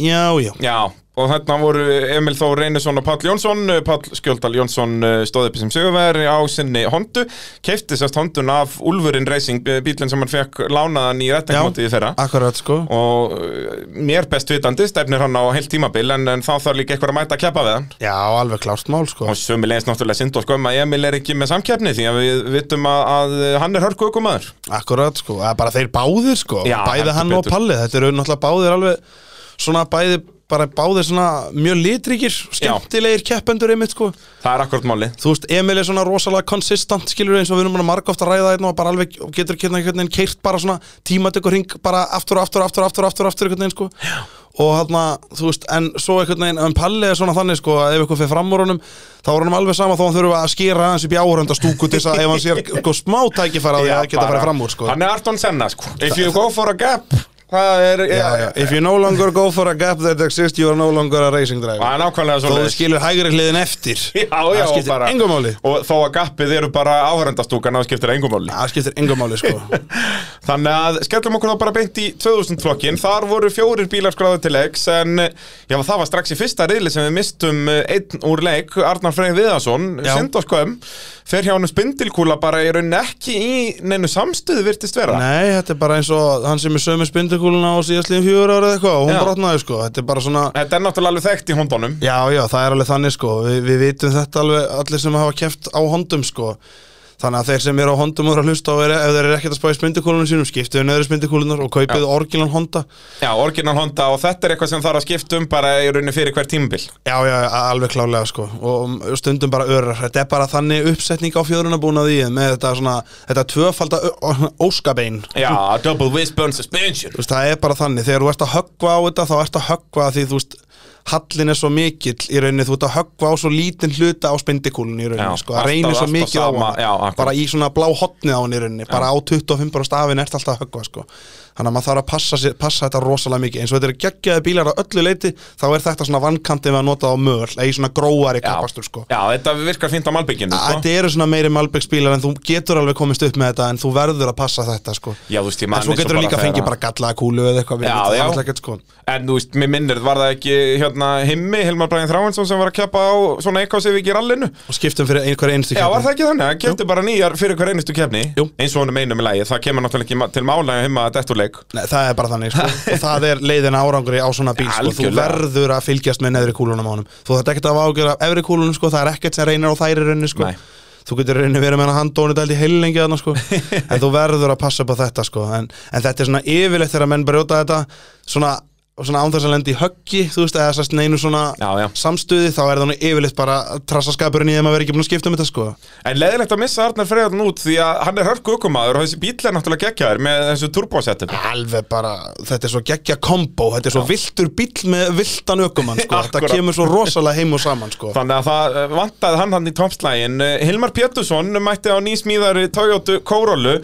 B: Já, já,
C: og þarna voru Emil Þór Reynisson og Páll Jónsson Eh, Páll Skjöldal Jónsson eh, stóð uppi sem sigurveri á sinni hondu keifti sérst hondun af Ulfurinn Racing eh, bílinn sem hann fekk lánaðan í rettingmótið í þeirra
B: akkurat sko
C: og eh, mér best vitandi stefnir hann á heilt tímabil en, en þá þarf líka eitthvað að mæta að keppa við hann
B: Já, alveg klárt mál sko
C: Og sömulegis náttúrulega synd og skömm að Emil er ekki með samkeppni því að við vitum að, að hann er hörku ökumæður.
B: Akkurat sko, það er bara þeir báðir sko
C: Já,
B: Bæði
C: heldur
B: hann og
C: betur.
B: Palli, þetta eru náttúrulega báðir alveg Svona bæði, bara báðir svona mjög litríkir Skemmtilegir keppendur einmitt sko
C: Það er akkurat máli.
B: Þú veist, Emil er svona rosalega konsistant skilur eins og við erum búin að marga ofta ræða einn og bara alveg og getur hérna einhvern veginn keirt bara svona tímatökur hring bara aftur og aftur og aftur og aftur og aftur, aftur einhvern veginn sko Já. og hérna, þú veist, en svo einhvern veginn en Palli er svona þannig sko að ef eitthvað fyrir fram úr honum þá er honum alveg sama þó hann þurfa að skera aðeins upp í áhörunda stúku til þess að ef hann sér sko, smá tækifæra á því að geta að fara fram úr sko
C: Hann er Arton Senna sko. If you go for a gap, það er...
B: Já, já. If you no longer go for a gap that exists you are no longer a racing driver
C: Það er nákvæmlega
B: Þó
C: svo
B: þú skilur hægri hliðin eftir
C: Já, já,
B: Það
C: og
B: skiptir
C: bara...
B: engu máli
C: Og þó að gappið eru bara áhörendastúkan þá skiptir engum máli.
B: Það skiptir engum máli sko
C: Þannig að skellum okkur þá bara beint í 2000 flokkin Þar voru fjórir bílar skráðið til leiks En já, það var strax í fyrsta riðli sem við mistum eh, einn úr leik Arnar Freyr Viðarsson,
B: Já.
C: syndaskoðum Fer hjá hann spindilkúla bara í raunin ekki í neinu samstöðu virtist vera
B: Nei, þetta er bara eins og hann sem er sömu spindukúluna á síðastliðin fjör ára eða eitthvað og hún
C: Já.
B: brotnaði sko, þetta er bara svona
C: Þetta er náttúrulega alveg þekkt í hondunum
B: Já, já, það er alveg þannig sko, Vi, við vitum þetta alveg allir sem hafa keft á hondum sko Þannig að þeir sem eru á hondum og eru að hlusta og eru, ef þeir eru ekkert að spá í spindukúlunum sínum skiptið við nöðri spindukúlunar og kaupið orgilan honda
C: Já, orginal honda og þetta er eitthvað sem þarf að skipta um bara í raunin fyrir hver tímabil
B: Já, já, a- alveg klálega sko og stundum bara örar, þetta er bara þannig uppsetning á fjörunabúnað í þeim, með þetta svona þetta tvöfalda ö- ó- óskabein
C: Já, double wishbone suspension
B: Þú veist, það er bara þannig, þegar þú ert að höggva á þetta þá ert að höggva því þú veist hallin er svo mikill í rauninni, þú ert að höggva á svo lítinn hluta á spindikúlunni í rauninni,
C: Já,
B: sko, að
C: alltaf-
B: reynir svo
C: alltaf
B: mikið á
C: sama,
B: hana,
C: já, akkurat.
B: bara í svona blá hotnið á hann í rauninni, bara á 25 bara stafin ert alltaf að höggva, sko, þannig að maður þarf að passa, sér, passa þetta rosalega mikið, eins og þetta eru geggjaði bílar á öllu leiti, þá er þetta svona vankantið með að nota á möl, eða í svona gróari kapastur, sko.
C: Já, þetta virkar fínt á malbygginu sko.
B: Þetta eru svona meiri Malbyggsbílar en þú getur alveg komist upp með þetta en þú verður að passa þetta sko
C: Já, þú veist, ég man
B: En svo
C: eins og
B: getur þú
C: bara
B: líka að
C: þegar
B: fengið
C: að-
B: bara gallaða kúlu eða eitthvað við
C: Já,
B: vitum það
C: já.
B: náttúrulega ekkert, sko.
C: En þú veist, mér minnir, var það ekki hérna himmi, Hilmar Bræðin Þráinsson sem var að keppa á svona eitthvað sem við ekki rallinu?
B: Og skiptum fyrir einhverja einstu
C: Já, var
B: keppni.
C: það ekki þannig? Hann kefti bara nýjar fyrir hver einustu kefni
B: Jú.
C: eins og hann meinum í lagi, það kemur náttúrulega ekki ma- til mála að himma að þetta úr leik
B: Nei, það er bara þannig sko. og það er leiðin árangri á svona bíl sko. þú
C: Algjörlega.
B: verður að fylgjast með neðri kúlunum á honum þú þetta ekkert að ágjöra af efri kúlunum sko. það er ekkert sem reynir á þær í rauninni sko.
C: Nei.
B: þú getur reynir verið með hann handónu dælt í heilengi þarna, sko. en þú verður að passa upp á þetta sko. en, en þetta er svona yfirleitt þegar menn brjóta þetta svona og svona án þess að lendi í höggi þú veist, eða sérst neinu svona
C: Já, já.
B: samstuði þá er það nú yfirleitt bara trassaskapurinn í þeim að vera ekki búin að skipta um þetta sko
C: En leðilegt að missa Arnar Freyðan út því að hann er hörku ökumaður og þessi bíl er náttúrulega geggjaður með þessu turbosettum
B: alveg bara, þetta er svo geggja kombo þetta er svo viltur bíll með viltan ökumann sko, þetta
C: Akkúrat.
B: kemur svo rosalega heim og saman sko
C: Þannig að það eh, vantaði hann hann í toppslægin Eh, Hilmar Pétursson mætti á nýsmíðari Toyota Corolla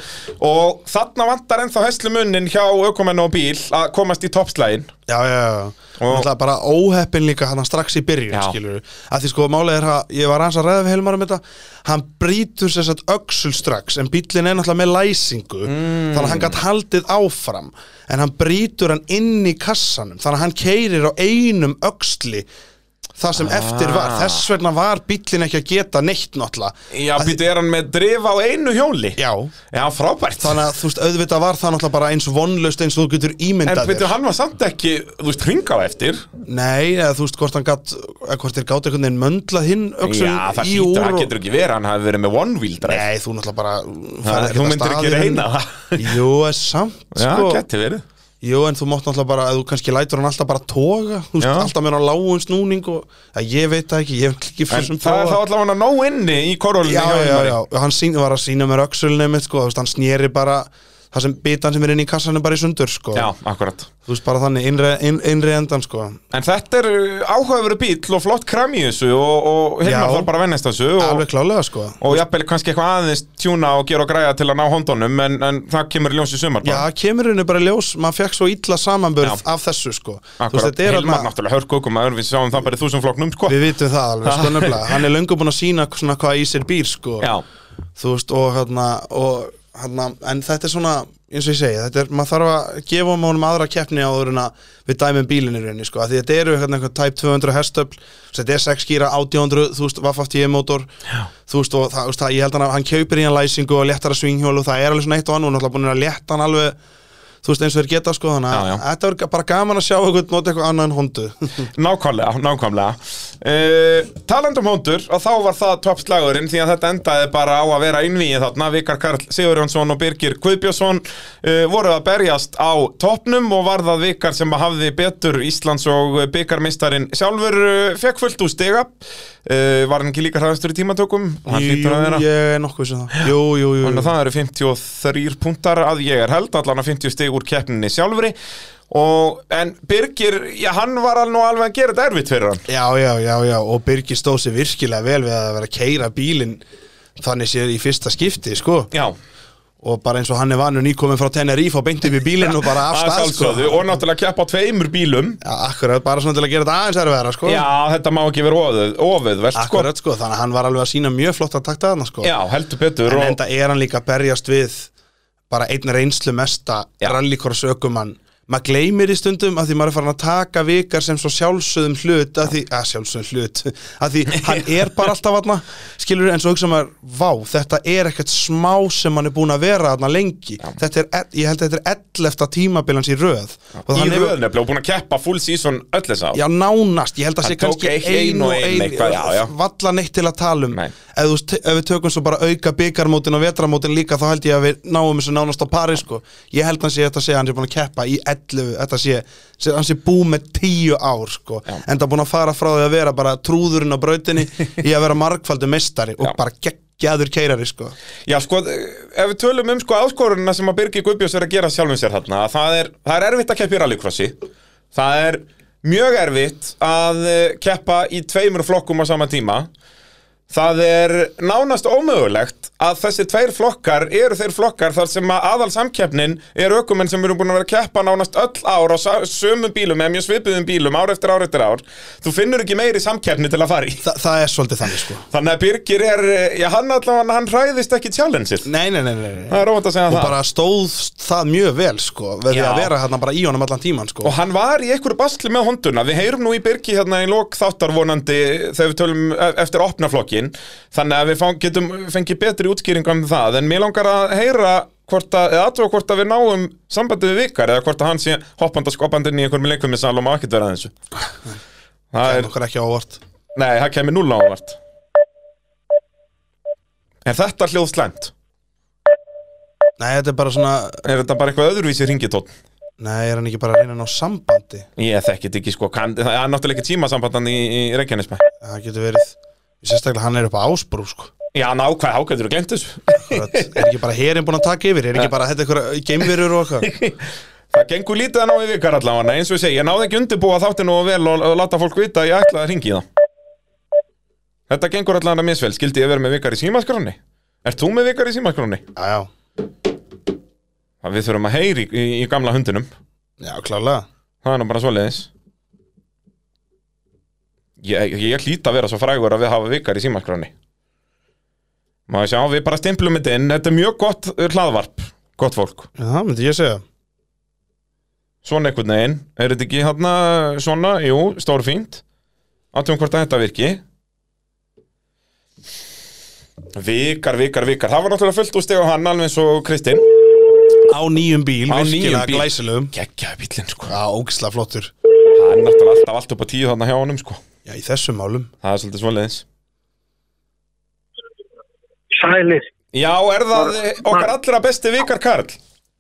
C: og þarna vantar ennþá heslumunnin hjá ökumenn og bíl að komast í toppslægin
B: Já, já, já,
C: Og-
B: og það bara óheppin líka hann strax í byrjun,
C: Já.
B: skilur að því sko, málið er að, ég var hans að ræða við Helmar um þetta, hann brýtur sér satt öxul strax, en bíllinn er náttúrulega með læsingu,
C: Mm.
B: þannig að hann gætt haldið áfram, en hann brýtur hann inn í kassanum, þannig að hann keirir á einum öxli það sem eftir var, þess vegna var bíllinn ekki að geta neitt náttúrulega
C: Ah. Já, býtu er hann með drif á einu hjóli
B: Já,
C: Já, frábært
B: þannig að þú veist, auðvitað var það náttúrulega bara eins vonlaust eins og þú getur
C: En
B: ímyndað
C: býtu, hann var samt ekki, þú veist, hringað eftir
B: Nei, eða þú veist hvort hann gat eða hvort þeir gátt einhvern veginn möndlað hinn öxun
C: Já,
B: í
C: það hlýtur,
B: úr
C: það
B: og...
C: getur ekki verið, hann hafi verið með one wheel drive
B: Nei, þú náttúrulega bara
C: Ha,
B: ferð ekkert
C: þú
B: af
C: myndir
B: stað
C: ekki
B: í
C: reyna
B: rauninni.
C: það.
B: Jú, er samt
C: Já,
B: sko.
C: geti verið
B: Jú, en þú mátt náttúrulega bara, að þú kannski lætur hann alltaf bara toga, þú veist,
C: Já.
B: alltaf með hann lágum snúning og, að ég veit það ekki, ég hef ekki
C: En
B: fyrir sem
C: það er þá allavega að ná inni í korólinu
B: Já, já, já, og hann sín, var að sína mér öxulnið mitt, sko, þú veist, hann snýri bara það sem bitan sem er inn í kassanum bara í sundur, sko
C: já, akkurat
B: Þú veist, bara þannig, innri, inn, innri endan, sko
C: En þetta er áhugaveru bíl og flott kram í þessu og, og hérna
B: Já.
C: þarf bara að vennast þessu og,
B: Alveg klálega, sko
C: og jafnvel kannski eitthvað aðeins tjúna og gera og græja til að ná hóndunum en, en það kemur í ljós í sumar
B: Já,
C: bara.
B: það kemur henni bara í ljós, maður fekk svo illa samanburð
C: Já.
B: af þessu sko Þú
C: Akkurat,
B: þetta er
C: Hilmar
B: alveg-
C: náttúrulega hörku okkur maður, við sjáum það bara í þúsund flokknum sko.
B: Við vitum það alveg, sko nefnilega Hann er löngu búinn að sína svona hvað í sér býr sko
C: Já,
B: Þú veist, og hérna, og, hérna En þetta er svona, eins og ég segi Þetta er, maður þarf að gefa honum aðra keppni áður en að við dæmum bílinni rauninni sko af Því þetta eru hérna eitthvað type 200 hestöfl Þetta er 6 gíra, 800, þú veist, Vaff 10 mótor Þú veist, og það, þú veist, það, ég held hann að hann kaupir í hann læsingu og léttara svinghjól og það er alveg svona eitt og annað, hún er alltaf búin að létta hann alveg þú veist eins og þeir geta sko þannig
C: Já,
B: að
C: já.
B: þetta er bara gaman að sjá eitthvað nota eitthvað annað en hondu
C: nákvæmlega, nákvæmlega uh, Talandum hóndur og þá var það toppslagurinn því að þetta endaði bara á að vera innvíið þarna Vikar Karl Sigurjónsson og Birgir Guðbjörnsson uh, voru að berjast á toppnum og var það Vikar sem hafði betur Íslands og byggarmistarinn sjálfur uh, fekk fullt úr stiga uh, Var hann ekki líka hraðastur í tímatökum? Hann
B: Jú,
C: hlýtur að vera
B: ég er nokkuð sem það Jú, jú, jú, jú.
C: Þannig að það eru 53 punktar að ég er held, allan að 50 stig úr keppninni sjálfri og, En Birgir, já, hann var alveg, alveg að gera þetta erfitt fyrir hann
B: Já, já, já, já Og Birgir stóð sér virkilega vel við að vera að keira bílinn Þannig séð í fyrsta skipti, sko
C: Já,
B: Og bara eins og hann er vanur nýkomin frá Tenerife og beint upp í bílinn og bara af
C: að
B: stað, sko
C: sjálfsögðu og náttúrulega keppa á tveimur bílum
B: Já, akkurat, bara svona til að gera þetta aðeins erfiðara, sko
C: Já, þetta má ekki vera ofið, ofið verst, sko
B: Akkurat, sko, þannig að hann var alveg að sína mjög flott að takta þarna, sko
C: Já, heldur betur
B: En
C: og,
B: enda er hann líka að berjast við bara einn reynslu mesta
C: Já.
B: rallycross ökumann maður gleymir í stundum að því maður er farin að taka vikar sem svo sjálfsögðum hlut að því, að sjálfsögðum hlut að því hann er bara alltaf aðna skilur en svo hugsa maður, vá, þetta er ekkert smá sem hann er búin að vera aðna lengi, þetta er, ell- ég held að þetta er 11. tímabilans í röð og
C: Í
B: hann hefur-
C: röðnefnilega og búin að keppa full season öll þess að
B: Já, nánast, ég held að
C: Hann
B: sé
C: tók
B: kannski
C: eitt-
B: ein og ein,
C: eitthvað, já, já.
B: valla neitt til að tala um
C: Nei.
B: ef, þú, st- ef við tökum svo bara auka byggarmótin og vetramótin líka þá held ég að við náum þessu nánast á pari sko. ég held að sé þetta sé að hann sé búin að keppa í 11, þetta sé, sé hann sé bú með 10 ár sko. en það búin að fara frá því að vera bara trúðurinn á brautinni í að vera margfaldur mestari og
C: Já.
B: bara geggjaður keirari sko.
C: Já, sko, ef við tölum um sko áskorunina sem að Birgir Guðbjörns er að gera sjálfum sér þarna að það er, það er erfitt að keppa í rallycrossi það er mjög erfitt að eh, keppa í tveimur flokkum á sama tíma það er nánast ómögulegt að þessi tveir flokkar eru þeir flokkar þar sem að aðal samkeppnin er ökumenn sem eru búin að vera að keppa nánast öll ár á sa- sömu bílum eða mjög svipuðum bílum ár eftir ár eftir ár þú finnur ekki meiri samkeppni til að fara í
B: Þa, það er svolítið þannig sko.
C: þannig að Birgir er, eh, já hann allavega hann hræðist ekki challengeið
B: nei, nei, nei, nei, nei.
C: Það er rómant að segja
B: og
C: það
B: bara stóð það mjög vel sko, við
C: Já.
B: að vera hérna bara í honum allan tíman sko.
C: Og hann var í einhverju basli með honduna Við heyrum nú í Birgi hérna í lok þáttar vonandi Þegar við tölum e- eftir opnaflokkin Þannig að við fang, getum fengið betri útskýringa um það En mér langar að heyra hvort að, eða aðtöga hvort að við náum sambandi við vikar eða hvort að hann sé hoppandi og skoppandi inn í einhverjum leikfumisal og má ekkert vera að þessu Það
B: það
C: er,
B: er okkur ekki ávart
C: nei, það kemur núl ávart Er þetta hljóð slæmt?
B: Nei, þetta er bara svona
C: Er þetta bara eitthvað öðruvísi ringitótt?
B: Nei, er hann ekki bara að reyna að ná sambandi?
C: Ég þekki þetta ekki sko, kann, það er náttúrulega ekki tímasambandan í, í Reykjanesbæ
B: Það getur verið Sérstaklega hann er upp á ásbrú sko
C: Já, nákvæð hákvæður og glemt þessu
B: Akkurat. Er ekki bara herin búin að taka yfir? Er ekki bara þetta eitthvað geimverur og eitthvað?
C: Það gengur lítið að ná í vikar allavega, eins og ég segi, ég náði ekki undirbúa þáttinu og vel og, og láta fólk vita að ég ætlaði að ringi í það Þetta gengur allavega misvel, skildi ég vera með vikar í símaskráni? Ert þú með vikar í símaskráni?
B: Já, já,
C: Það Við þurfum að heyri í, í, í gamla hundinum
B: já, klálega
C: Það er nú bara svoleiðis Ég, ég hlýt að vera svo frægur að við hafa vikar í símaskráni Má ég sjá, við bara stimplum þetta inn Þetta er mjög gott uh, hlaðvarp, gott fólk
B: Já, það myndi ég segja
C: Svona einhvern veginn, er þetta ekki hérna svona, jú, stórfínt Aðtum hvort að þetta virki Vikar, vikar, vikar Það var náttúrulega fullt úr stegu hann alveg eins og Kristinn
B: Á nýjum bíl,
C: Á
B: virkilega
C: nýjum bíl.
B: glæsilegum
C: Gekkjaði bíllinn sko
B: Já, ógislega flottur
C: Það er náttúrulega alltaf allt upp á tíu þarna hjá honum sko
B: Já, í þessum málum
C: Það er svolítið svoleiðis
E: Sælir,
C: Já, er það okkar allra besti Vikar Karl?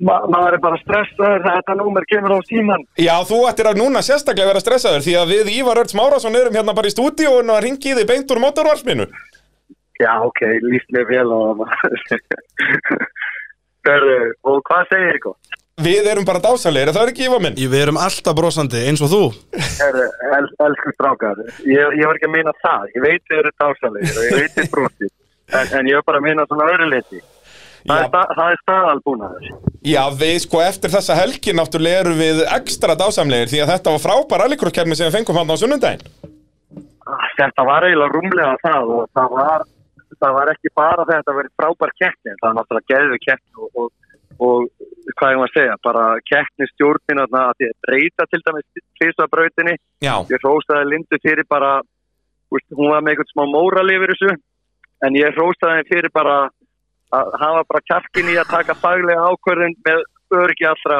E: Ma maður er bara stressaður þegar þetta númer kemur á síman.
C: Já, þú ættir að núna sérstaklega vera stressaður því að við Ívar Örts Márásson erum hérna bara í stúdíóinu að ringi þig beint úr mótorvarsminu
E: Já, ok, líst mér vel á það. Hörru, og hvað segir ykkur?
C: Við erum bara dásalegir, það er ekki Ívar minn
B: Ég- Við erum alltaf brosandi, eins og þú
E: Hörru, el, elsku strákar, ég, ég var ekki að meina það. Ég veit þið eru dásalegir og ég veit þið brotið. En, en ég var bara að meina svona öðru liti. Það,
C: Já.
E: er sta- það er staðalbúnaður.
C: Já, við sko eftir þessa helgi náttúrulega erum við ekstra dásamlegir því að þetta var frábær rallycross-kefni sem við fengum hann á sunnundaginn.
E: Ah, Þetta var eiginlega rúmlega það og það var, það var ekki bara þetta að vera frábær keppni. Það var náttúrulega geðu keppni og, og, og hvað ég maður að segja, bara keppni stjórnina að því að breyta til dæmis fyrstabrautinni
C: Já.
E: ég hróstaði Lindu fyrir bara úst, hún var með einhvern smá móral yfir þessu en ég hróstaði henni fyrir bara að hafa bara kjarkin í að taka faglega ákvörðin með öryggi allra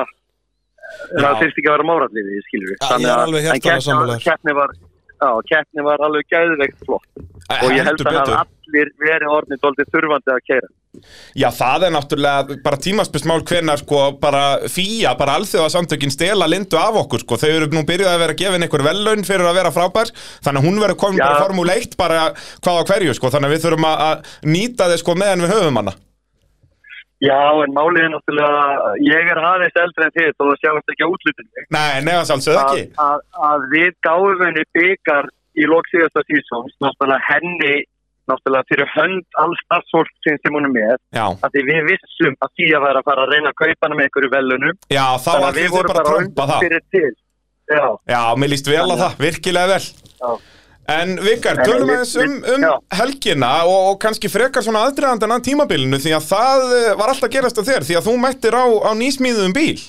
C: Já.
E: en það þurfti ekki að vera mórall yfir því, skilur við
B: Já, ég er alveg hjartanlega sammála þér.
E: keppni var Já, keppni var alveg gæðveikt flott
C: E,
E: og ég held að það allir verið orðin doldið þurfandi að keira.
C: Já, það er náttúrulega bara tímaspesmál hvenar sko bara fýja, bara alþjóða samtökin stela lindu af okkur sko. Þau eru nú byrjuð að vera að gefa henni einhver vellaun fyrir að vera frábær þannig að hún verður komin
E: Já.
C: bara formúl 1 bara hvað á hverju sko. Þannig að við þurfum að- að nýta þið sko meðan við höfum hana.
E: Já, en málið er náttúrulega, ég er aðeins eldri en þið og það sjáast ekki á útlutinu.
C: Nei, nefnast alveg
E: að,
C: ekki.
E: að, að við gáum henni byggar í lók síðasta sísóns, náttúrulega henni náttúrulega fyrir hönd alls starfsfólksins sem hún er með,
C: Já,
E: að því við vissum að því að vera að fara að reyna að kaupa hana með einhverju velunum,
C: já, þá
E: þannig að
C: allir
E: við
C: þið
E: vorum
C: bara að
E: bara
C: trompa það.
E: fyrir til Já,
C: Já, mér líst vel á það, virkilega vel.
E: já,
C: En Vikar,
E: Nei, nei,
C: tölum
E: við-
C: aðeins um,
E: við-
C: um
E: já.
C: helgina og, og kannski frekar svona aðdraðandan að tímabilinu því að það eh, var alltaf gerast að þér því að þú mættir á, á nýsmíðum bíl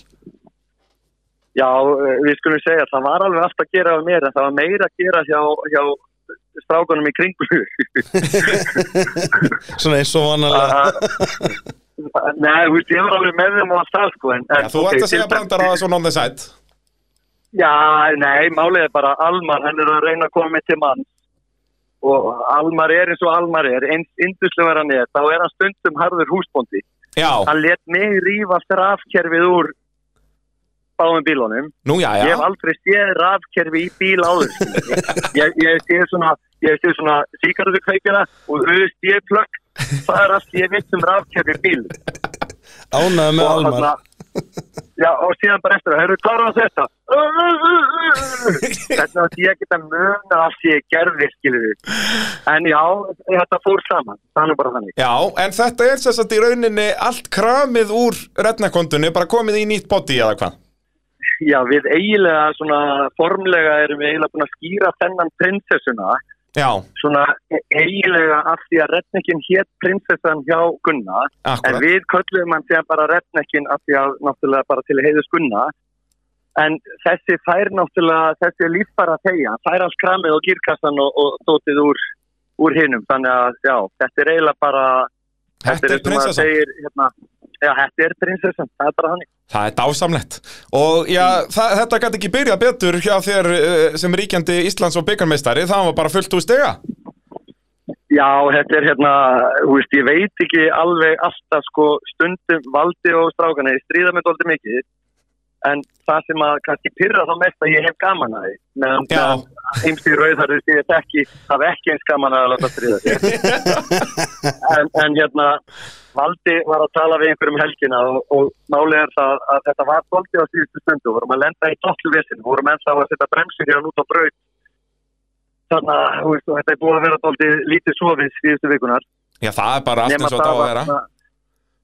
E: já, eh, við skulum segja það var alveg allt að gera af mér en það var meira að gera hjá, hjá strákunum í kringu
B: Svona eins og vanalega
E: Nei, þú veist, ég var alveg með þeim á að stað sko, en, en,
C: Já, Þú
E: ok,
C: ert að
E: til
C: segja
E: dæmis-
C: brandara að svona on the side
E: Já, nei, málið er bara að Almar, hann er að reyna að koma með til mann og Almar er eins og Almar er, eins induslegar hann er, þá er hann stundum harður húsbóndi.
C: Já,
E: Hann let mig rífa rafkerfið úr báðum bílunum.
C: nú já,
E: Ég
C: já
E: hef aldrei séð rafkerfi í bíl áður. ég, ég hef séð svona, ég hef séð svona síkarðu kveikina og USB-plökk, það er allt ég vitt um rafkerfi í bíl.
B: Ánægð með
E: Og
B: Almar
E: þarna- Já, og síðan bara eftir að, heyrðu, hvað var þetta? Þetta átti ég að geta muna allt ég gerði, skilur við. En já, þetta fór saman, það er nú bara þannig.
C: Já, en þetta er sess að í rauninni allt kramið úr retnakondunni bara komið í nýtt body eða hvað
E: Já, við eiginlega, svona, formlega erum við eiginlega búin að skýra þennan prinsessuna,
C: Já,
E: svona, eiginlega af því að retningin hétt prinsessan hjá Gunnar, En
C: akkurat
E: við köllum hann síðan bara retnekkin af því að náttúrulega bara til heiðu skunna. En þessi fær náttúrulega, þessi líffara tegja, hann fær alls kramið og gýrkassan og, og þóttið úr, úr hinnum. Þannig að já, þetta er eiginlega bara,
C: Þetta er
E: eins og maður
C: prinsessan
E: segir, hérna, já, þetta er prinsessan, það er bara hann.
C: Það er dásamlegt og já, það, þetta gæti ekki byrjað betur hjá þér eh, sem ríkjandi Íslands og byggarmeistari, það var bara fullt úr stega
E: Já, þetta er hérna, þú veist, ég veit ekki alveg alltaf sko stundum valdi og strákana, ég stríða mig doldið mikið, en það sem að kannski pyrra þá mest að ég hef gaman að því meðan
C: Já.
E: meðan heimst í rauðarður sé þetta ekki það er ekki eins gaman að láta stríða sér en, en hérna Valdi var að tala við einhverjum um helgina og, og málið er það að þetta var svolítið á síðustu stundu, vorum að lenda í dottlu vissin, vorum ennþá að setja bremsur hérna út á braut þannig að þú veist, og þetta er búið að vera svolítið lítið sofið síðustu vikunar
C: Já, það er bara allt
E: Nema
C: eins og þetta á
E: það
C: að vera
E: svona-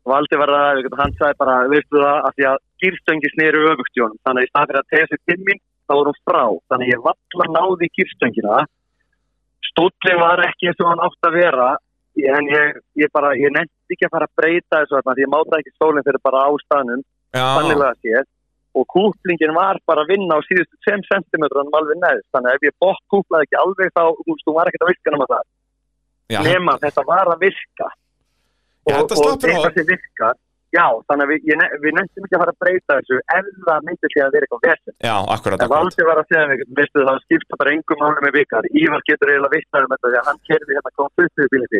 E: Valdi var það, einhvern veginn, hann sagði bara, veistu það, að því að gýrstöngi snýru öfugt í honum, þannig að í staðan fyrir að tegja sér til mín, þá var hún frá, þannig að ég valla náði gýrstöngina, stóllin var ekki eins og hann átt að vera, ég- en ég, ég bara, ég nefndi ekki að fara að breyta þessu þarna, því ég máta ekki stólinn fyrir bara ástæðanum, þannig
C: Já,
E: að sér, og kúplingin var bara að vinna á síðustu 5 cm alveg neðst, þannig að ef ég bótt kúplaði ekki alveg þá, þú veist, hún var ekkert að virka náma það
C: já,
E: nema þetta var að virka
C: Já, þetta
E: og,
C: slapp
E: og
C: fyrir
E: þetta
C: horn.
E: sem virkar já, þannig að við, ég ne- við nefntum ekki að fara að breyta þessu ef það myndi því að vera eitthvað verð
C: já, akkurat,
E: en
C: akkurat
E: Valdi var að segja mig, veistu það skipta bara engum máli með vikar, Ívar getur eiginlega vittar um þetta því að hann kerði hérna kom fyrstu bílið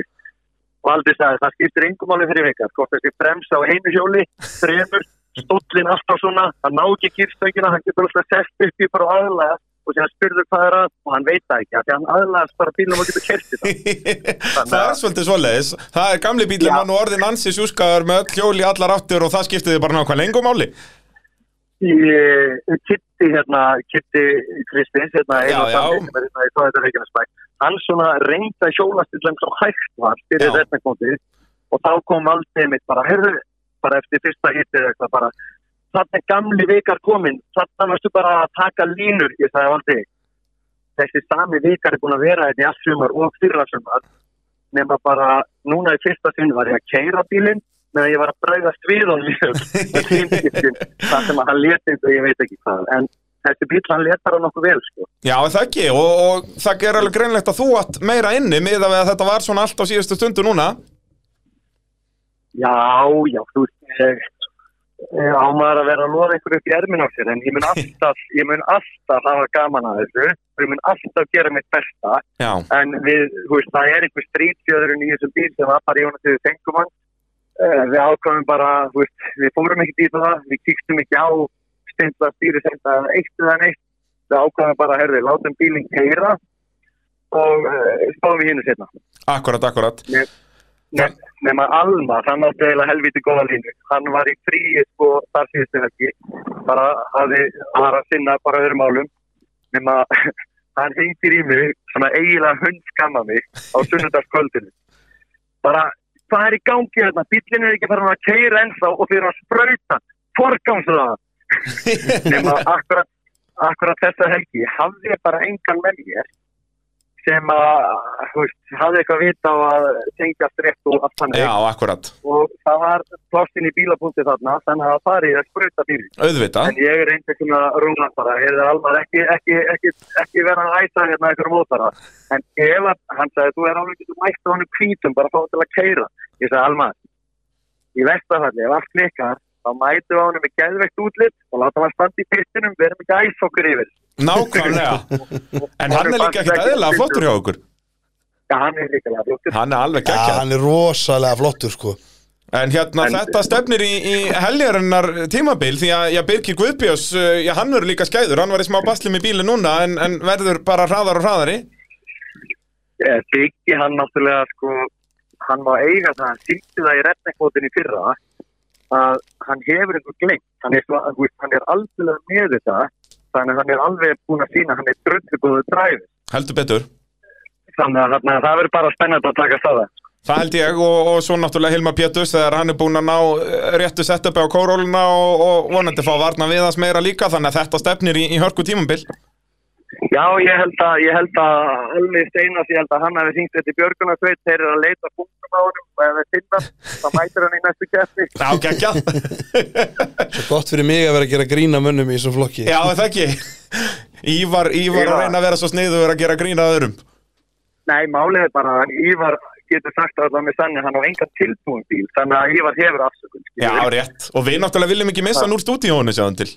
E: Valdi sagði það skiptir engum máli fyrir vikar, hvort þessi bremsa á einu hjóli, þremur, stóllin alltaf svona, hann ná ekki kýrstöngina hann getur alltaf sett upp í bara aðlega og síðan spurður hvað er að og hann veit það ekki af því að hann aðlega bara bílum og getur kerti það
C: Það er svolítið svoleiðis Það er gamli bílum
E: Já.
C: að nú orðin ansi sjúskaður með öll hjól í allar áttur og það skiptið þið bara nákvæmlega engum máli
E: Ég- eh, Kitti hérna, Kitti Kristins hérna,
C: Já,
E: einu
C: já.
E: samtid sem er hérna í Tóðhættar Reykjanesbæk hann svona reynda hjólastillum svo hægt var fyrir
C: Já.
E: þetta komið og þá kom valdið mitt bara, heyrðu, bara eftir fyrsta hittið eða eitthvað bara þarna er gamli vikar kominn, þarna varstu bara að taka línur, ég sagði valdi þessi sami vikar er búin að vera þetta í allt sumar og fyrra sumar nema bara, núna í fyrsta sinn var ég að keira bílinn meðan ég var að bregðast við honum í þessu- í tímskiptin, það sem að hann leti eins og ég veit ekki hvað, en þessi bíl hann leti bara nokkuð vel, sko
C: Já, er það ekki, og, og það er alveg greinlegt að þú átt meira inni miða við að þetta var svona allt á síðustu stundu núna
E: Já, já, þú veist ég- ég á maður að vera að loða einhverju upp í erminn á sér en ég mun alltaf, ég mun alltaf hafa gaman að þessu og ég mun alltaf gera mitt besta
C: Já,
E: en við, þú veist, það er einhver strítfjöðurinn í þessum bíl sem var bara í honum þegar við fengum hann Eh, við ákvæmum bara, þú veist, við fórum ekkert í það við kíktum ekki á stundla stýri senda eitt eða neitt við ákvæmum bara, herði, látum bílinn keira og uh, spáum við hinnu setna
C: akkurat, akkurat
E: Ne- nema Alma, hann átti eiginlega helviti góða línu hann var í fríi sko þar síðustu helgi bara hafði, hann var að sinna bara öðrum málum nema hann hengir í mig svona eiginlega hundskamma mig á sunnudagskvöldinu bara, hvað er í gangi hérna bíllinn er ekki farin að keira ennþá og þeir eru að sprauta, forgámsraða nema akkurat akkurat þessa helgi hafði ég bara engan með mér sem að, þú veist, hafði eitthvað vita á að tengjast rétt og allt þannig
C: Já, akkurat,
E: og það var plástin í bílabúndi þarna þannig að það farið að sprauta bíl
C: auðvitað
E: en ég er einhvern veginn að rúna bara er það alveg ekki, ekki, ekki, ekki vera að æsa hérna einhverjum ótara en ef að, hann sagði þú er alveg getur mætt á hann kvítum bara fá hann til að keira ég sagði Alma í vestafalli ef allt klikkar þá mætum við á hann með geðveikt útlitt og láta hann standa í pittinum við erum ekki að æsa okkur yfir
C: Nákvæmlega En hann er líka ekkert eðlilega flottur hjá okkur
E: já hann er líka flottur
C: Hann er alveg
B: Já,
C: geggjað
B: hann er rosalega flottur sko
C: En hérna
E: En-
C: þetta stefnir í, í heljarinnar tímabil því að já, Birgir Guðbjörns, uh, já, hann verður líka skæður, hann var í smá basli með bíli núna en, en verður bara hraðar og hraðari.
E: Eh, Biggi hann náttúrulega sko, hann má eiga það, hann sýtti það í retnekvotinni fyrra að hann hefur einhver glengt, hann er, svo, þú veist, hann er algjörlega með þetta þannig að hann er alveg búin að sína, hann er drullu góðu dræfi,
C: Heldur betur.
E: þannig að þarna, það verður bara spennandi að taka staða.
C: Það held ég og, og svo náttúrulega Hilma Pétus þegar hann er búinn að ná uh, réttu setupi á kóróluna og, og vonandi fá varna við hans meira líka þannig að þetta stefnir í, í hörku tímabil.
E: Já, ég held að, ég held að alveg steinas, ég held að hann hefði syngt þetta í Björgunarsveit, þeir eru að leita punktum á honum og ef þeir finna, hann, þá mætir hann í næstu kefni.
C: Já, geggjað.
B: Svo gott fyrir mig að vera að gera grína mönnum í þessum flokki
C: já, er það ekki. Ívar, Ívar að
E: Ívar.
C: reyna að vera svo sniður að gera grína öðrum.
E: Nei, málið er bara að Ívar getur sagt að allavega með sannig hann á engan tilbúin bíl, þannig að Ívar hefur afsökun.
C: Já,
E: skilurðu.
C: rétt. Og við náttúrulega viljum ekki missa hann úr stúdíónu sjáðan til.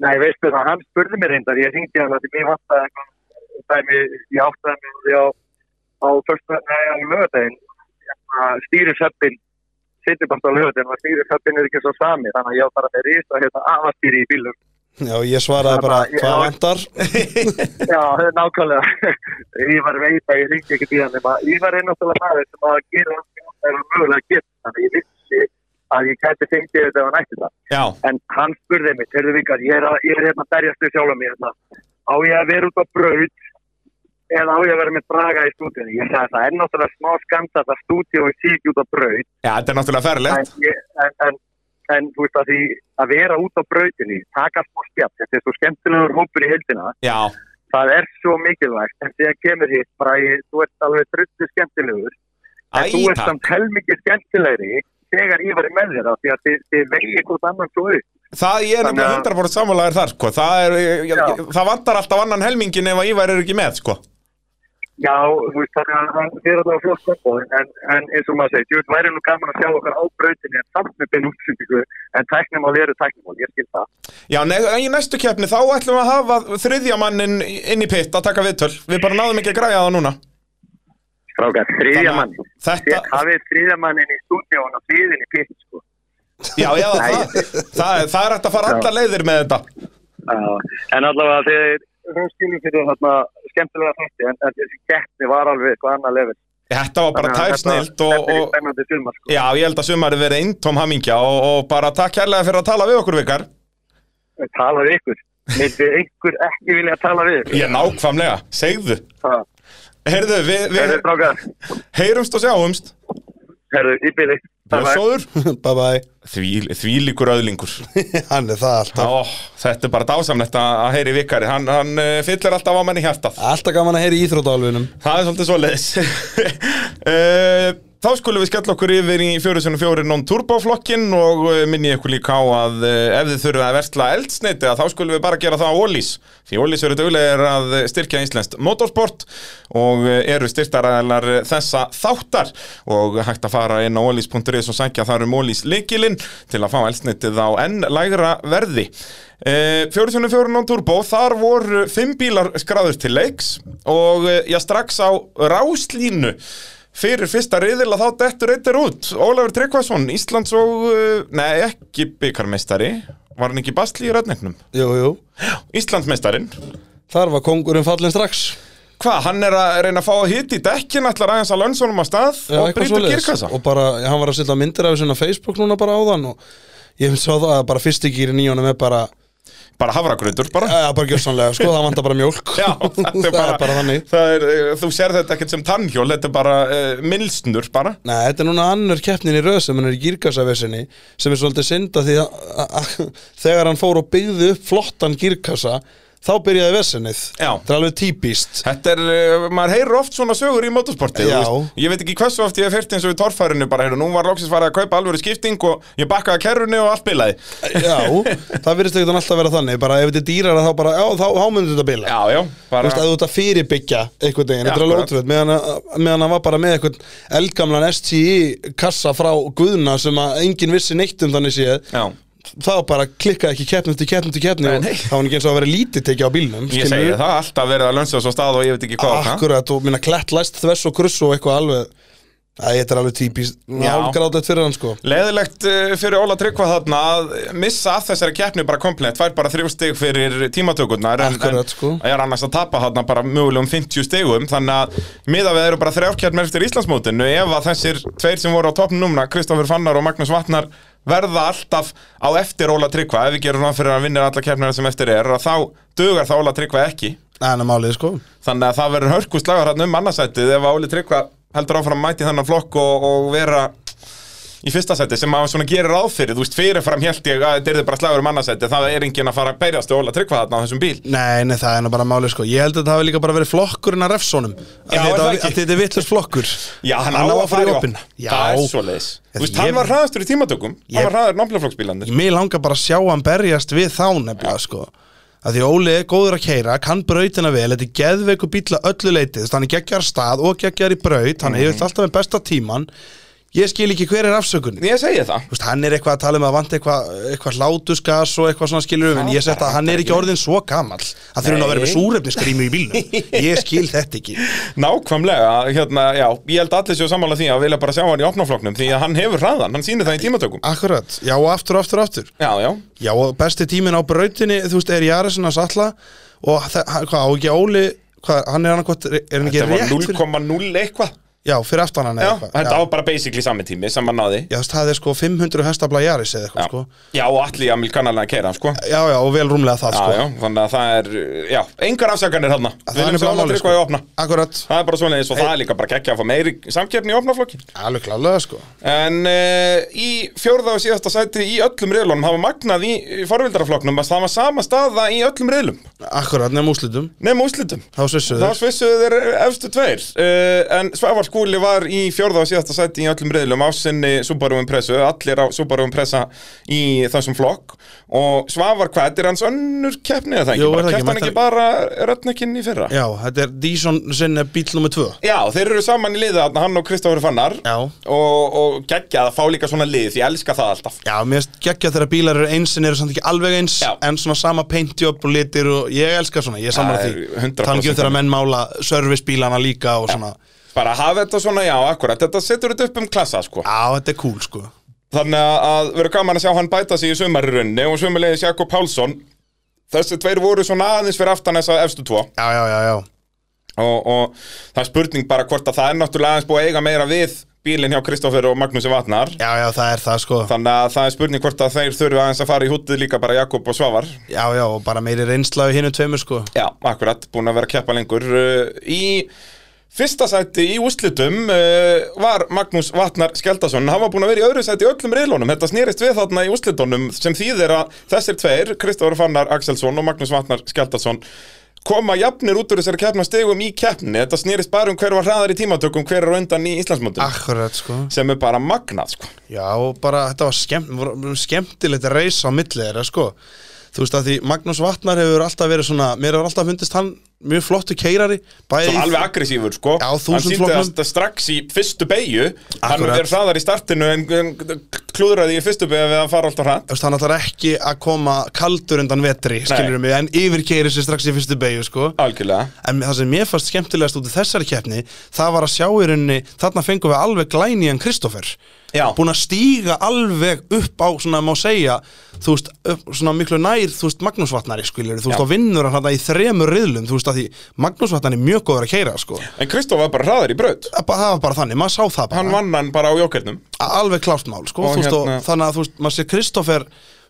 E: Nei, veistu það, hann spurði mér reyndar, ég hringdi hann að því mér vantaði eitthvað dæmi, ég áttaði mér á því á, á, fyrsta, nei, á lögadaginn, stýri sveppin Hérna, setjum bara lögut en það snýður kappin er ekki svo sami þannig að ég á bara með risa hérna afastýri í bílum
B: Já, ég svaraði bara,
E: Ég-
B: hvað vantar?
E: Já, það er nákvæmlega ég var veit að ég ringi ekki í hann nema ég var einnáttúrulega maður sem að gera allt sem það er mögulega að gera þannig að ég vissi að ég gæti fengið þetta ef hann ætti það
C: Já,
E: en hann spurði mig, heyrðu vikar, ég er, að, ég er hérna að berjast við sjálf mig hérna, á ég að vera út á braut eða á ég að vera með braga í stúdíunni, ég sagði það er náttúrulega smá skamta að stúdíu sé ekki út á braut
C: já, þetta er náttúrulega ferlegt.
E: en, ég, en, en, en þú veist að því að vera út á brautinni, taka smá spjall þetta er svo skemmtilegur hópur í heildina
C: Já,
E: það er svo mikilvægt en þegar kemur hitt, bara ég, þú ert alveg drullu skemmtilegur
C: Æ,
E: en þú ert
C: takk.
E: samt helmikið skemmtilegri þegar ég var með þér á því að þið, þið vegið hvort annan svo upp
C: Það ég er
E: Þannig
C: nefnilega
E: að-
C: 100% sammálaður þar, sko. Það, er, ég, ég,
E: Já.
C: það vantar alltaf annan helmingin ef að Ívar er ekki með, sko.
E: Já, þú veist, þannig að hann fyrir allavega flott komboð, en, en eins og maður segir, ég veit, væri nú gaman að sjá okkar á brautinni en samt með bein útsendingu, en tæknimál eru tæknimál, ég skil það.
C: Já, ne í næstu keppni þá ætlum við að hafa þriðja mannin inn í pitt að taka viðtöl. Við bara náðum ekki að græja það núna.
E: Strákar,
C: Þannig
E: þriðja
C: að
E: mann,
C: þetta-
E: hafið þriðja mannin í stúdíón og þriðin í pitt, sko.
C: Já, já, það, það, það er hægt að fara
E: Já.
C: alla leiðir með þetta.
E: Já, en allavega þegar hún skilur fyrir þarna skemmtilega þátti, en, en þessi keppni var alveg eitthvað annað lefur.
C: Þetta var bara tær snilt og,
E: Þetta er
C: og
E: spennandi sumar, sko.
C: já, ég held að sumarið verið eintóm hamingja og, og bara takk kærlega fyrir að tala við okkur vikar.
E: Tala við ykkur. Myndi einhver ekki vilja tala við ykkur?
C: Ég nákvæmlega, segðu.
E: Það,
C: Heyrðu, við, við
E: herðu, strákar,
C: heyrumst og sjáumst.
E: herðu, í bíli. Bye, bye.
C: Blössóður.
B: bye bye.
C: Því, þvílíkur öðlingur.
B: Hann er það alltaf.
C: Ó, þetta er bara dásamlegt að að heyri vikari. Hann, hann eh, fyllir alltaf á manni hjartað.
B: Alltaf gaman að heyra í Íþrótálfinum.
C: Það er svolítið svoleiðis Eh, Þá skulum við skella okkur yfir í 404 non-turbo flokkin og eh, minni ykkur líka á að eh, ef þið þurfið að versla eldsneiti að þá skulum við bara gera það á Ólís því Ólís eru dögulegir að eh, styrkja íslenskt motorsport og eh, eru styrtaræðalar þessa þáttar og hægt að fara inn á ólís.is og sækja þar um Ólís leikilinn til að fá eldsneitið á enn lægra verði Eh, 404 non-turbo, þar voru fimm bílar skráður til leiks og eh, já, strax á ráslínu fyrir fyrsta riðil að þá dettur eittir út Ólafur Tryggvason, Íslands og eh, nei, ekki byggarmeistari var hann ekki basli í ræðnegnum
B: Jú, jú.
C: Íslandsmeistarin,
B: Þar var kongurinn fallin strax.
C: hvað, hann er að reyna að fá að hita í dekkin, ætlar aðeins að lönnsónum á stað
B: Já,
C: og
B: eitthvað
C: brýtur
B: svoleiðis.
C: kirkasa
B: Og bara, hann var að setja myndir af þessu á Facebook núna bara áðan og ég sá það að bara fyrsti gýrin í honum er bara,
C: bara hafragrundur bara
B: eða bara gjössanlega, sko, það vantar bara mjólk.
C: Já, þetta er bara,
B: þannig.
C: það er, eh, þú sér þetta ekkert sem tannhjól, þetta er bara uh, milsnur bara
B: Nei, þetta er núna annar keppnin í röð sem hann er í gírkassavesinni sem er svolítið synda því að að- að- þegar hann fór og byggði upp flottan gírkassa þá byrjaði vesinnið.
C: Já.
B: Það er alveg típist.
C: Þetta er, uh, maður heyrir oft svona sögur í motorsporti
B: Já.
C: þú veist. Ég veit ekki hversu oft ég hef heyrt eins og í torfærinu bara, heyrðu, nú var loksins farið að kaupa alvöru skipting og ég bakkaði kerrunni og allt bilaði
B: Já, það virðist ekkert alltaf vera þannig bara ef þetta er dýrara þá bara, já, þá, þá myndir þetta bila.
C: Já, já,
B: Þú
C: bara
B: veist, að þú ert að fyrirbyggja einhvern veginn,
C: Já,
B: þetta er alveg
C: akkurat.
B: ótrúið meðan, að- meðan hann var bara með einhvern eldgamlan STI kassa frá Guðna sem að enginn vissi neitt um þannig séð
C: Já,
B: þá bara klikkaði ekki keppnum til keppnum til keppnum og
C: Nei, nei.
B: þá var hann ekki eins og að vera lítið tekið á bílnum
C: ég segi það, alltaf verið að lönsa svo stað og ég veit ekki
B: Ah,
C: hvað og hvað.
B: Akkurat og minna klett læst þvers og kruss og eitthvað alveg Æ, þetta er alveg típist
C: Já.
B: Hálfgráðlegt fyrir hann sko
C: Leðilegt eh, fyrir Óla Tryggva þarna að missa af þessari keppni bara komplett, fær bara þrjú stig fyrir tímatökurnar en,
B: Akkurat,
C: en
B: sko.
C: er annars að tapa þarna bara mögulegum 50 stigum þannig að miða við eru bara þrjár keppnir eftir Íslandsmótinu ef að þessir tveir sem voru á toppnum núna, Kristoffer Fannar og Magnús Vatnar verða alltaf á eftir Óla Tryggva ef við gerum ráð fyrir að vinna alla keppnir sem eftir er að þá dugar það Óla Tryggva ekki
B: Það er málið sko
C: þannig að það verður hörkustlagar hann um annarsætið ef að Óli Tryggva heldur áfram að mæti þennan flokk og, og vera í fyrsta sæti sem maður svona gerir ráð fyrir þú veist fyrirfram held ég að þetta er bara slagur um annarsæti það er enginn að fara að berjast og Óla Tryggva þarna á þessum bíl
B: Nei, nei, það er nú bara málið sko Ég held að þetta hafi líka bara verið flokkurinn að refsónum Að
C: Já, er
B: þetta,
C: það
B: að
C: ekki?
B: þetta er vittlust flokkur
C: Já, hann,
B: Hann
C: á að fara í
B: opinn.
C: opinn
B: Já.
C: Það er svoleiðis Þú veist,
B: Ég-
C: hann var hraðastur í tímatökum
B: Ég-
C: Hann var hraður námleflokksbílandir
B: Mér langar bara að sjá hann berjast við þá nefnilega sko að því Óli er góður að keira, kann brautina vel þetta er
C: Mhm.
B: geðveiku bíla öllu leitið þannig geggjar stað og geggjar í braut hann mm -hmm. alltaf með besta tíman Ég skil ekki hver er afsökunin
C: Ég segi það
B: Þú veist, hann er eitthvað að tala um að vanta eitthvað, eitthvað hlátusgas og eitthvað svona skilur um, en ég sett að hann er ekki orðin svo gamall að þurfa nú að vera með
C: Nei.
B: súrefnisgrímu í bílnum ég skil þetta ekki
C: Nákvæmlega, hérna, já, ég held að allir séu sammála því að vilja bara sjá hann í opnafloknum Því að hann hefur hraðan, hann sýnir það í tímatökum
B: Akkurat, já og aftur, aftur, aftur
C: Já, já,
B: Já og besti tíminn á brautinni, þú veist, er Jaresen að salla og það- hann- hvað, á ekki Óli hvað, hann er annarkvæmt, er hann ekki
C: þetta var
B: rétt fyrir,
C: 0,0 eitthvað
B: já, fyrir aftan hann
C: Já,
B: eða
C: þetta
B: já.
C: var bara basically sami tími sem hann náði
B: já, þú veist, það er sko 500 hestabla Jares eða
C: Já,
B: eitthvað, sko
C: já og allir Jamil kannalega að keira, sko
B: Já, já, og vel rúmlega það,
C: Já,
B: sko
C: já, þannig að það er, já, engar afsakanir hann
B: Það
C: Við
B: er nefnilega
C: viljum sjá hann að
B: málið,
C: tryggva í
B: sko.
C: opna
B: Akkurat,
C: Það er bara svona eins og það er líka bara geggja að fá meiri samkeppni í opnaflokki
B: alveg klálega, sko
C: En uh, í fjórða og síðasta sæti í öllum riðlunum hafa magnað í í forvildaraflokknum að það var sama staða í öllum riðlum
B: Akkurat, nefnum úslitum,
C: Nefn úslitum
B: þá svissuður
C: Þá svissuðu þeir efstu tveir uh, En Svavar Skúli var í fjórða og síðasta sæti í öllum riðlum á sinni Subaru Impressu Allir á Subaru Impressa í þessum flokk Og Svavar hvað er hans önnur keppni eða það ekki?
B: Jú, er
C: bara,
B: það ekki,
C: keppt hann
B: mætti-
C: ekki bara rötnekinn í fyrra?
B: Já, þetta er Dísson sinni bíl nummer 2
C: Já, þeir eru saman í liði þarna, hann og Kristófur Fannar
B: Já.
C: Og, og geggjað að fá líka svona lið, því ég elska það alltaf
B: Já, mér finnst geggja þegar bílar eru eins en eru samt ekki alveg eins
C: Já.
B: En svona sama peintjöp og litir og ég elska svona, ég er samar
C: Það
B: því
C: er 100%
B: Tala ekki um þegar menn mála servicebílana líka og svona Já,
C: Bara hafa þetta svona, já, akkurat, þetta setur þetta upp um klassa, sko
B: þetta er cool sko
C: Þannig að- að verður gaman að sjá hann bæta sig í sumarirunni og sumarleiðis Jakob Pálsson Þessi tveir voru svona aðeins fyrir aftan þessa efstu tvo
B: Já, já, já, já
C: og, og það er spurning bara hvort að það er náttúrulega aðeins búið að eiga meira við bílinn hjá Kristoffer og Magnúsi Vatnar
B: Já, já, það er það sko
C: Þannig að það er spurning hvort að þeir þurfi aðeins að fara í hútið líka bara Jakob og Svavar
B: Já, já, og bara meiri reynslaðu hinnu tveimur sko
C: Já, akkurat, búin að vera að keppa lengur Uh, Í fyrsta sæti í úslitum uh, var Magnús Vatnar Skeldason Hann var búin að vera í öðru sæti í öllum reylónum Þetta snerist við þarna í úslitunum sem þýðir að þessir tveir, Kristófur Fannar Axelsson og Magnús Vatnar Skeldason koma jafnir út úr þessari keppna stegum í keppni Þetta snerist bara um hver var hraðar í tímatökum, hver er á undan í Íslandsmótum
B: Akkurat sko
C: sem er bara magnað, sko
B: Já, og bara þetta var skemmt, voru- skemmtilegt að reysa á milli þeirra, sko. Þú veist að því Magnús Vatnar hefur alltaf verið svona, mér hefur alltaf fundist hann mjög flottu keirari.
C: Svo alveg aggressífur sko
B: Já,
C: Hann
B: þúsund
C: sýndi
B: flokknum.
C: það strax í fyrstu beigju Hann
B: Akkurat.
C: er hraðar í startinu en, en klúðraði í fyrstu beigju við að fara alltaf hratt
B: Þú veist, hann ætlar ekki að koma kaldur undan vetri, skilurum við, en yfirkeiri sér strax í fyrstu beigju, sko.
C: Algjörlega
B: En það sem mér fannst skemmtilegast út í þessari keppni, það var að sjá í rauninni, þarna fengum við alveg glænían Kristoffer.
C: Já.
B: Búin að stíga alveg upp á, svona má segja, þú veist, upp, svona miklu nær, þú veist, Magnús Vatnari, skilur, þú veist,
C: Já.
B: og vinnur hann þetta í þremur riðlum, þú veist, að því Magnús Vatnari er mjög góður að keira, sko.
C: En Kristof var bara hraðar í braut
B: Það bara- það var bara þannig, maður sá það bara
C: Hann vann hann bara á jókernum
B: alveg klárt mál sko,
C: Og
B: þú veist,
C: hérna-
B: og, þannig að þú veist, maður sé Kristoffer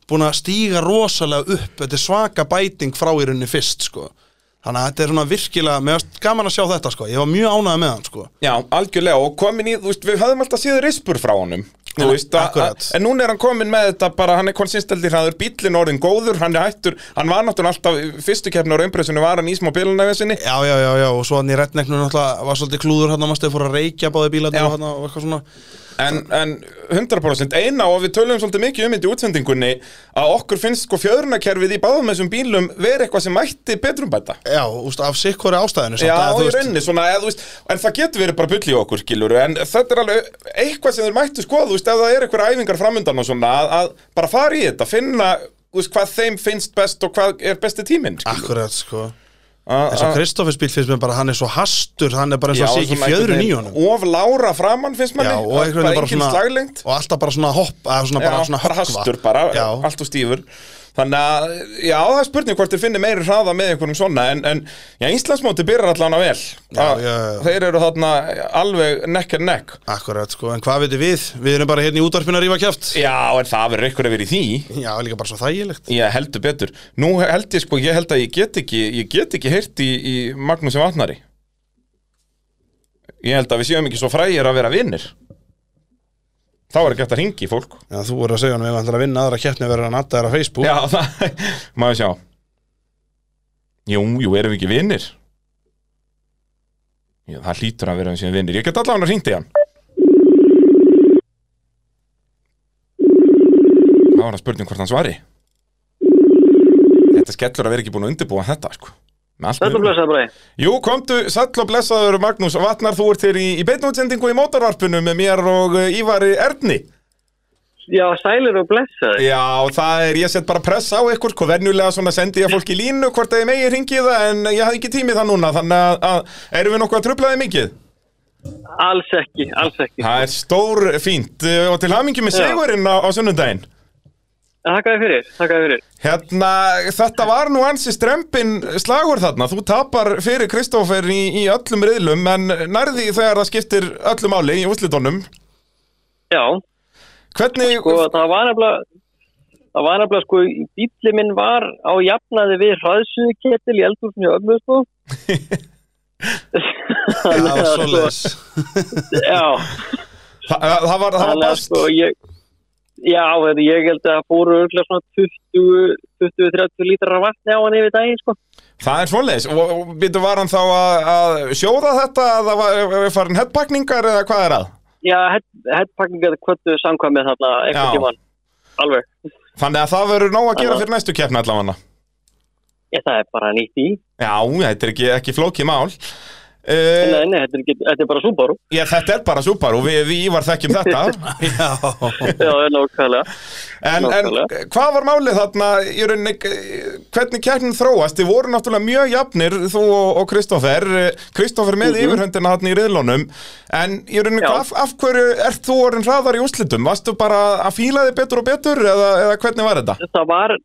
B: búin að stíga rosalega upp þetta er svaka bæting frá í rauninni fyrst sko. þannig að þetta er svona virkilega mér varst gaman að sjá þetta sko, ég var mjög ánægð með hann sko.
C: Já, algjörlega og komin í, þú veist, við höfðum alltaf síður rispur frá honum Þú veist, að-
B: akkurat.
C: að- en núna er hann komin með þetta bara, hann er konsisteldi hraður, bíllinn orðin góður, hann er hættur, hann var náttúrulega alltaf, í fyrstu keppni á raunbreysunni var hann í smá bílunæfinsinni,
B: já, já, já, já, og svo hann í reddneknu náttúrulega var svolítið klúður hérna, hann að maður stið fór að reykja báði bílarnir
C: Já.
B: og, þarna og eitthvað svona
C: En, en 100% eina og við töluðum svolítið mikið um þetta í útsendingunni að okkur finnst sko fjöðrunakerfið í báðum þessum bílum verið eitthvað sem mætti betrumbæta.
B: já, úst, af sikkori ástæðinu samt
C: Já,
B: að, þú
C: í
B: veist-
C: rauninni, svona, eða, þú veist, en það getur verið bara bull í okkur, skilur, en þetta er alveg eitthvað sem þeir mættu skoða, þú veist, ef það er eitthvað æfingar framundan og svona, að, að bara fara í þetta, finna, þú veist, hvað þeim finnst best og hvað er besti tíminn, skilur.
B: akkurat sko
C: Ah,
B: eins og Kristoffers bíl finnst mér bara, hann er svo hastur hann er bara eins og sé ekki fjöðrun í honum
C: Of lára framann finnst manni,
B: Já, og, einhvern veginn
C: bara
B: bara
C: engin
B: svona,
C: slaglengt.
B: og alltaf bara svona hopp eða svona bara
C: já,
B: svona höggva.
C: bara hastur bara,
B: já.
C: allt og stífur Þannig að, já, það er spurning hvort þeir finni meiri hraða með einhverjum svona En, en já, Íslandsmóti byrjar allan að vel Að-
B: já, já.
C: Þeir eru þarna alveg nekk en nekk
B: Akkurat, sko, en hvað veitum við? Við erum bara hérna í útvarpinu að rífa kjæft
C: Já, en það verður ykkur yfir í því
B: Já, líka bara svo þægilegt
C: Ég heldur betur Nú held ég sko, ég held að ég get ekki Ég get ekki heyrt í, í Magnúsi Vatnari Ég held að við séum ekki svo frægir að vera vinnir Þá er ekki hægt að hringi fólk
B: Já, þú voru að segja hann, við ætlum að vinna aðra kjæftni verður að natta þér á Facebook
C: Já, það, maður sjá Jú, jú, erum við ekki vinnir? Já, það hlýtur að vera við sem vinnir Ég get allavega hringt í hann Það var að spurning hvort hann svari Þetta skellur að vera ekki búin að undirbúa þetta, sko Með allt
F: Þetta
C: mögulegt.
F: blessaði bara einn.
C: Jú, komdu, sæll og blessaður Magnús Vatnar, þú ert hér í, í beinútsendingu í mótarvarpinu með mér og uh, Ívari Erni.
F: Já, sælir og blessaði.
C: Já, það er, ég set bara press á ykkur, sko, venjulega svona sendi ég fólk í línu hvort að ég megi ringi það en ég hafði ekki tími það núna, þannig að, að erum við nokkuð að trubla þið mikið?
F: Alls ekki, alls ekki.
C: Það er stór fínt uh, og til hamingi með
F: Já.
C: segurinn á, á sunnundaginn.
F: Þakkaði fyrir, þakkaði fyrir.
C: Hérna, þetta var nú ansi strempin slagur þarna, þú tapar fyrir Kristófer í, í öllum riðlum en nærði þegar það skiptir öllum áli í úslitónum.
F: Já,
C: Hvernig,
F: sko, það var nefnilega... Það var nefnilega, sko, bíli minn var á jafnaði við hraðsuðiketil í eldhúsinu í ömmu, sko.
B: Það var
F: Þannig að,
B: svoleiðis.
F: sko, Já,
C: það, það var, það var
F: Þannig að
C: best.
F: sko ég Já, þetta ég held að það fóru örgulega svona 20 20-30 lítrar af vatni á hann yfir daginn sko.
C: Það er svoleiðis, og, og býtu var hann þá að, að sjóða þetta, að það var var farin headpakningar eða hvað er að?
F: Já, hettpakningar kvöldu samkvæmið þarna
C: Já.
F: einhvern tímann Alveg,
C: Þannig að það verður nóg að gera
F: Já.
C: fyrir næstu keppni allavega.
F: ég, það er bara nýtt í
C: Já, þetta er ekki, ekki flókið mál.
F: Nei,
C: Uh,
F: nei, þetta er, ekki, þetta er bara súbáru
C: ég, þetta er bara súpar og við, við ívar þekkjum þetta.
B: Já.
F: Já, nákvæmlega
C: En, en
F: Nákvæmlega.
C: hvað var málið þarna, í rauninni, eh, hvernig keppnin þróast? Þið voru náttúrulega mjög jafnir, þú og og Kristoffer. Kristoffer með yfirhöndina þarna í riðlónum. En í rauninni,
F: Mhm. Já.
C: hvað- af, af hverju ert þú orðin hraðar í úslitum? Varstu bara að fíla þig betur og betur eða, eða hvernig var þetta?
F: Það var,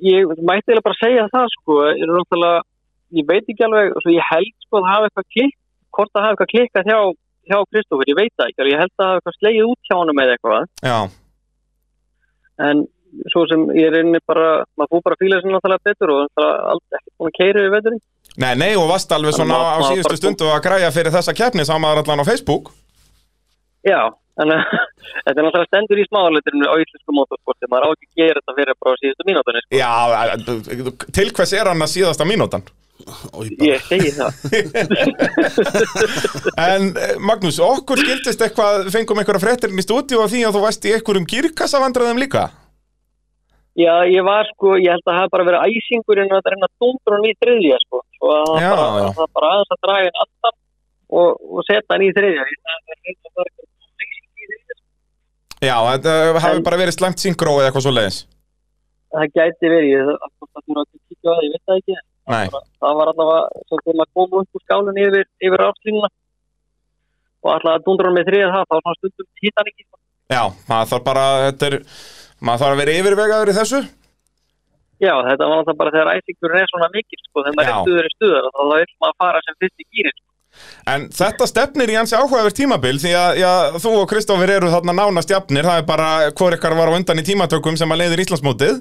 F: ég mætti eiginlega bara segja það sko, ég er náttúrulega ég veit ekki alveg, svo ég held sko að hafa eitthvað klikk, hvort að hafa eitthvað klikkað hjá, hjá Kristófur, ég veit það ekki alveg, ég held að hafa eitthvað slegið út hjá honum eða eitthvað
C: Já.
F: en svo sem ég reynir bara maður fór bara að fíla sér náttúrulega betur og náttúrulega aldrei ekki búin að keira við veturinn
C: Nei, nei, og varst alveg svona á
F: Þannig að maður
C: síðustu
F: bara-
C: stundu að græja fyrir þessa keppni saman allan á Facebook.
F: já, en eh, þetta er náttúrulega stendur í smáleiturinu á íslensku motorsporti maður á ekki að gera þetta fyrir bara á síðustu mínútunni sko.
C: Já, eh, til hvers er hann að síðasta mínútan?
B: Og ég bara-
F: sko. ég segi það
C: En eh, Magnús, okkur skildist eitthvað, fengum einhverja fréttirinn í stúdíu af því að þú varst í einhverjum gírkassavandræðum líka?
F: já, ég var sko, ég held að það hafi bara verið æsingur en að reyna að dóndur hann í þriðja sko. svo að það
C: Já,
F: bara,
C: já.
F: það bara aðeins að draga hann alltaf og, og setja hann í þriðja Ég- það er reyna bara að koma æsingi í þriðja, sko.
C: Já, þetta eh, hafi
F: En-
C: bara verið slæmt syngró eða eitthvað svo leiðis.
F: það gæti verið ég, það, það, það, það, það, það, ég veit það ekki
C: Nei,
F: það var allavega sem til að koma upp úr skálun yfir, yfir áslínuna og allavega að dundra hann með þriðið það, þá var svona stundum títan ekki sko.
C: já, maður þarf bara, þetta er, maður þarf að vera yfirvegaður í þessu.
F: Já, þetta var alltaf bara þegar æsingurinn er svona mikil sko, þegar maður
C: Já.
F: er stuður í stuður þá vil maður fara sem fyrst í gýrin sko.
C: En þetta stefnir í hansi áhugaverð tímabil því að já, þú og Kristófur eru þarna nánast jafnir, það er bara hvor ykkar var á undan í tímatökum sem að leiðir Íslandsmótið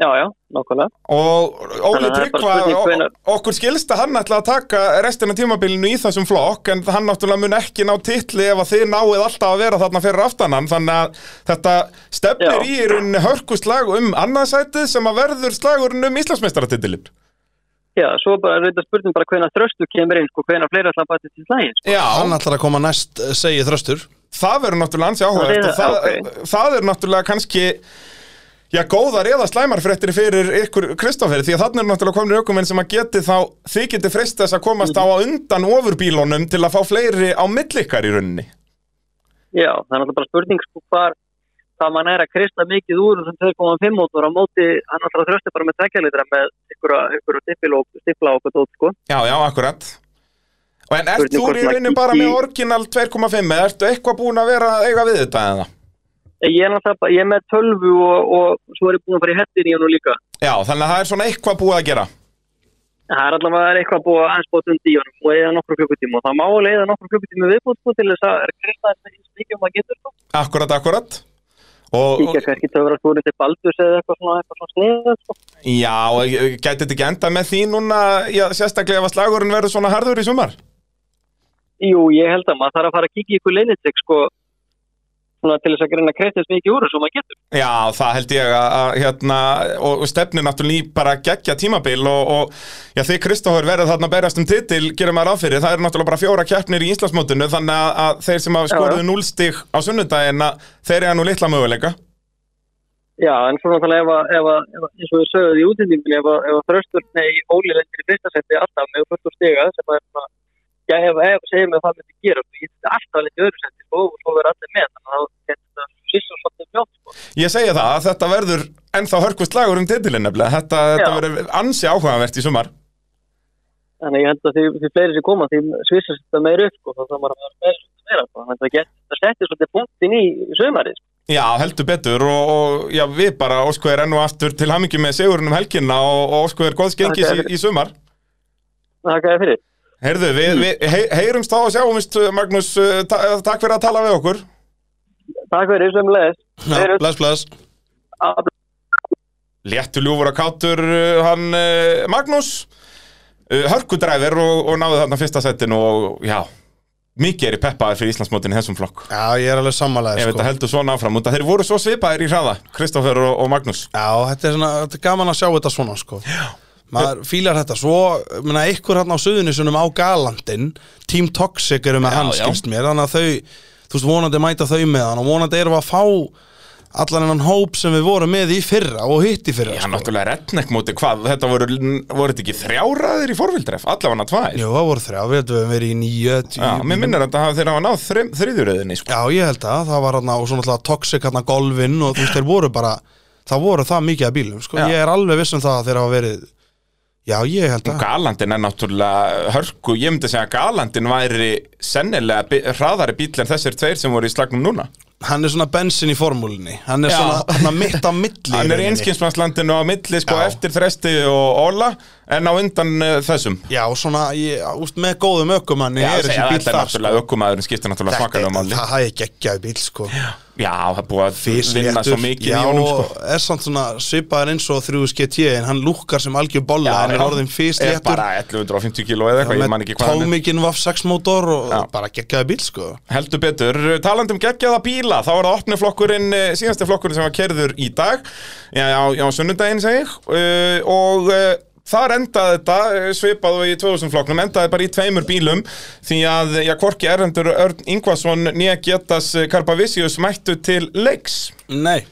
F: Já, já, nákvæmlega
C: og Óli
F: Þannig að það er bara
C: Tryggva,
F: spurning
C: o-
F: hvenær-
C: okkur skilst að hann ætla að taka restina af tímabilinu í þessum flokk en hann náttúrulega mun ekki ná titli ef að þið náið alltaf að vera þarna fyrir aftanan þannig að þetta stefnir
F: Já.
C: í í rauninni hörkuslag um annarsætið sem að verður slagurinn um Íslandsmeistaratitilinn.
F: Já, svo bara reynda spurning bara hvena þröstu kemur inn, sko, hvena fleira ætla að bæta til slægin sko.
C: Já,
B: Hann ætlar að koma næst, eh, segi þröstur.
C: það verður náttúrulega ansi áhugavert og
F: Það
C: það,
F: er-
C: það er náttúrulega kannski já, góðar eða slæmar fréttir fyrir ykkur Kristoffer því að þannig er náttúrulega komin aukumenn sem að geti þá þið geti freist þess að komast
F: Mhm.
C: á á undan ofurbílunum til að fá fleiri á milli ykkar í rauninni
F: Já, það er alltaf bara spurning sko, hvar, hvað mann er að kristna mikið úr sem 2,5 mótur á móti hann alltaf þröstu bara með tveggjalitra með einhverja, einhverja stippil og stippla og okkur tótt sko.
C: Já, já, akkurat Og en ert
F: Spurning
C: þú í
F: hvort maður
C: rauninni
F: kíkti
C: bara
F: í-
C: með orginal 2.5 eða ertu eitthvað búin að vera að eiga við þetta eða?
F: Ég er náttúrulega, bara- ég er með tölvu og, og svo er ég búin að fara í hettin í hann líka.
C: Já, þannig að það er svona eitthvað búið að gera
F: Það er allavega það er eitthvað búið að aðeins búið tundi í hann og eða nokkru klukkutíma og það má leiða nokkru klukkutíma viðbúið sko til þess að kreista þetta eins mikið um að getur sko.
C: Akkurat, akkurat og, og,
F: Kíkja kannski til að vera skúrin til Baldurs eða eitthvað svona, eitthvað svona sniðið sko.
C: Já, gæti þetta ekki enda með því núna já, sérstaklega ef að slagurinn verður svona harður í sumar?
F: Jú, ég held að maður þarf að fara að kíkja í ykkur leinitek sko svona til þess að reyna að kreista eins mikið úr þessu og maður getur.
C: Já, það held ég að, að hérna, og, og stefnir náttúrulega í bara geggja tímabil og, og já, þið Kristófur verður þarna að berjast um titil, gerum maður ráð fyrir, það eru náttúrulega bara fjóra keppnir í Íslandsmótinu, þannig að, að þeir sem hafa
F: Já,
C: skoruðu
F: já.
C: núlstig á sunnudagina, þeir eru nú litla möguleika.
F: Já, en svona þannig ef að, ef að, ef að eins og við sögðum í útlendingin, ef að, ef að þröstur, nei, Óli lendir í fyrsta seti alltaf með fullt úr stiga sem að, svona, já, ef að segja mig að það myndi gera, sko, ég myndi alltaf lendir í öðru seti, sko, og svo verður allir með, þannig að þá er þetta sýst og svolítið mjótt, sko.
C: Ég segja það að þetta verður ennþá hörkvist lagur um titilin nefnilega. Þetta, þetta
F: Já.
C: verður ansi áhugavert í sumar.
F: Þannig að ég held að því, því fleiri sem koma, því svissa þetta meir upp, sko, þá þarf maður að vera meira, meira, sko, þannig að það get- það settir svolítið punktin í sömarið, sko.
C: Já, heldur betur og, og já, við bara óskuðir enn og aftur til hamingi með segurinn um helginna og, og óskuðir góðs gengis í,
F: Takk.
C: í sumar.
F: Þakka þér fyrir.
C: Heyrðu, við, við hey, heyrumst þá og sjáumist, Magnús, eh, ta eh, takk fyrir að tala við okkur.
F: Takk fyrir, sem
B: Já,
F: leðis.
B: bless, bless
C: Léttu ljúfur að kátur eh, hann eh, Magnús, eh, hörkudræfir og, og náði þarna fyrsta setin og já, mikið er í peppaðir fyrir Íslandsmótin í þessum flokk.
B: Já, ég er alveg sammálaðið
C: Ef
B: sko.
C: þetta heldur svona áfram, út að þeir voru svo svipaðir í hraða, Kristoffer og, og Magnús.
B: Já, þetta er, svona, þetta er gaman að sjá þetta svona sko. maður fílar þetta svo menna, ykkur hann á suðunisunum á galandin Team Toxic eru með hann
C: já.
B: skilst mér þannig að þau, þú veist, vonandi mæta þau með hann og vonandi erum við að fá allan hennan hóp sem við vorum með í fyrra og hitt í fyrra
C: Já, náttúrulega Redneck móti, hvað, þetta voru, voru þetta ekki þrjáraðir í forvildref, allavega tvær.
B: Jú, það voru þrjá, við höfum verið í nýju
C: Já, mér minnir að það þeir hafa náð þrim- þriðjuröðinni, sko.
B: Já, ég held að það var hann og svona alltaf toxic hann golfin og þú veist, þeir voru bara það voru það mikið af bílum, sko
C: Já.
B: ég er alveg viss um það að þeir hafa verið Já, ég held að
C: Galandin er náttúrulega hörku, ég myndi segja að Galandin væri sennilega bi- hraðari bíl en þessir tveir sem voru í slagnum núna.
B: hann er svona bensin í formúlinni hann er
C: Já.
B: svona, svona mitt á milli í
C: Hann er í
B: rauninni.
C: einskjömsmannslandinu á milli, sko,
B: Já.
C: eftir þresti og óla, en á undan uh, þessum.
B: Já, svona, ég, úst, með góðum ökumanni
C: Já,
B: er
C: segja,
B: þessi bíl
C: þetta er
B: þar, sko
C: náttúrulega ökumæðurinn skiptir náttúrulega
B: Þetta
C: svakalega
B: er,
C: máli.
B: það er geggjaði bíl, sko
C: Já, það er búið að vinna svo
B: Fisléttur.
C: mikið
B: Já,
C: í honum, sko.
B: og er samt svona svipaðar eins og 3 GT en hann lúkkar sem algjör bolla hann er orðin
C: Er
B: fyrstléttur
C: bara 1150 kíló eða eitthvað, ég man ekki hvað hann er
B: tómikinn vaff 6 mótor og
C: Já.
B: bara geggjaði bíl sko
C: Heldur betur, talandi um geggjaða bíla Þá er það opni flokkurinn, eh, síðasti flokkurinn sem var kerður í dag Já, já, já sunnudaginn segi ég uh, Og uh, þar endaði þetta eh, svipað og í 2000 flokknum Endaði bara í tveimur bílum Því að, eh, já, Korki Erlendur Örn Ingvason Nýja Getas Karpavisius mættu til leiks
B: Nei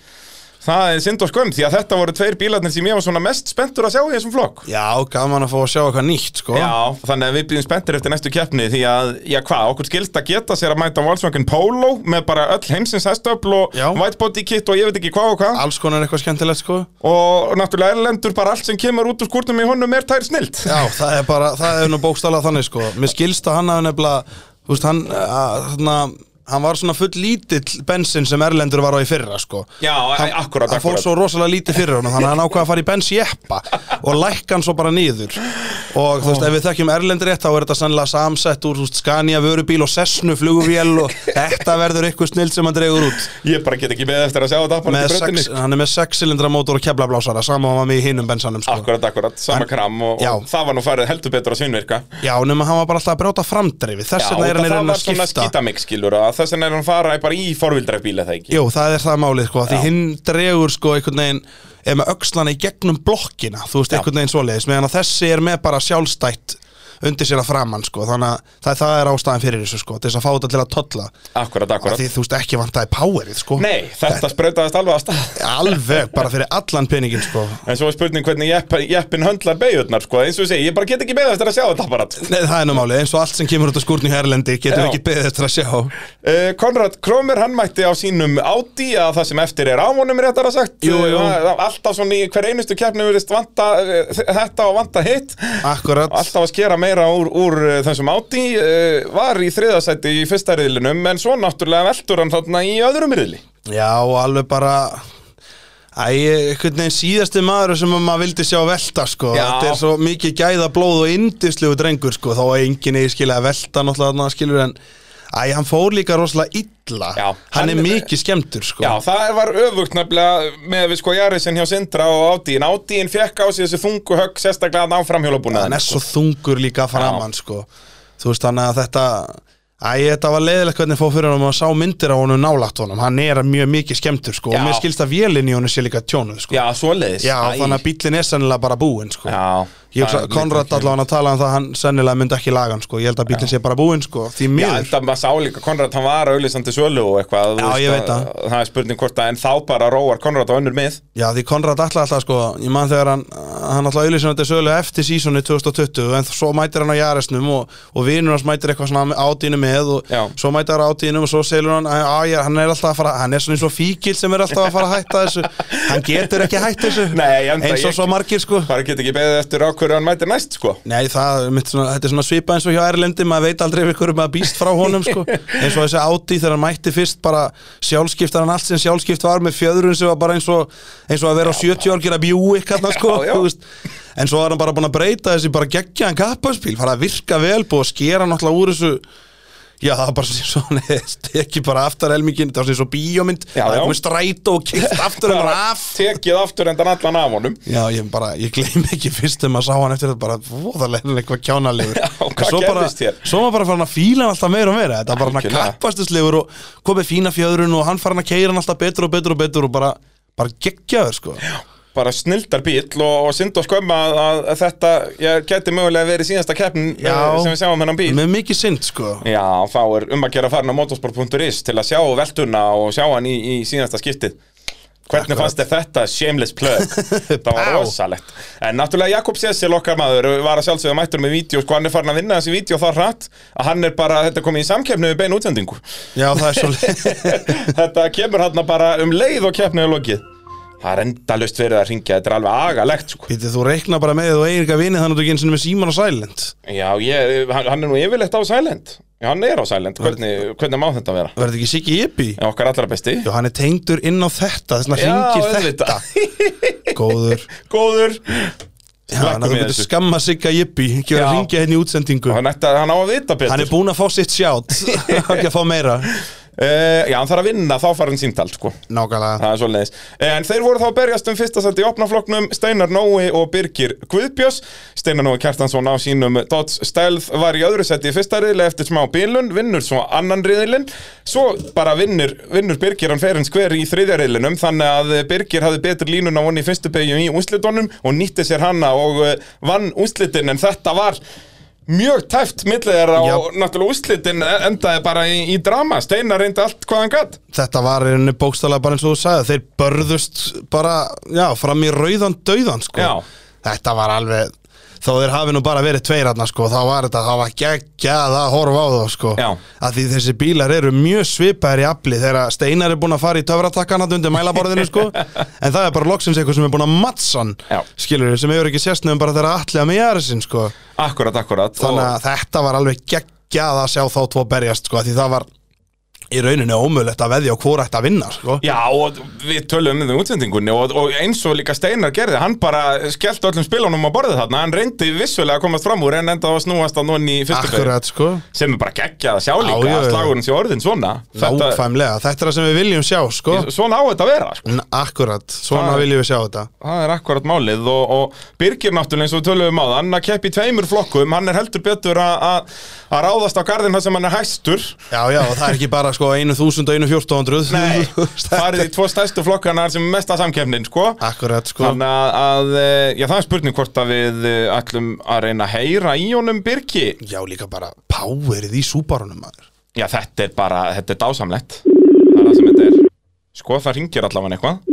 C: Það er synd og skömm því að þetta voru tveir bílarnir sem ég var svona mest spenntur að sjá í þessum flokk
B: Já, gaman að fá að sjá eitthvað nýtt sko
C: Já, þannig að við býðum spenntir eftir næstu keppni því að, já hvað, okkur skilst að geta sér að mæta Volkswagen Polo með bara öll heimsins hestöfl og
B: Já.
C: whitebody kit og ég veit ekki hvað og hvað
B: Alls konar eitthvað skemmtilegt sko
C: og náttúrulega erlendur bara allt sem kemur út úr skúrnum í honum er tær snilt
B: Já, það er bara, það er nú bókstala þannig sko Mér skilst að hann hafi nefnilega Þú veist, hann, að, þarna Hann var svona full lítill bensin sem Erlendur var á í fyrra sko
C: Já, e,
B: Hann-
C: akkurat,
B: Hann fór
C: akkurat.
B: svo rosalega lítið fyrir honum Þannig að hann ákvað að fara í bens jeppa Og lækka hann svo bara niður Og þú veist, ef við þekkjum Erlendur rétt Þá er þetta sannlega samsett úr þú veist, Scania vörubíl og Cessnu flugvél Og þetta verður eitthvað snill sem hann dregur út
C: Ég bara get ekki beðið eftir að sjá þetta bara
B: með
C: til brautinni.
B: sex, hann er með 6 cylindra mótor og keflablásara sama var með í hinum bensanum sko.
C: Akkurat, akkurat, sama
B: Hann-
C: kram og,
B: Já.
C: og það var nú farið heldur betur að svinvirka
B: já, nema hann var bara alltaf að brjóta framdreifi þess
C: og
B: vegna er
C: það
B: hann í rauninni
C: það var
B: að
C: svona
B: skipta
C: skítamix skilur að þess vegna er hann farað bara í forvildræfbíla það ekki
B: Jú, það er það málið sko, því
C: Já.
B: hinn dregur sko einhvern veginn, er með öxlana í gegnum blokkina, þú veist, einhvern veginn svoleiðis meðan að þessi er með bara sjálfstætt undir sér að framann sko, þannig að það, það er ástæðan fyrir þessu sko, til þess að fá þetta til að tolla
C: Akkurat, akkurat
B: því þú veist ekki vantaði powerið sko
C: Nei, þetta sprautaðist alveg að stað
B: alveg bara fyrir allan peningin sko
C: En svo er spurning hvernig jepp, jeppin höndlar beigurnar sko, eins og ég segi, ég bara get ekki beigð eftir að sjá þetta bara uh,
B: Nei, það er nú málið, eins og allt sem kemur út af skúrni í Erlendi getur
C: Já.
B: ekki beðið eftir að sjá
C: Eh, Konrad Kromer, hann mætti á sínum Audi að það sem eftir er á honum réttar að sagt,
B: Jú, jú.
C: Uh, alltaf svona í hver einustu keppni verðist vanta uh, þetta og vanta hitt
B: Akkurat
C: Alltaf að skera meira úr, úr uh, þessum Audi uh, var í þriðasæti í fyrsta riðlinum en svo náttúrulega veldur hann þarna í öðrum riðli
B: Já, og alveg bara Æ, einhvern veginn síðasti maður sem að maður vildi sjá velta, sko
C: Já.
B: Þetta er svo mikið gæða blóð og indislegu drengur, sko Þá er enginn eigi skilja að velta, náttúrulega, þarna, skilur en Æ, hann fór líka rosalega illa
C: Já.
B: hann, er mikið skemmtur, sko
C: Já, það var öfugt nefnilega með við sko Jarisinn hjá Sindra og Audíin Audíin fekk á sig þessi þungu högg sérstaklega að ná framhjólabúnaðin
B: Hann er svo þungur líka framann, sko Þú veist, þannig að þetta Æ, þetta var leiðilegt hvernig fóð fyrir honum að sá myndir á honum nálægt honum, hann er mjög mikið skemmtur sko,
C: Já.
B: og mér skilst að vélinn í honum sé líka tjónuð sko.
C: Já, svoleiðis
B: Já,
C: Æ.
B: þannig að bíllinn er sennilega bara búinn sko.
C: Já,
B: Ég
C: það
B: hugsa,
C: er
B: Konrad
C: líka ekki-
B: allavega að tala um það, hann sennilega myndi ekki laga hann sko, ég held að bíllinn sé bara búinn sko, því
C: Já,
B: miður.
C: þetta maður sá líka Konrad, hann var auðlýsandi sölu og eitthvað þú
B: Já,
C: veist
B: ég veit
C: að-
B: það.
C: Það er spurning hvort að en þá bara róar Konrad á önnur mið
B: Já, því Konrad ætlaði alltaf sko, ég man þegar hann, hann alltaf auðlýsum þetta sölu eftir sísoni 2020 en svo mætir hann á Jaresnum og, og vinur hans mætir eitthvað svona átínu með og
C: Já.
B: svo mætir hann átínu og svo selur hann að að ég- hann er alltaf að fara, hann er svona eins og fíkil sem er alltaf að fara að hætta þessu hann getur ekki hætt þessu
C: Nei, ég enda
B: eins og
C: ég-
B: svo margir sko
C: Bara get ekki beðið eftir á hverju hann mætir næst, sko
B: Nei, það, er mitt svona, þetta er svona svipa eins og hjá Erlendi maður veit aldrei við hverju maður býst frá honum sko. eins og þessi áti þegar hann mætti fyrst bara sjálfskiptar hann allt sem sjálfskipt var með fjöðrun sem var bara eins og, eins og að vera á 70 orgir að bjúi kannar, sko,
C: Já, já.
B: þú veist. en svo er hann bara búin að breyta þessi bara geggjaðan kappanspíl fara að virka vel, búið að skera náttúrulega úr þessu Já, það var bara sem svona, ekki bara aftar helmingin, það var sem svo bíómynd,
C: Já,
B: það
C: já.
B: er komið strætó og kilt aftur um en
C: Bara
B: af.
C: Tekið aftur endan allan af honum
B: Já, ég bara, ég gleym ekki fyrst þegar maður sá hann eftir þetta bara voðalega eitthvað kjánalegur
C: Já,
B: En
C: hvað
B: svo bara,
C: gerðist þér?
B: Svo maður bara farin að fíla hann alltaf meira og meira Þetta var bara hann að
C: Algjörlega.
B: kappastislegur og komið fína fjöðrun og hann farin að keira hann alltaf betur og betur og betur og bara, bara geggjaður sko
C: Bara snildar bíl og, og synd og skömm að, að að þetta ég, geti mögulega verið síðasta keppn eh,
B: Já.
C: sem við sjáum hennan bíl
B: Með mikið synd sko
C: Já, þá er um að gera farin á motorsport.is til að sjá veltuna og sjá hann í, í síðasta skiptið. Hvernig
B: Akkurat.
C: fannst þér þetta shameless plug? það var
B: Pá.
C: rosalegt. En náttúrulega Jakob Sessil okkar maður var að sjálfsögða mættur með vídeo, sko hann er farin að vinna þessi vídeo þar hratt að hann er bara, þetta er komið í samkeppni við beinu útsendingu.
B: Já, það er svo
C: þetta kemur hann bara um leið og keppnið er lokið. Það er endalust verið að ringja, þetta er alveg agalegt sko.
B: Býtið, þú reikna bara með því þú eigir ekki að vinni þannig að þú ekki einu sinni með síman og silent
C: Já, ég, hann, hann er nú yfirleitt á Silent. Já, hann er á Silent. Hvernig, hvernig má þetta vera?
B: Verði ekki Siggi Yipi?
C: Já, Okkar allra besti.
B: Já, hann er tengdur inn á þetta, þess vegna hringir þetta Góður
C: Góður
B: Já, hann
C: Slakkum í
B: getur
C: þessu.
B: skamma Sigga Yipi Ekki verið að
C: Já.
B: ringja henni í útsendingu
C: hann, ætti að- hann á að vita betur
B: Hann er búinn að fá sitt sjátt Hann ekki að fá meira
C: Eh, Já, hann þarf að vinna, þá fara hann síndalt sko.
B: Nákvæmlega
C: Það er svoleiðis En þeir voru þá að berjast um fyrsta seti í opnafloknum Steinar Nói og Birgir Guðbjörns Steinar Nói Kjartansson á sínum Dodds Stealth var í öðru seti í fyrsta riðli eftir smá bílun, vinnur svo annan riðilinn Svo bara vinnur, vinnur Birgir hann ferinn skver í þriðja riðlinum þannig að Birgir hafði betur línuna vonni í fyrstu beigjum í úslitunum og nýtti sér hanna og eh, vann úslitin en þetta var Mjög tæft millið þeirra
B: Já.
C: og náttúrulega úslitin endaði bara í, í drama Steinar reyndi allt hvað hann gatt
B: Þetta var einu bókstæðlega bara eins og þú sagði Þeir börðust bara já, fram í rauðan dauðan sko.
C: Já.
B: Þetta var alveg Þó þeir hafi nú bara verið tveir hérna sko, þá var þetta, það var geggjað að horfa á þá sko.
C: Já.
B: að því þessi bílar eru mjög svipaðir í afli þegar Steinar er búinn að fara í töfratakkan hann undir mælaborðinu sko en það er bara loksins eitthvað sem er búinn að mattsan
C: Já.
B: skilur sem hefur ekki sérst nefn bara þegar allir að með jærisinn sko
C: Akkurat, akkurat
B: þannig að þetta var alveg geggjað að sjá þá tvo berjast sko, því það var í rauninu ómögulegt að veðja og hvora ætti að vinna sko.
C: Já, og við tölum um það í útsendingunni og, og eins og líka Steinar gerði, hann bara skellt öllum spilunum á borðið þarna, hann reyndi vissulega að komast fram úr en enda að snúast að núni í fyrstu beygju.
B: akkurat sko
C: sem er bara geggjað að sjá líka,
B: Já, já,
C: að
B: já.
C: slagurinn sé orðin svona þetta,
B: nákvæmlega, þetta er það sem við viljum sjá sko.
C: Svona á þetta að vera, sko.
B: N- akkurat, svona
C: Það-
B: viljum við sjá þetta
C: það er akkurat málið og, og Birgir náttúrulega eins og við tölum á það, hann að keppi í tveimur flokkum, hann er heldur betur að- að að ráðast á garðin þar sem hann er hæstur
B: já já, og það er ekki bara sko 1000 og 1400
C: Nei, farið í tvo stærstu flokkana sem er mesta samkefnin, sko
B: akkurat sko
C: Þannig að, að, eh, já það er spurning hvort að við eh, ætlum að reyna að heyra í honum Birki
B: já líka bara powerið í súbarunum maður
C: Já þetta er bara, þetta er dásamlegt Það er það sem þetta er Sko það ringir allavega eitthvað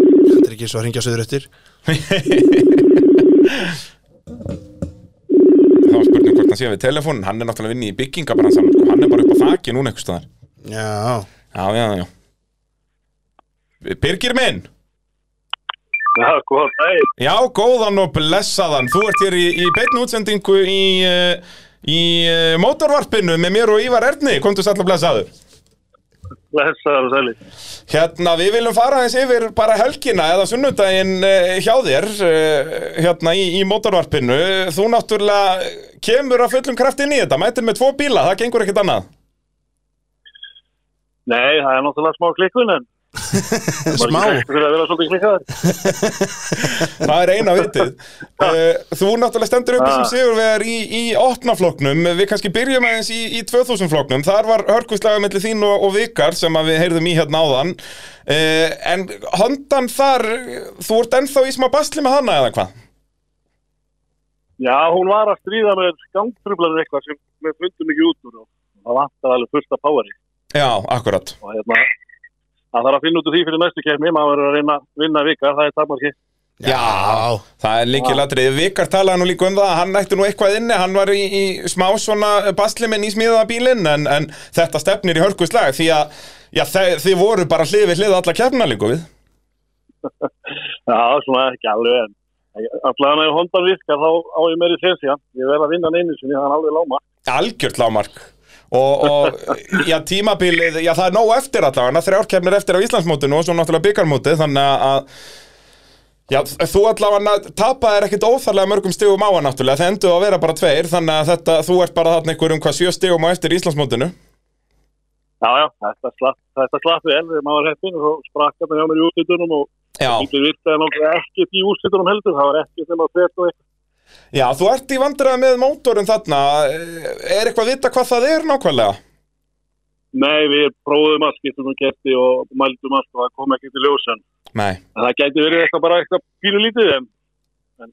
B: þetta er ekki eins og að ringja söður eftir
C: Það var spurning hvort hann sé við telefónin Hann er náttúrulega vinni í byggingabransan sko. Hann er bara upp á þaki núna einhvers staðar
B: já,
C: Já, já, já Birgir minn
E: Já, góð, nei,
C: Já, góðan og blessaðan Þú ert hér í, í beinni útsendingu í, eh, í eh, mótorvarpinu með mér og Ívar Erni Komdu sæll og blessaður
E: blessaður og sælir.
C: Hérna, við viljum fara aðeins yfir bara helgina eða sunnudaginn eh, hjá þér eh, hérna í, í mótorvarpinu. Þú náttúrulega kemur að fullum kraft inn í þetta, mætir með tvo bíla, það gengur ekkert annað.
E: Nei, það er náttúrulega smá klikkun en
B: Smá.
E: Það vera svolítið smikkaður.
C: Það er eina vitið. Eh, Þú náttúrulega stendur upp sem sigurvegar í, í opnafloknum. Við kannski byrjum aðeins í, í 2000 floknum. Þar var hörkvistlaga mellir þín og, og vikar sem að við heyrðum í hérna áðan. Eh, En hondan þar, þú ert ennþá í smá basli með hana eða hvað?
E: Já, hún var að stríða með gangtrublanir eitthvað sem við fundum ekki út úr og það vantar alveg fullta poweri
C: Já, akkurat.
E: og hérna, það þarf að finna út úr því fyrir næstu kemni, maður verður að reyna að vinna vikar, það er tapmarki.
B: Já,
C: Það er líkið latrið. Vikar talaði nú líka um það að hann ætti nú eitthvað inni, hann var í, í smá svona basli minn í smíðaða bílinn en, en þetta stefnir í hörkuslag því að já, þe þið voru bara hlið við hlið alla kjarnar líka við.
E: Já, svona ekki alveg en allavega ef Honda virkar þá á ég meiri sensi hann. Ég verð að vinna hann einu sinni, það er alveg láma.
C: Algjört lámark. Og, og já, tímabilið, já það er nóg eftir allavega, þrjár kefnir eftir á Íslandsmótinu og svo náttúrulega byggarmótið þannig að Já, þú allavega tapaðir ekkit óþarlega mörgum stigum á hann náttúrulega, það endur að vera bara tveir, þannig að þetta, þú ert bara þarna einhverjum hvað sjö stigum á eftir Íslandsmótinu.
E: Já, já, þetta slapp, þetta slapp vel, þegar maður heppin og þá sprakk hann hjá mér í úrslitunum og
C: Já.
E: það virkaði náttúrulega ekkert í úrslitunum heldur, það var ekkert nema að og eitthvað.
C: Já, þú ert í vandræða með mótorinn þarna, Eh, er eitthvað vita hvað það er nákvæmlega?
E: Nei, við prófum að skiptum um kerti og mældum allt og það kom ekki til ljósan.
C: Nei.
E: Það gæti verið eitthvað bara eitthvað pínu lítið en, en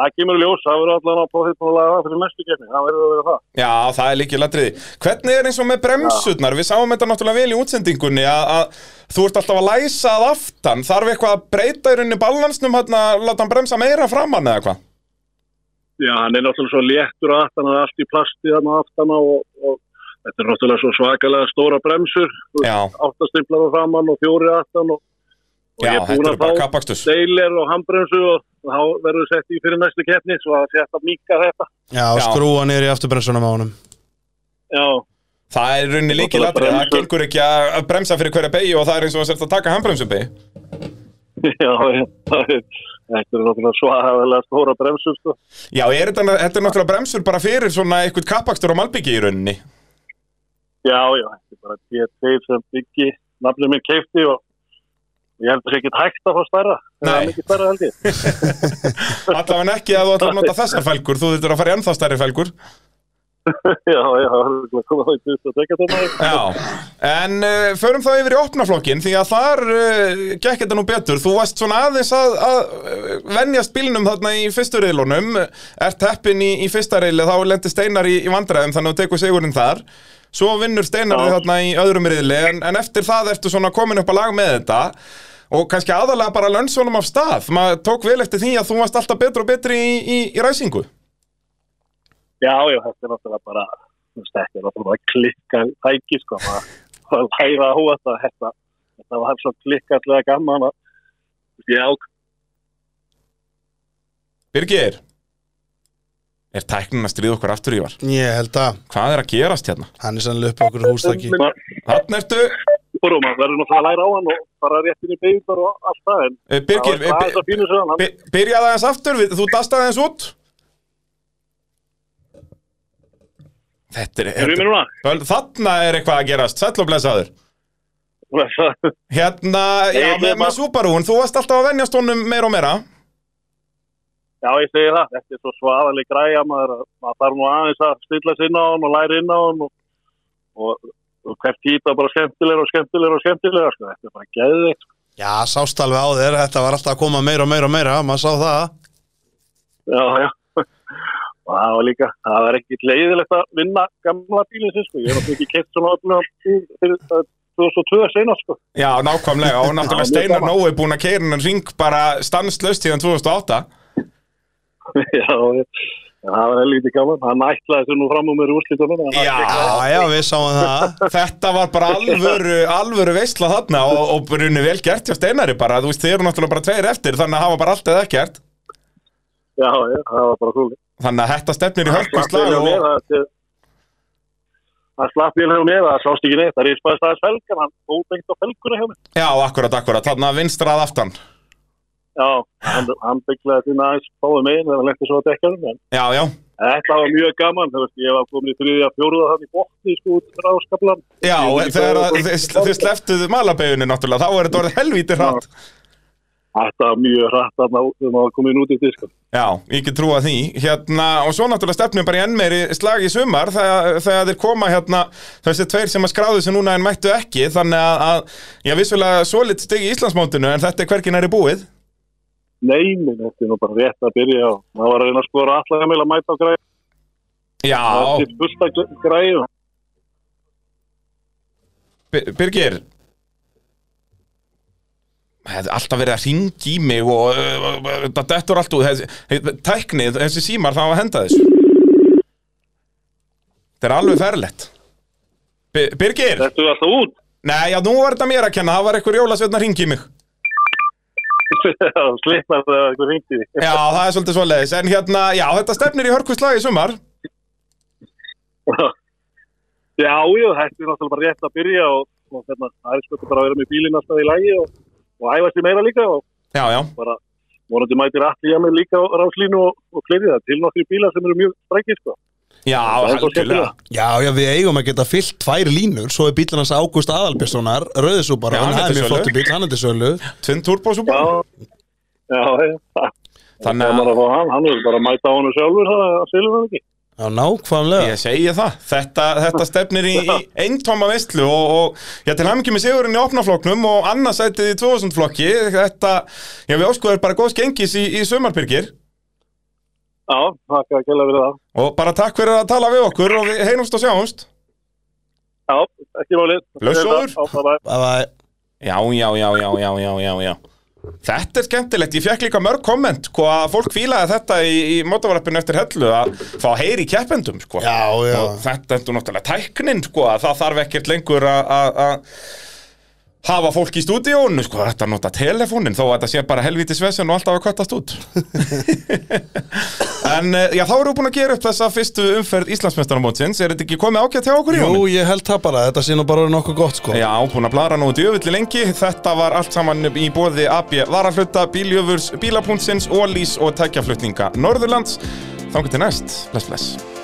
E: það kemur í ljós, það verður allan að prófið búin að laga það fyrir næstu kemni, það verður að vera það.
C: Já, það er líkið ladriði. Hvernig er eins og með bremsurnar? Við sáum þetta náttúrulega vel í útsendingunni að, að þú ert alltaf að læsa að aftan. Þarf eitthvað að breyta í rauninni balansnum hérna, láta hann bremsa meira framann eða hvað?
E: Já, hann er náttúrulega svo léttur að aftan, það er allt í plasti þarna aftan á og, og þetta er náttúrulega svo svakalega stóra bremsur,
C: Já,
E: áttastimplar á framann og fjóri aftan og, og
C: já
E: ég er
C: þetta
E: búin
C: eru
E: að
C: bara
E: fá
C: kappakstus.
E: deilir og handbremsu og þá verður sett í fyrir næstu kemni svo að þetta mýka þetta.
B: já,
C: Já.
B: skrúa niður í afturbrensunum á honum
E: Já,
C: Það er í rauninni líkið ladriði. Það
E: Bremsur.
C: gengur ekki að að bremsa fyrir hverja beigi og það er eins og þú sért að taka handbremsubegi.
E: Já, já, það er- þetta er náttúrulega svaðalega stóra bremsur sko.
C: Já, er þetta, þetta er náttúrulega bremsur bara fyrir svona eitthvað kappakstur og malbyggi í rauninni.
E: Já, já, þetta er bara T2 sem byggi nafnum minn keifti og ég held að það sé ekki hægt að fá stærra. Það
C: Nei.
E: er mikið stærra held ég.
C: Allavega ekki að þú ætlar að nota þessar felgur, þú þurftur að fara í ennþá stærri felgur.
E: já, já, það er örugglega að koma þá í 22 tómaði.
C: Já, en uh, förum þá yfir í opnaflokkin því að þar uh, gekk þetta nú betur. Þú varst svona aðeins að, að eh, venjast bílnum þarna í fyrstu reilunum, ert heppin í, í fyrsta reili þá lendir Steinar í, í vandræðum þannig að þú tekur sigurinn þar. Svo vinnur Steinar þig
E: Já.
C: þarna í öðrum reili en, en eftir það ertu svona komin upp að lag með þetta. Og kannski aðalega bara lönnsónum af stað, maður tók vel eftir því að þú varst alltaf betur og betri í, í, í ræsingu.
E: Já, já, þetta er náttúrulega bara, þú veist, þetta er náttúrulega bara klikka tæki sko. maður- maður læra á þetta, þetta, þetta var svo klikkallega gaman að ég ák
C: Birgir, er tæknin að stríða okkur aftur í var?
B: Ég held að
C: Hvað er að gerast hérna?
B: hann er sannlega upp á okkur hústakki
C: Þannig ertu,
E: Búrum, maður verður náttúrulega að læra á hann og bara réttin í beigur og allt það en
C: eh, Birgir,
E: það er það fínu sem hann,
C: by- byrjaði aðeins aftur, við- þú dastaði aðeins út Þetta er,
E: erum við
C: þetta,
E: núna?
C: böl- þarna er eitthvað að gerast, sæll og blessaður Hérna, já,
E: Ég
C: með,
E: ætla
C: með
E: bara-
C: Subaru, þú varst alltaf að venjast honum meira og meira
E: Já, ég segi það. Þetta er svo svaðaleg græja maður. að- Maður þarf nú aðeins að stilla sig inn á hann og læra inn á hann og, og, og hver típa bara skemmtilega og skemmtilega og skemmtilega. Sko. Þetta er bara geðvikt.
B: Já, sást alveg á þér, þetta var alltaf að koma meira og meira og meira, maður sá það
E: Já, já. Og það var líka, það var ekki leiðilegt að vinna gamla bílinn sinn, sko. Ég er náttúrulega ekki keitt svona öllum fyrir eh, 2002 senast, sko.
C: Já, nákvæmlega, og náttúrulega
E: Já, mjög
C: Steinar
E: gaman.
C: Nói búin að keira hennan ring bara stanslaust síðan 2008
E: já, ég, það var helviti gaman. Hann ætlaði þessu nú fram um mér í úrslitunum. en hann-
C: Já,
B: Já, já, við sáum það
C: Þetta var bara alvöru, alvöru veisla þarna og, og brunni vel gert hjá Steinari bara, þú veist, þið eru náttúrulega bara tveir eftir þannig að hafa bara allt eða ekkert
E: Já, já, það var bara svolítið.
C: Þannig að þetta stefnir í hörkuslag
E: slapp vel hjá mér,
C: og...
E: það- það- Það slapp ég hjá mér, það sást ekki neitt, það rispaðist aðeins felgan, hann fóð beint á felguna hjá mér.
C: Já, akkurat, akkurat, þannig að vinstrað aftan
E: Já, hann, hann bygglaði þín aðeins fáið megin, það var lengt svo að dekja um, en,
C: Já, já,
G: Þetta var mjög gaman, þú veist, ég var komin í þriðja fjóruða þannig bótti, sko, út frá skablan.
C: Já, þegar að þið þið sleftuð malabeginni náttúrulega, þá er þetta orðið helvítið hratt.
G: Þetta var mjög hrætt að maður komin út í því, sko.
C: Já, ég get trúa því. Hérna, og svo náttúrulega stefnum við bara í enn meiri slag í sumar þegar, þegar þeir koma hérna, þessi tveir sem að skráðu sig núna en mættu ekki, þannig að, að já, vissulega svolít stig í Íslandsmótinu, en þetta er hvergi næri búið.
G: Nei, minn, þetta er nú bara rétt að byrja á. Maður var að reyna að skora allega meila að mæta á græði.
C: Já,
G: Það er fyrsta græði.
C: Bir- Birgir Það hefði alltaf verið að ringi í mig og uh, uh, uh, þetta dettur allt út þessi, he- tæknið, þessi símar það á að henda þessu Þetta er alveg ferlegt Bir Birgir,
G: Þetta er alltaf út.
C: nei já nú var þetta mér að kenna það var einhver jólasveitn að ringi í mig
G: Slippar það eitthvað hringt í því.
C: Já, það er svolítið svoleiðis, en hérna, já þetta stefnir í hörkvistlag í sumar
G: Já, já, þetta er náttúrulega bara rétt að byrja og, og hérna, það er sko bara að vera með bílinn alltaf í lagi og, og æfa sér meira líka og
C: Já, já,
G: bara vonandi mætir allir hjá mig líka á ráslínu og, og fleiri það til nokkri bílar sem eru mjög strækir sko.
C: já,
G: er svo
C: algjörlega
G: skemmtilega.
B: Já, já, við eigum að geta fyllt tvær línur Svo er bílinn hans Ágúst Aðalbjörnssonar Rauðisúpar,
C: Já, hann
B: hann
C: er
B: það
C: til
B: er mjög
C: sölu.
B: flottu bíl, hann er til sölu
C: Tvinn túrbósúpa
G: Já, já, já.
C: Þannig
G: Þannig
C: að-
G: að maður að fá hann, hann er bara að mæta á hann sjálfur, það það selur hann ekki.
B: Já, nákvæmlega
C: Ég segi það, þetta, þetta stefnir í, í eintóma veistlu og, og já, til hann ekki með sigurinn í opnafloknum og annarsætið í 2000 flokki þetta, já við óskuðum bara góðs gengis í, í sömarbyrgir
G: Já, takk að kella fyrir það.
C: og bara takk fyrir að tala við okkur og við heyrumst og sjáumst
G: Já, ekki málið.
C: Lausjóður.
G: Já, bara.
B: Bye bye
C: Já, já, já, já, já, já, já, já Þetta er skemmtilegt, ég fekk líka mörg komment hvað fólk fílaði þetta í, í mótavarappinu eftir hellu að fá að heyri keppendum sko.
B: Já, já.
C: og þetta er nú náttúrulega tæknin sko, að það þarf ekkert lengur að- að að hafa fólk í stúdíónu sko, þetta er nota telefónin þó að þetta sé bara helvítið svesen og alltaf að kvartast út en eh, já, þá erum við búin að gera upp þessa fyrstu umferð Íslandsmestarnamótsins, er þetta ekki komið ágætt hjá okkur í
B: Jú, ég held það bara, þetta sé nú bara orðið nokkuð gott sko
C: Já, búin að blara nú djöfulli lengi Þetta var allt saman í bóði AB Varafluta, Bíljöfurs, Bílapúntsins, Ólís og Tækjaflutninga Norðurlands Þangur til næst, bless bless